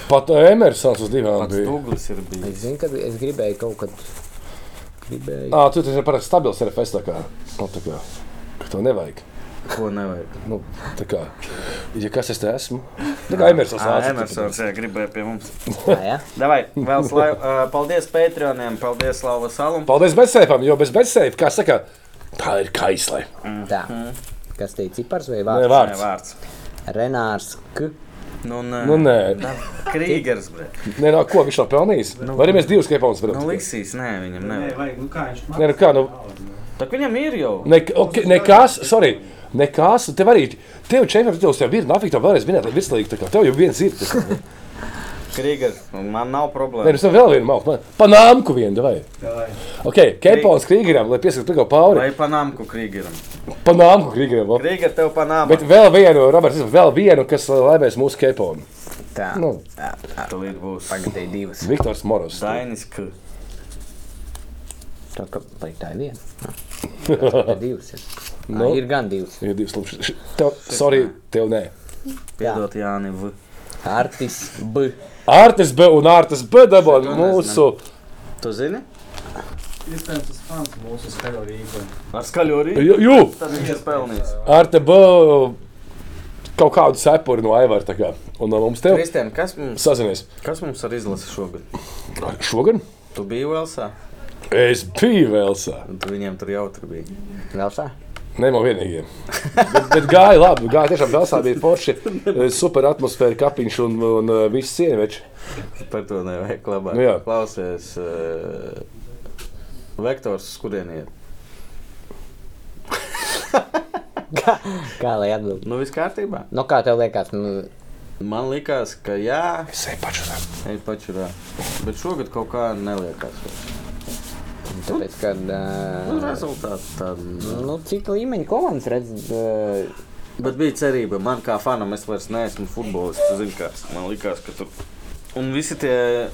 [SPEAKER 2] Pat Emersons uz divām
[SPEAKER 1] Pats
[SPEAKER 2] bija.
[SPEAKER 1] Duglis ir bijis.
[SPEAKER 3] es zinu, ka es gribēju kaut kad. Gribēju.
[SPEAKER 2] Ā, tu taču parasti stabils ar FS tā kā. Nu, tā kā. Ka to nevajag.
[SPEAKER 1] Ko nevajag?
[SPEAKER 2] Nu, tā kā. Ja kas es te esmu? Tā kā Emersons
[SPEAKER 1] Ā,
[SPEAKER 2] nāca.
[SPEAKER 1] Emersons, jā, gribēja pie mums.
[SPEAKER 3] Tā, ja?
[SPEAKER 1] Davai, vēl slaiv. Paldies Patreoniem, paldies Lava Salum.
[SPEAKER 2] Paldies bezsēpam, jo bez bezsēpa, kā saka, tā ir kaislē.
[SPEAKER 3] tā. Kas te ir cipars vai
[SPEAKER 2] Nē,
[SPEAKER 3] vārds?
[SPEAKER 1] Nē,
[SPEAKER 2] vārds.
[SPEAKER 1] Vārds.
[SPEAKER 3] Renārs K.
[SPEAKER 1] Nu,
[SPEAKER 2] Nu,
[SPEAKER 1] nē.
[SPEAKER 2] nē,
[SPEAKER 1] Krīgers, bre.
[SPEAKER 2] nē, no ko viņš nav pelnījis? Vai arī mēs divus keponus varam?
[SPEAKER 1] Nu, Liksīs, nē, viņam
[SPEAKER 6] Nē,
[SPEAKER 1] nevajag.
[SPEAKER 6] vajag, nu kā viņš
[SPEAKER 2] Nē, nu kā, nu-
[SPEAKER 1] Tak viņam ir jau.
[SPEAKER 2] Nek, okay, nekās, sorry, nekās, tev arī, tev čempions tituls jau ir, nafik tev vēlreiz minēt, vislīgi, tā kā tev jau viens ir. tā kā.
[SPEAKER 1] Krīgers, man nav
[SPEAKER 2] Nē,
[SPEAKER 1] problēma.
[SPEAKER 2] nu, tev vēl vienu mauku, man, panāmku vienu, vai?
[SPEAKER 6] maksā.
[SPEAKER 2] Ok, kepons Krīgeram, lai piesaktu tikko pauri,
[SPEAKER 1] Vai panāmku Krīgeram?
[SPEAKER 2] panāmku Krīgeram. labi.
[SPEAKER 1] Krīger, tev panāmku.
[SPEAKER 2] Bet vēl vienu, Roberts, vēl vienu, kas laimēs mūsu keponu.
[SPEAKER 3] Tā.
[SPEAKER 2] Nu,
[SPEAKER 1] Tūlīt būs
[SPEAKER 3] Tagad te ir divas.
[SPEAKER 2] Viktors Moros.
[SPEAKER 1] Dainis K.
[SPEAKER 3] Tā kā vai tā ir viena. Tā ir divas. Ir.
[SPEAKER 2] Nu.
[SPEAKER 3] Nu. ir gan divas.
[SPEAKER 2] Ir divas lūpšanas. Tev, sorry, tev nē.
[SPEAKER 1] Piedod Jāni V.
[SPEAKER 4] Artis B.
[SPEAKER 2] Artis B un Artis B dabūja mūsu.
[SPEAKER 1] Tu zini?
[SPEAKER 6] Iespējams, tas pants mūsu skaļo rīko.
[SPEAKER 1] Ar skaļo rīku.
[SPEAKER 2] Jū, jū,
[SPEAKER 1] Tas ir pelnījis.
[SPEAKER 2] Arta B. kaut kādu cepuri no Aivara. tā kā. Un no mums tev
[SPEAKER 1] Kristēn, kas mums,
[SPEAKER 2] sazinies.
[SPEAKER 1] kas mums ar izlasi šogad?
[SPEAKER 2] Šogad
[SPEAKER 1] Tu biji Velsā?
[SPEAKER 2] es biju Velsā.
[SPEAKER 1] Un tu Viņiem tur jautri bija.
[SPEAKER 4] Vēl tā?
[SPEAKER 2] Ne man vienīgajiem. Bet, bet gāja labi. Gāja tiešām Velsā bija forši. Eh, Super atmosfēra, kapiņš un, un eh, viss cieņveči.
[SPEAKER 1] Par to nevajag labāk.
[SPEAKER 2] Nu jā.
[SPEAKER 1] Klausies, uh, vektors, uz kurieni iet?
[SPEAKER 3] Kā lai atbild?
[SPEAKER 1] Nu, viss kārtībā.
[SPEAKER 3] Nu, kā tev liekas, nu,
[SPEAKER 1] Man likās, ka jā,
[SPEAKER 2] Es eju pašu zem.
[SPEAKER 1] ej pačurā. Bet šogad kaut kā neliekās.
[SPEAKER 3] tāpēc, ka.
[SPEAKER 1] Nu,
[SPEAKER 3] Uh,
[SPEAKER 1] rezultāti tādi.
[SPEAKER 3] nu, cita līmeņa komandas redz. Uh,
[SPEAKER 1] Bet bija cerība, man kā fanam, es vairs neesmu futbolists. Tu Zini, kā man likās, ka tur. Un visi tie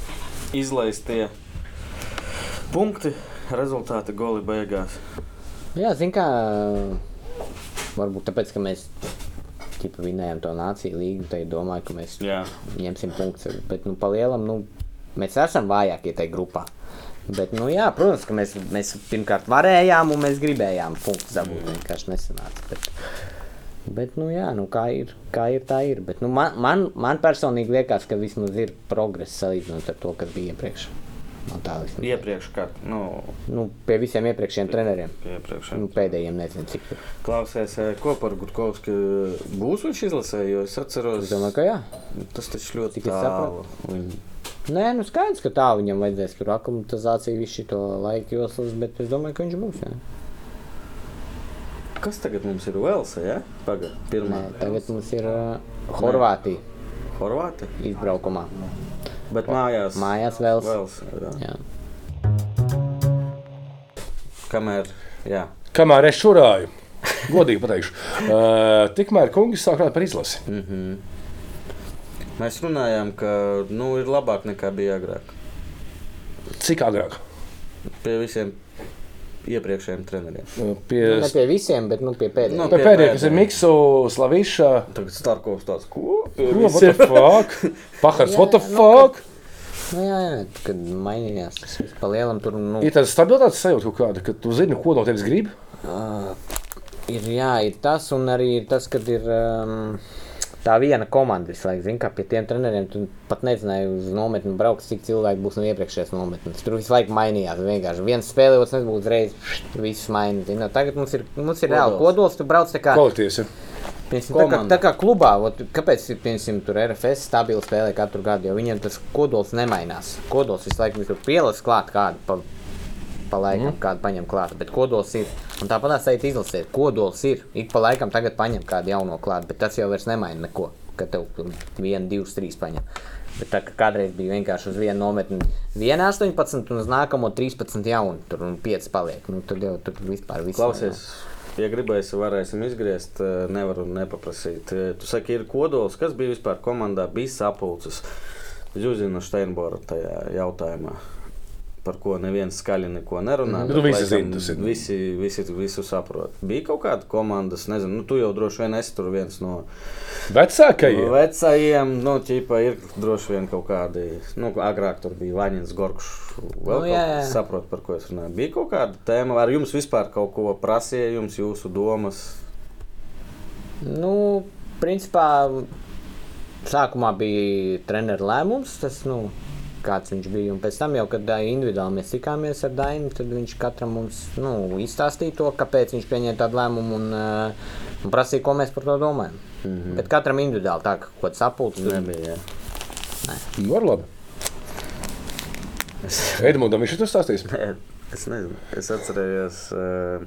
[SPEAKER 1] izlaistie punkti, rezultāti goli beigās.
[SPEAKER 3] Nu jā, zin kā. Varbūt tāpēc, ka mēs. Tipa vinējām to nāciju līgu, tad domāju, ka mēs
[SPEAKER 1] Jā,
[SPEAKER 3] ņemsim punktus. Bet, nu, palielam, nu, mēs esam vājākie tajā grupā. Bet, nu, jā, protams, ka mēs, mēs pirmkārt varējām un mēs gribējām punktus dabūt. Mm. Vienkārši nesanāca. Bet, bet, nu, jā, nu, kā ir, kā ir, tā ir. Bet, nu, man, man, man personīgi liekas, ka vismaz ir progress salīdzinot ar to, kas bija iepriekš. Man tā vismaz.
[SPEAKER 1] iepriekš, kā nu,
[SPEAKER 3] Nu, pie visiem iepriekšējiem treneriem.
[SPEAKER 1] iepriekš.
[SPEAKER 3] Nu, pēdējiem nezinu, cik. tur.
[SPEAKER 1] Klausies, eh, ko par Gutkovski būs viņš izlasē, jo es atceros,
[SPEAKER 3] Es domāju, ka jā.
[SPEAKER 1] tas taču ļoti
[SPEAKER 3] Cik es
[SPEAKER 1] tālu.
[SPEAKER 3] saprotu. Nē, nu skaidrs, ka tā viņam vajadzēs tur aklimatizāciju, visu šo laiku joslas, bet es domāju, ka viņš būs. Jā.
[SPEAKER 1] Kas tagad mums ir Velsa, ja? Pagad, pirmā.
[SPEAKER 3] Nē, tagad mums ir uh, Horvātija
[SPEAKER 1] Horvāti,
[SPEAKER 3] izbraukumā.
[SPEAKER 1] bet mājās.
[SPEAKER 3] Mājās vēl.
[SPEAKER 1] Velsa, jā.
[SPEAKER 3] Jā.
[SPEAKER 1] Kamēr, jā.
[SPEAKER 2] Kamēr es šurāju, godīgi pateikšu, uh, tikmēr kungi sāk runāt par izlasi.
[SPEAKER 3] Mhm.
[SPEAKER 1] Mēs runājām, ka nu, ir labāk nekā bija agrāk.
[SPEAKER 2] Cik agrāk?
[SPEAKER 1] Pie visiem iepriekšējiem treneriem.
[SPEAKER 2] Uh,
[SPEAKER 3] Nu,
[SPEAKER 2] Pie
[SPEAKER 3] ne pie visiem, bet nu, pie
[SPEAKER 1] Nu,
[SPEAKER 3] pēdējiem.
[SPEAKER 2] Pie pēdējā, kas ir Miksu, Slaviša,
[SPEAKER 1] Tagad Starkovs tāds, ko?
[SPEAKER 2] What the fuck? Pahars, what the
[SPEAKER 3] Jā, nu,
[SPEAKER 2] fuck?
[SPEAKER 3] Nu, jā, jā, kad mainījās tas viss pa lielam, tur nu,
[SPEAKER 2] Ir tāda stabilitātes sajūta kaut kāda, ka tu zini, ko no tevis grib.
[SPEAKER 3] ir, jā, ir tas, un arī ir tas, kad ir um, tā viena komanda visu laiku. Zini, kā pie tiem treneriem tu pat nezināji, uz nometni brauks, cik cilvēki būs no iepriekšējās nometnes. Tur visu laiku mainījās. Vienkārši viens spēlējot, nebūtu uzreiz pšt, visus mainīt. Nu, tagad mums ir, mums ir reāli
[SPEAKER 1] Kodols.
[SPEAKER 3] kodols, tu brauc tā kā.
[SPEAKER 2] Kvalitātes. ja.
[SPEAKER 3] Piemēram, Tā kā,
[SPEAKER 1] Komanda.
[SPEAKER 3] tā kā klubā, vot, kāpēc ir piemēram, tur RFS stabili spēlē katru gadu, jo viņiem tas kodols nemainās. Kodols visu laiku viņam tur pielāgojas klāt kādu pa, pa laikam,
[SPEAKER 1] Mhm.
[SPEAKER 3] mm. kādu paņem klāt, bet kodols ir. Un tāpat tās aiziet izlasē, kodols ir. Ik pa laikam tagad paņem kādu jauno klāt, bet tas jau vairs nemaina neko, ka tev tur vienu, divus, trīs paņem. Bet tā kā kādreiz bija vienkārši uz vienu nometni, viena 18 un uz nākamo 13 jaunu, tur un 5 paliek. Nu, tad jau tur vispār viss.
[SPEAKER 1] Klausies, ja gribēsi, varēsim izgriezt. eh, Nevaru nepaprasīt. Eh, Tu saki, ir kodols, kas bija vispār komandā, bija sapulces. Zuzina Steinbora tajā jautājumā. Par ko neviens skaļi neko nerunā.
[SPEAKER 2] Nu,
[SPEAKER 1] bet
[SPEAKER 2] visi
[SPEAKER 1] laikam
[SPEAKER 2] zina, tas ir.
[SPEAKER 1] Visi, visi visu saprot. Bija kaut kāda komandas, nezinu, nu, tu jau droši vien esi tur viens no
[SPEAKER 2] Vecākajiem.
[SPEAKER 1] Nu, vecajiem. Nu, ķipa, ir droši vien kaut kādi, nu, agrāk tur bija Vaņins, Gorkšs. Vēl
[SPEAKER 3] Nu,
[SPEAKER 1] nu,
[SPEAKER 3] jā,
[SPEAKER 1] kaut
[SPEAKER 3] jā.
[SPEAKER 1] kas saprot, par ko es runāju. Bija kaut kāda tēma, ar jums vispār kaut ko prasīja, jums jūsu domas.
[SPEAKER 3] Nu, principā, sākumā bija treniņa lēmums, tas nu, kāds viņš bija. Un pēc tam, jau, kad ā, individuāli mēs tikāmies ar Dainu, tad viņš katram mums nu, izstāstīja to, kāpēc viņš pieņēma tādu lēmumu un, ā, un prasīja, ko mēs par to domājam. Mm -hmm. Bet katram individuāli tā kā kaut kāds sapulcis.
[SPEAKER 1] Mhm. Nebija. jā.
[SPEAKER 2] Nu, Var labi. Edmundam viņš ir stāstījis.
[SPEAKER 1] Nē, Es nezinu, es atcerējos uh,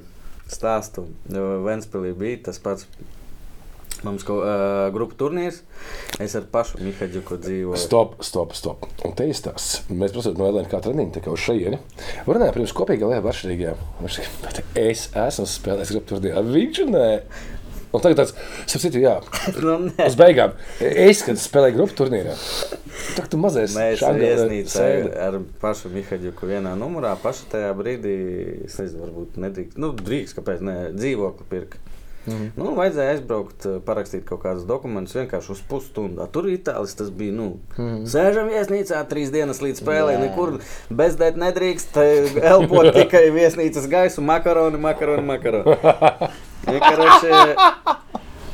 [SPEAKER 1] stāstu. Vēnspēlī bija tas pats. Mums bija uh, grupu turnīrs. Es ar pašu Mihaģiku dzīvoju.
[SPEAKER 2] Stop, stop, stop. Un te ir stāsts. Mēs prasām no Elēna kā treniņa, tā kā uz šejieni. Runājām pirms kopīgā lēma varšķirīgajā. Bet es esmu spēlējis grupu turnīrā. Viņš nē. Un tagad tāds, sapcīt, jā,
[SPEAKER 1] nu, nē,
[SPEAKER 2] uz beigām. Es, kad spēlēju grupu turnīrā, tā tu mazais.
[SPEAKER 1] Mēs
[SPEAKER 2] šādi, eh,
[SPEAKER 1] viesnīcā
[SPEAKER 2] sēdi.
[SPEAKER 1] ar pašu Mihaģiku vienā numurā. Pašu tajā brīdī, es nezinu, varbūt nedrīkst. Nu, drīkst, kāpēc ne? Dzīvokli pirka. Mhm. Nu, vajadzēja aizbraukt, eh, parakstīt kaut kādus dokumentus vienkārši uz pusstundu. Tur itālis tas bija. Nu, mhm. Sēžam viesnīcā trīs dienas līdz spēlei. Nekur bezdēt nedrīkst. eh, Elpot tikai viesnīcas gaisu, makaroni, makaroni, makaroni. Vienkārši,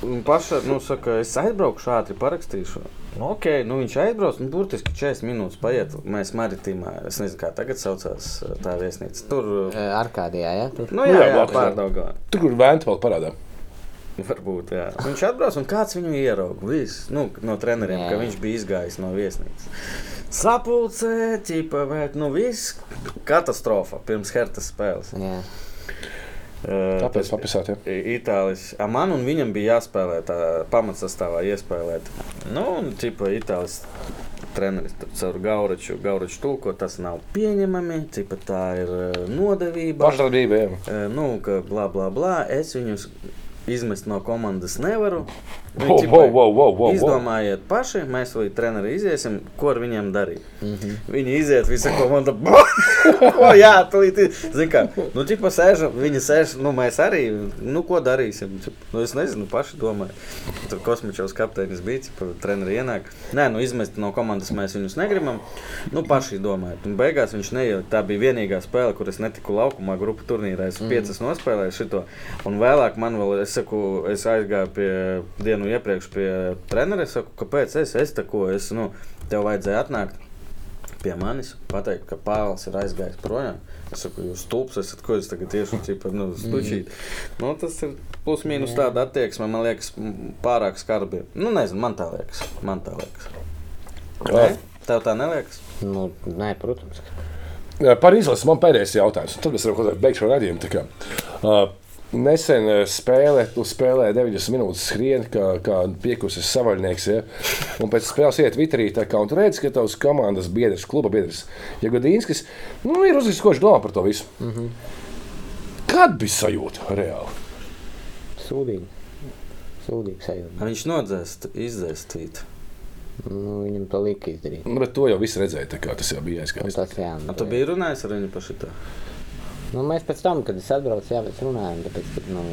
[SPEAKER 1] Un paša, nu, saka, es aizbraukšu ātri, parakstīšu. Nu, ok, nu viņš aizbrauc, nu, burtiski 40 minūtes paiet. Mēs maritīmā, es nezinu, kā tagad saucās eh, tā viesnīca. Tur, eh,
[SPEAKER 3] Ar kādiem, ja? Tur.
[SPEAKER 1] nu, jā,
[SPEAKER 2] Jā,
[SPEAKER 1] jā, jā
[SPEAKER 2] blakus, jā.
[SPEAKER 1] pārdaugā.
[SPEAKER 2] Tur, kur vēntu vēl parādā.
[SPEAKER 1] Varbūt, jā. Viņš atbrauc un kāds viņu ieraudzīja. Viss nu, no treneriem,
[SPEAKER 3] Jā.
[SPEAKER 1] jā. ka viņš bija izgājis no viesnīcas. Sapulcē, ķipa, bet nu viss katastrofa pirms hertas spēles.
[SPEAKER 3] Jā.
[SPEAKER 1] Eh,
[SPEAKER 2] Tāpēc papisāt, jā.
[SPEAKER 1] I- Itālijas. A, Man un viņam bija jāspēlē tā pamatsastāvā, iespēlēt. Nu, un tipā Itālijas treneris tur caur Gauraču, Gauraču tulko, tas nav pieņemami, tipā tā ir eh, nodevība.
[SPEAKER 2] Pašdarbība, jā.
[SPEAKER 1] Eh, nu, ka blā, blā, blā, es viņus izmest no komandas nevaru. Nu, Viņi
[SPEAKER 2] Wow,
[SPEAKER 1] tikai
[SPEAKER 2] wow, wow, wow, wow, wow.
[SPEAKER 1] Izdomājiet paši, mēs līdz trenerim iziesim, ko ar viņiem darīt.
[SPEAKER 2] Mhm.
[SPEAKER 1] Viņi iziet, visa komanda. ko, jā, tūlīt. i- Zini, kā, nu, tipā sēž, viņi sēž, nu, mēs arī, nu, ko darīsim. Tipa, Nu, es nezinu, paši domāju. Tur kosmičos kapteinis bija, tipa, treneri ienāk. Nē, nu, izmest no komandas mēs viņus negribam. Nu, paši domājot. Un beigās viņš neieja. Tā bija vienīgā spēle, kur es netiku laukumā, grupu turnīrā. Es mm. piecas nospēlēju šito. Un vēlāk man vēl, es saku, es aizgāju pie dienu iepriekš pie trenera. Es saku, kāpēc es, es tako, es, nu, tev vajadzēja atnākt pie manis pateikt, ka Pāvils ir aizgājis projām. Es saku, jūs stulbs esat, ko jūs tagad tieši tādā nu, stūčīt.
[SPEAKER 3] Mhm.
[SPEAKER 1] Nu, tas ir plus mīnus tāda attieksme, man liekas, m, pārāk skarbi. Nu, nezinu, man tā liekas. Man tā liekas.
[SPEAKER 2] Jā.
[SPEAKER 1] Ne? Tev tā neliekas?
[SPEAKER 3] Nu, nē, protams. ka-
[SPEAKER 2] Eh, Par izlasi man pēdējais jautājums, un tad mēs varam kaut beigšu redzējumu. Tā kā, ā, Nesen ā, spēlē, tu spēlēji 9 minūtes skrieni, kā, kā piekusis savaļnieks. Ja? Un pēc spēles iet Twitterī, tā kā un tu redzi, ka tavs komandas biedrs, kluba biedrs, Jagodīnskis, nu, ir uzrakstījis, ko viņš domā par to visu. Mm -hmm. Kad bija sajūta reāli?
[SPEAKER 3] Sūdīgi. Sūdīgi sajūta.
[SPEAKER 1] Viņš nodzēst, izdzēst tvītu.
[SPEAKER 3] Nu, viņam to lika izdarīt.
[SPEAKER 2] Nu, bet to jau viss redzēja, tā kā tas jau bija
[SPEAKER 3] Nu,
[SPEAKER 2] aizgājis.
[SPEAKER 3] Tas, jā,
[SPEAKER 1] Tu biji runājis ar viņu par šo?
[SPEAKER 3] Nu, mēs pēc tam, kad es atbraucu, jā, mēs runājām, tāpēc, ka nu,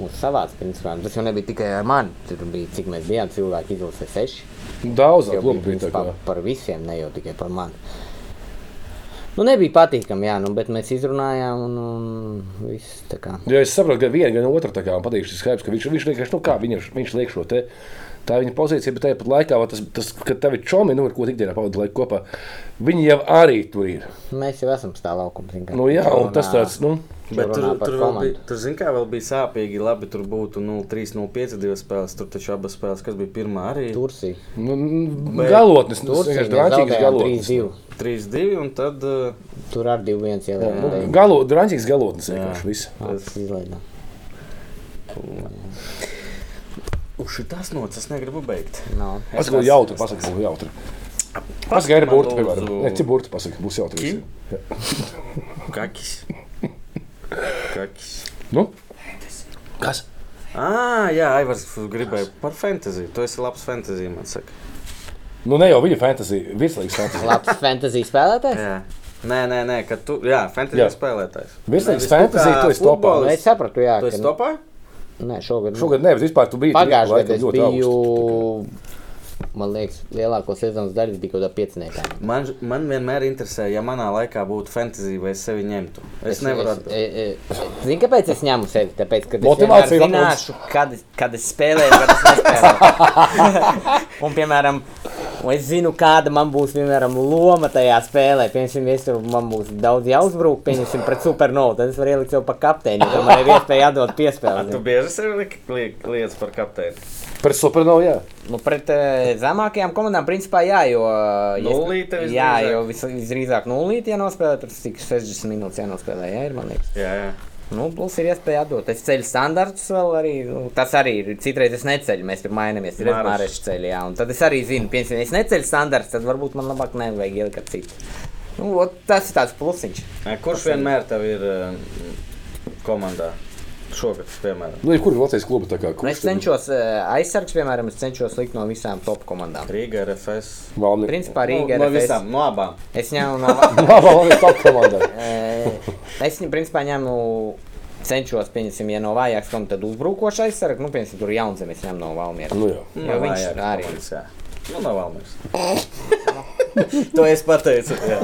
[SPEAKER 3] mūsu savāds principā. Tas jau nebija tikai ar mani. Tur bija, cik mēs bijām, cilvēki izlasīja seši.
[SPEAKER 2] Daudz
[SPEAKER 3] Tas jau
[SPEAKER 2] klubu
[SPEAKER 3] bija
[SPEAKER 2] bija tā
[SPEAKER 3] principā
[SPEAKER 2] kā.
[SPEAKER 3] par visiem, ne jau tikai par mani. Nu, nebija patīkami, jā, nu, bet mēs izrunājām un, un viss tā kā.
[SPEAKER 2] Jo es saprotu, ka viena gan otra tā kā, man patīk šis skaidrs, ka viņš, viņš vienkārši, nu kā viņš, viņš liek šo te. Tā ir viņa pozīcija, bet tāpat laikā, va tas, tas, kad tev ir čomi, nu, ar ko ikdienā pavadīja laiku kopā, viņi jau arī tur ir.
[SPEAKER 3] Mēs jau esam stāv laukums. zini, kā.
[SPEAKER 2] Nu, jā, un tas tāds, nu,
[SPEAKER 3] Viņš
[SPEAKER 1] Bet
[SPEAKER 3] runā
[SPEAKER 1] tur,
[SPEAKER 3] par
[SPEAKER 1] tur, vēl
[SPEAKER 3] komandu.
[SPEAKER 1] bija, tur zin, kā, vēl bija sāpīgi, labi, tur būtu nu, 0-3, 0-5 divas spēles. Tur taču abas spēles, kas bija pirmā, arī
[SPEAKER 3] Turcija.
[SPEAKER 2] nu galotnes, nu, tas
[SPEAKER 3] Turcija
[SPEAKER 2] vienkārši
[SPEAKER 3] mēs
[SPEAKER 2] drāmīgs
[SPEAKER 3] zaudējām
[SPEAKER 2] galotnes.
[SPEAKER 3] 3-2.
[SPEAKER 1] 3-2. Un tad uh,
[SPEAKER 3] Tur ar 2-1 jau
[SPEAKER 2] Nu,
[SPEAKER 3] bija.
[SPEAKER 2] galo, drāmīgs galotnes vienkārši viss.
[SPEAKER 3] Tas izlaidām.
[SPEAKER 1] uz šitās nots es negribu beigt.
[SPEAKER 3] Nav.
[SPEAKER 2] Pasaka, būs jautri, pasaka, būs jautri. Pasaka, ir
[SPEAKER 1] man
[SPEAKER 2] burti,
[SPEAKER 1] lūdzu.
[SPEAKER 2] piemēram. Nē, cik burti, pasaka, būs jautri.
[SPEAKER 1] Kim?
[SPEAKER 2] visiem.
[SPEAKER 1] Kakis. Kakis.
[SPEAKER 2] Nu? Kas?
[SPEAKER 1] Ah, jā, Aivars gribēja par fantāziju. Tu esi labs fantāzija, man saka.
[SPEAKER 2] Nu, ne jau viņa fantasija, virslīgs fantasija.
[SPEAKER 3] Labs fantasy spēlētājs.
[SPEAKER 1] Jā. Nē, nē, nē, ka tu. Jā, fantāzija
[SPEAKER 2] Jā.
[SPEAKER 1] spēlētājs.
[SPEAKER 2] Virslīgs
[SPEAKER 1] Nevis
[SPEAKER 2] fantasija,
[SPEAKER 1] kā
[SPEAKER 2] tu esi topā.
[SPEAKER 1] futbolists.
[SPEAKER 3] Nu, Es sapratu, jā,
[SPEAKER 1] Tu esi topā?
[SPEAKER 3] Nē, šogad. nu,
[SPEAKER 2] Šogad nevis vispār tu biji tur
[SPEAKER 3] Pagājušajā
[SPEAKER 2] laikam
[SPEAKER 3] gadā es
[SPEAKER 2] ļoti
[SPEAKER 3] biju,
[SPEAKER 2] augsts.
[SPEAKER 3] man liekas, lielāko sezonas daļu bija kaut kādā pieciniekā.
[SPEAKER 1] Man, man vienmēr interesē, ja manā laikā būtu fantāzija, vai es sevi ņemtu. Es, es nevaru
[SPEAKER 3] Es,
[SPEAKER 1] atbildēt.
[SPEAKER 3] e, e, zini, kāpēc es ņēmu sevi? Tāpēc, ka es
[SPEAKER 2] Motivācija ir
[SPEAKER 3] vienmēr zināšu,
[SPEAKER 4] kad, kad es spēlēju, kad es nespēlēju. un, piemēram,
[SPEAKER 3] un es zinu, kāda man būs, piemēram, loma tajā spēlē. Piemēram, es tur man būs daudz jāuzbrūk, pieņemsim, pret supernovu. Tad es varu ielikt jau pa kapteini, jo man ir iespēja atdot piespēli.
[SPEAKER 1] Tu
[SPEAKER 3] zini.
[SPEAKER 1] bieži sevi liek, liek, liec par kapteini.
[SPEAKER 2] Par supernovu, jā.
[SPEAKER 4] nu, pret uh, zemākajām komandām, principā, jā, jo. eh, ja es-
[SPEAKER 1] Nullīte visdrīzāk.
[SPEAKER 4] Jā, jo vis, visdrīzāk nullīte jānospēlē, tur cik 60 minūtes jānospēlē, jā, ir man liekas.
[SPEAKER 1] Jā, jā.
[SPEAKER 4] Nu, plus ir iespēja atdot. Es ceļu standartus vēl arī. Nu, tas arī ir. Citreiz es neceļu, mēs tur mainamies. Ir
[SPEAKER 1] Mareša.
[SPEAKER 4] mārciņš ceļā. Jā, un tad es arī zinu, piemēram, ja es neceļu standartus, tad varbūt man labāk nevajag ielikt ar citu. Nu, ot, tas ir tāds plusiņš.
[SPEAKER 1] Nē, Kurš vienmēr tev ir um, komandā? Šogad, piemēram,
[SPEAKER 2] Nu, kur ir Latvijas kluba? tā kā,
[SPEAKER 4] Nu, es
[SPEAKER 2] Kurš tur
[SPEAKER 4] cenšos eh, aizsargs, piemēram, es cenšos likt no visām top komandām.
[SPEAKER 1] Rīga, RFS.
[SPEAKER 2] valni?
[SPEAKER 4] Principā Rīga
[SPEAKER 1] Nu,
[SPEAKER 4] ir.
[SPEAKER 1] no visām, no abām.
[SPEAKER 4] Es ņēmu no.
[SPEAKER 2] Labā valni top komandā.
[SPEAKER 4] Eh, Es viņu principā ņēmu
[SPEAKER 3] cenšos, pieņemsim, ja nav vājāks, kam tad uzbrukošais aizsargs, nu, pieņemsim, tur jaunzemes ņem no Valmiera.
[SPEAKER 2] Nu, jā.
[SPEAKER 3] Jo viņš
[SPEAKER 1] vajag
[SPEAKER 3] arī.
[SPEAKER 1] palicis, jā. Nu, nav vēlamies. to es pateicu. Jā.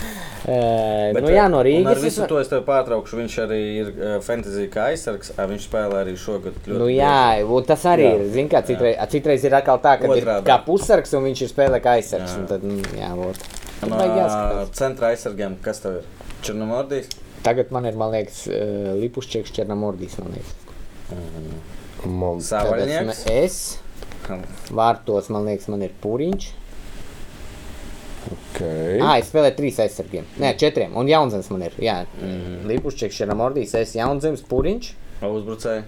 [SPEAKER 7] E, nu, jā, no
[SPEAKER 1] un Ar
[SPEAKER 7] Rīgas.
[SPEAKER 1] visu to es tev pārtraukšu. Viņš arī ir uh, fantasy kā aizsargs. ā, Viņš spēlē arī šogad. ļoti
[SPEAKER 7] Nu, jā, un tas arī ir. Zini, kā citreiz, a, citreiz ir atkal tā, ka ir
[SPEAKER 1] Otrādi.
[SPEAKER 7] kā pusargs un viņš ir spēlē kā aizsargs. un Tad, nu, jā, vot.
[SPEAKER 1] bieži.
[SPEAKER 7] Tad
[SPEAKER 1] No
[SPEAKER 7] vajag jāskatās.
[SPEAKER 1] centra aizsargiem, kas tev ir? Černomordijs?
[SPEAKER 7] Tagad man ir, man liekas, eh, Lipušķieks Černamordijs. man liekas.
[SPEAKER 2] Man
[SPEAKER 7] Tad
[SPEAKER 1] Sāvaļnieks?
[SPEAKER 7] esmu Es vārtos, man liekas, man ir Pūriņš.
[SPEAKER 2] okay.
[SPEAKER 7] Ah, es spēlēju trīs aizsargiem. Nē, četriem. Un Jaunzems man ir. Jā,
[SPEAKER 3] Mhm.
[SPEAKER 7] mm. Lipušķieks Černamordijs, es Jaunzems, Pūriņš.
[SPEAKER 1] Uzbrucēji?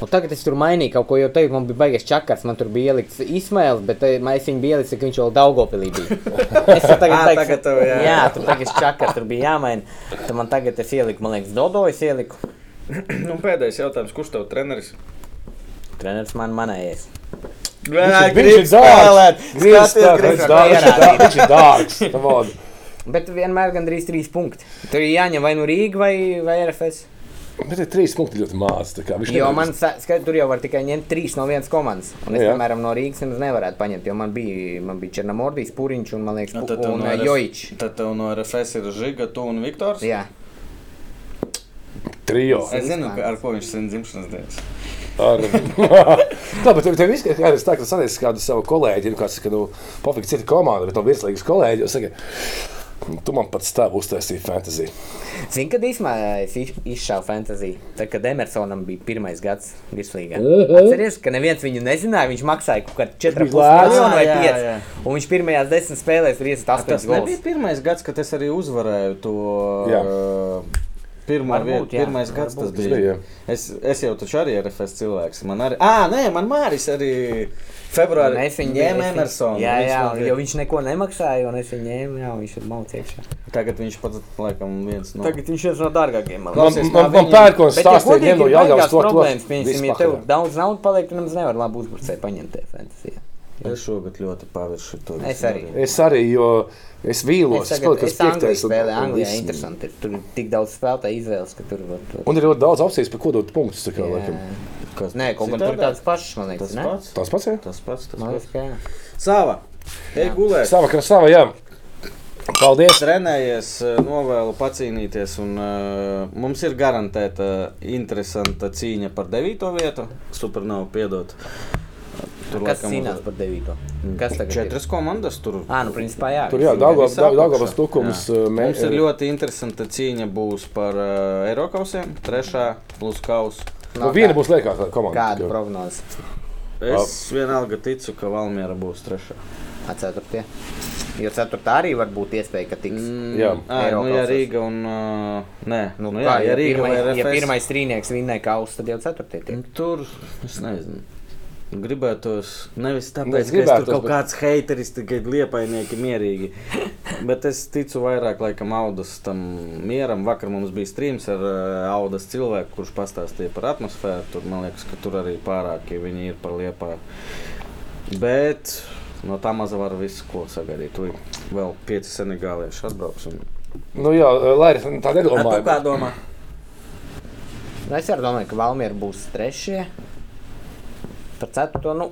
[SPEAKER 3] Nu,
[SPEAKER 7] Un tagad es tur mainīju kaut ko, jo teicu, man bija baigies čakars, man tur bija ielikts Ismails, bet
[SPEAKER 3] eh,
[SPEAKER 7] te- man- es viņu biju ielicis, ka viņš vēl Daugopilī bija. Es jau tagad
[SPEAKER 3] Ā,
[SPEAKER 7] teicu,
[SPEAKER 1] Ah, tagad tev, jā.
[SPEAKER 3] jā, tur tagad čakars, tur bija jāmaina. Tad man tagad es ieliku, man liekas, Dodo, es ieliku.
[SPEAKER 1] Nu, pēdējais jautājums. Kurš tev treneris?
[SPEAKER 3] Treneris man manējais.
[SPEAKER 1] Viņš
[SPEAKER 2] viņš ir dārgs. Viņš ir
[SPEAKER 1] Skaties,
[SPEAKER 2] dārgs,
[SPEAKER 1] grib
[SPEAKER 2] dārgs,
[SPEAKER 1] spēlēt.
[SPEAKER 2] dārgs, viņš ir dārgs. Tā vod.
[SPEAKER 3] Bet vienmēr gandrīz trīs punkti. Tur ir jāņem vai nu Rīga vai, vai RFS.
[SPEAKER 2] Bet ir trīs punkti ļoti maz. tā kā Viņš
[SPEAKER 3] Jo
[SPEAKER 2] nevar-
[SPEAKER 3] man skaidrs, tur jau var tikai ņemt trīs no vienas komandas. Un es,
[SPEAKER 2] Jā.
[SPEAKER 3] piemēram, no Rīgas nemaz nevarētu paņemt, jo man bija, man bija Černamordijs, Pūriņš un, man liekas,
[SPEAKER 1] Nu,
[SPEAKER 3] nu,
[SPEAKER 1] tad tev
[SPEAKER 3] un
[SPEAKER 1] no RF
[SPEAKER 3] Jojičs.
[SPEAKER 1] Tad tev no RFS ir Žiga, tu un Viktors.
[SPEAKER 3] Jā,
[SPEAKER 2] trijo.
[SPEAKER 1] Es zinu, ka- ar ko viņš sen dzimšanas dienas.
[SPEAKER 2] Ar... Tā, bet tev- tev viss ir tā, ka sasniedz kādu savu kolēģi, nu, kāds saka, nu, pofīgi cita komanda, bet no virslīgas kolēģi, un saka, tu man pats tā uztaisīji fantasy.
[SPEAKER 3] zinu, kad īsumā eh, es iz- izšāvu fantāziju. Tad, kad Emersonam bija pirmais gads virslīgā. Atceries, ka neviens viņu nezināja, viņš maksāja kaut kādu 4,5
[SPEAKER 2] lēts.
[SPEAKER 3] miljonu vai
[SPEAKER 1] Jā, jā,
[SPEAKER 3] 5.
[SPEAKER 1] jā.
[SPEAKER 3] Un viņš pirmajās desmit spēlēs ir iesaistīts
[SPEAKER 1] Tas
[SPEAKER 3] 8
[SPEAKER 1] nebija
[SPEAKER 3] gols.
[SPEAKER 1] pirmais gads, kad es arī uzvarēju to.
[SPEAKER 2] Jā.
[SPEAKER 1] uh, Pirmo
[SPEAKER 3] Varbūt,
[SPEAKER 1] vietu,
[SPEAKER 3] jā,
[SPEAKER 1] pirmais gads tas
[SPEAKER 2] tas
[SPEAKER 1] bija.
[SPEAKER 2] bija, jā.
[SPEAKER 1] Es, es jau taču arī esmu RFS cilvēks. Man arī, ah, nē, man Māris arī februārī
[SPEAKER 3] Un es viņu
[SPEAKER 1] ņēma
[SPEAKER 3] es viņu-
[SPEAKER 1] Emersonu.
[SPEAKER 3] Jā,
[SPEAKER 1] Viņš
[SPEAKER 3] jā,
[SPEAKER 1] man
[SPEAKER 3] un- jo viņš neko nemaksāja, un es viņu ņēmu, jā, un viņš ir malciekšā.
[SPEAKER 1] Tagad viņš pats, laikam, viens no.
[SPEAKER 3] Tagad viņš ir viens no dārgākajiem. man
[SPEAKER 2] Man,
[SPEAKER 1] Klausies, kā
[SPEAKER 2] man, man
[SPEAKER 1] viņiem-
[SPEAKER 2] pērkons
[SPEAKER 3] Bet, ja
[SPEAKER 2] stāstīja,
[SPEAKER 3] godīgi,
[SPEAKER 2] ņem no
[SPEAKER 3] ir
[SPEAKER 2] Jelgavas to,
[SPEAKER 3] baigās
[SPEAKER 2] to.
[SPEAKER 3] problēmas, piemēram, ja
[SPEAKER 2] Vispār,
[SPEAKER 3] tev
[SPEAKER 2] jā.
[SPEAKER 3] daudz naudas paliek, tad nemaz nevar labu uzbrucēju paņemt tajā fantasijā.
[SPEAKER 1] Es šogad ļoti paviršu to.
[SPEAKER 3] Es
[SPEAKER 1] visu
[SPEAKER 3] arī.
[SPEAKER 1] darību.
[SPEAKER 2] Es arī, jo es vīlos,
[SPEAKER 3] Es
[SPEAKER 2] es
[SPEAKER 3] tagad
[SPEAKER 2] kaut
[SPEAKER 3] es
[SPEAKER 2] kas
[SPEAKER 3] Anglijā
[SPEAKER 2] piektais. un-
[SPEAKER 3] spēlēju,
[SPEAKER 2] un
[SPEAKER 3] Anglijā
[SPEAKER 2] viss.
[SPEAKER 3] interesanti. ir. Tur ir tik daudz spēlētāju izvēles, ka tur var. tur-
[SPEAKER 2] Un ir ļoti daudz opcijas, par ko dot punktus, tā kā, laikam.
[SPEAKER 1] Kas
[SPEAKER 3] Nē, kaut kur tur
[SPEAKER 1] citādā?
[SPEAKER 3] tāds pašs, man liekas,
[SPEAKER 1] Tas
[SPEAKER 3] ne?
[SPEAKER 1] pats.
[SPEAKER 2] Tas pats, jā?
[SPEAKER 1] Tas pats. Tas pats.
[SPEAKER 3] Man liekas, ka jā.
[SPEAKER 1] Sava. Ej gulēt.
[SPEAKER 2] Sava krasava, jā. Paldies!
[SPEAKER 1] trenējies, eh, novēlu pacīnīties. Un, uh, mums ir garantēta interesanta cīņa par devīto vietu. Supernovā piedot. Tur
[SPEAKER 3] Kas cīnās par devīto? Kas tagad? ir?
[SPEAKER 1] četras komandas. Tur
[SPEAKER 3] Ā, nu principā jā.
[SPEAKER 2] Mm. Tur jā,
[SPEAKER 1] Tur
[SPEAKER 2] Daugavas-
[SPEAKER 1] visā
[SPEAKER 2] Daugavas
[SPEAKER 1] apakšā.
[SPEAKER 2] tukums.
[SPEAKER 1] Jā.
[SPEAKER 2] uh, mē-
[SPEAKER 1] mums ir ļoti interesanta cīņa būs par uh, Eiropausiem. Trešā plus kausa.
[SPEAKER 2] Nu, viena būs liekākā komanda.
[SPEAKER 3] Kāda
[SPEAKER 2] tā kā.
[SPEAKER 3] prognoze?
[SPEAKER 1] Es vienalga ticu, ka Valmiera būs trešā.
[SPEAKER 3] A, ceturtie. Jo ceturtā arī var būt iespēja, ka tiks.
[SPEAKER 2] Jā.
[SPEAKER 1] Mm, ā, nu, ja
[SPEAKER 3] Eirokausās.
[SPEAKER 1] Rīga un. Uh, nē,
[SPEAKER 3] Nu,
[SPEAKER 1] nu,
[SPEAKER 3] kā,
[SPEAKER 1] jā, ja
[SPEAKER 3] ja
[SPEAKER 1] Rīga vai
[SPEAKER 3] pirmais- ja
[SPEAKER 1] RFS.
[SPEAKER 3] pirmais strīnieks vinnēja kausu, tad jau ceturtie tiek.
[SPEAKER 1] Nu, Tur es nezinu. Gribētos, nevis
[SPEAKER 2] Nu, es
[SPEAKER 1] tāpēc, ka es tur
[SPEAKER 2] gribētos,
[SPEAKER 1] kaut
[SPEAKER 2] bet-
[SPEAKER 1] kāds haiteris, tikai liepainieki mierīgi. Bet es ticu vairāk laikam audas tam mieram. Vakar mums bija streams ar ā, audas cilvēku, kurš pastāstīja par atmosfēru. Tur man liekas, ka tur arī pārāk ja viņi ir par liepā. Bet no tā maza var visu ko sagaidīt. Tur vēl pieci senegālieši atbrauks. Un...
[SPEAKER 2] Nu jā, lai arī tā nedomāju.
[SPEAKER 1] kā domā?
[SPEAKER 3] Nu, es arī domāju, ka Valmiera būs trešie. Par ceturto, nu,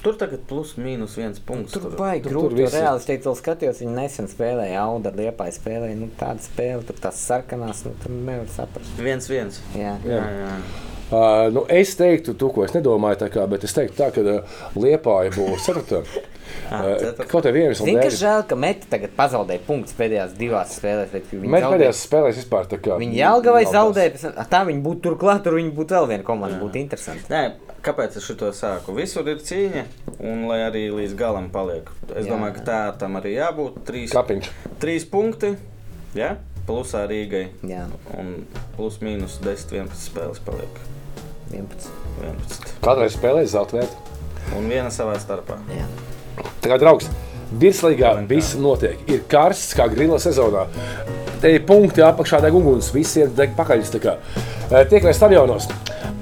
[SPEAKER 1] Tur tagad plus mīnus viens punkts.
[SPEAKER 3] tur baigi
[SPEAKER 2] tur- tur
[SPEAKER 3] grūti. Tur
[SPEAKER 2] visi-
[SPEAKER 3] reāli es teicu, vēl skatījos, viņi nesen spēlēja Auda, Liepā spēlēja, nu, tāda spēle, tur tās sarkanās, nu, tur nevar saprast.
[SPEAKER 1] viens viens.
[SPEAKER 3] Jā.
[SPEAKER 1] Jā, jā.
[SPEAKER 2] Uh, nu, es teiktu, to, ko es nedomāju, tā kā, bet es teiktu, tā, ka uh, Liepāja būs ceturtā. Uh,
[SPEAKER 1] ceturtā.
[SPEAKER 2] kaut kā vienam
[SPEAKER 3] Ah, Zini, ka
[SPEAKER 2] slēdz.
[SPEAKER 3] žēl, ka Meti tagad pazaudēja punktus pēdējās divās spēlēs, bet viņi
[SPEAKER 2] Mēs pēdējās spēlēs vispār tā kā.
[SPEAKER 3] Viņa jēlga vai
[SPEAKER 2] nav
[SPEAKER 3] zaudēja, pēc tam- Ā, tā viņi būtu turklāt, tur viņi būtu vēl viena komanda, būtu interesanti.
[SPEAKER 1] Nē, kāpēc es to saku? Visur ir cīņa, un lai arī līdz galam paliek. Es
[SPEAKER 3] Jā.
[SPEAKER 1] jā. domāju, ka tā tam arī jābūt. Trīs,
[SPEAKER 2] tās Kapiņš.
[SPEAKER 1] trīs punkti, ja? plusā Rīgai.
[SPEAKER 3] Jā,
[SPEAKER 1] Un plus mīnus 10, 11 spēles paliek.
[SPEAKER 3] 11.
[SPEAKER 1] 11.
[SPEAKER 2] Kādreiz spēlēs zaudēt.
[SPEAKER 1] Un viena savā starpā.
[SPEAKER 3] Jā.
[SPEAKER 2] Tā kā draugs, virslīgā viss notiek. Ir karsts kā grila sezonā. Te ir punkti apakšā deg uguns, visiem deg pakaļs. tā kā. Uh, Tiekamies Eh, stadionos.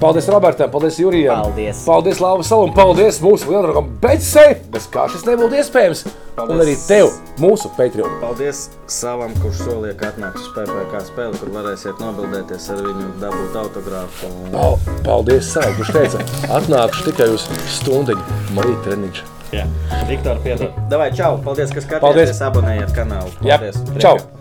[SPEAKER 2] Paldies Robertam, paldies Jurijam.
[SPEAKER 8] Paldies.
[SPEAKER 2] Paldies Lavasalam, paldies mūsu lielākam Betsei, bez kā šis nebūtu iespējams. Un arī tev, mūsu Patreon.
[SPEAKER 1] Paldies savam, kurš solīja, ka atnāks uz PPC spēli, kur varēsiet nobildēties ar viņu, dabūt autogrāfu. Un...
[SPEAKER 2] Pal- Paldies savam, kurš teica, atnākšu tikai uz stundu, man ir treniņš.
[SPEAKER 8] Jā, Viktor, piedod.
[SPEAKER 1] Davai, čau! Paldies, ka skatījāties!
[SPEAKER 2] Paldies.
[SPEAKER 1] Abonējiet kanālu!
[SPEAKER 2] Jā,
[SPEAKER 1] Paldies!
[SPEAKER 2] čau!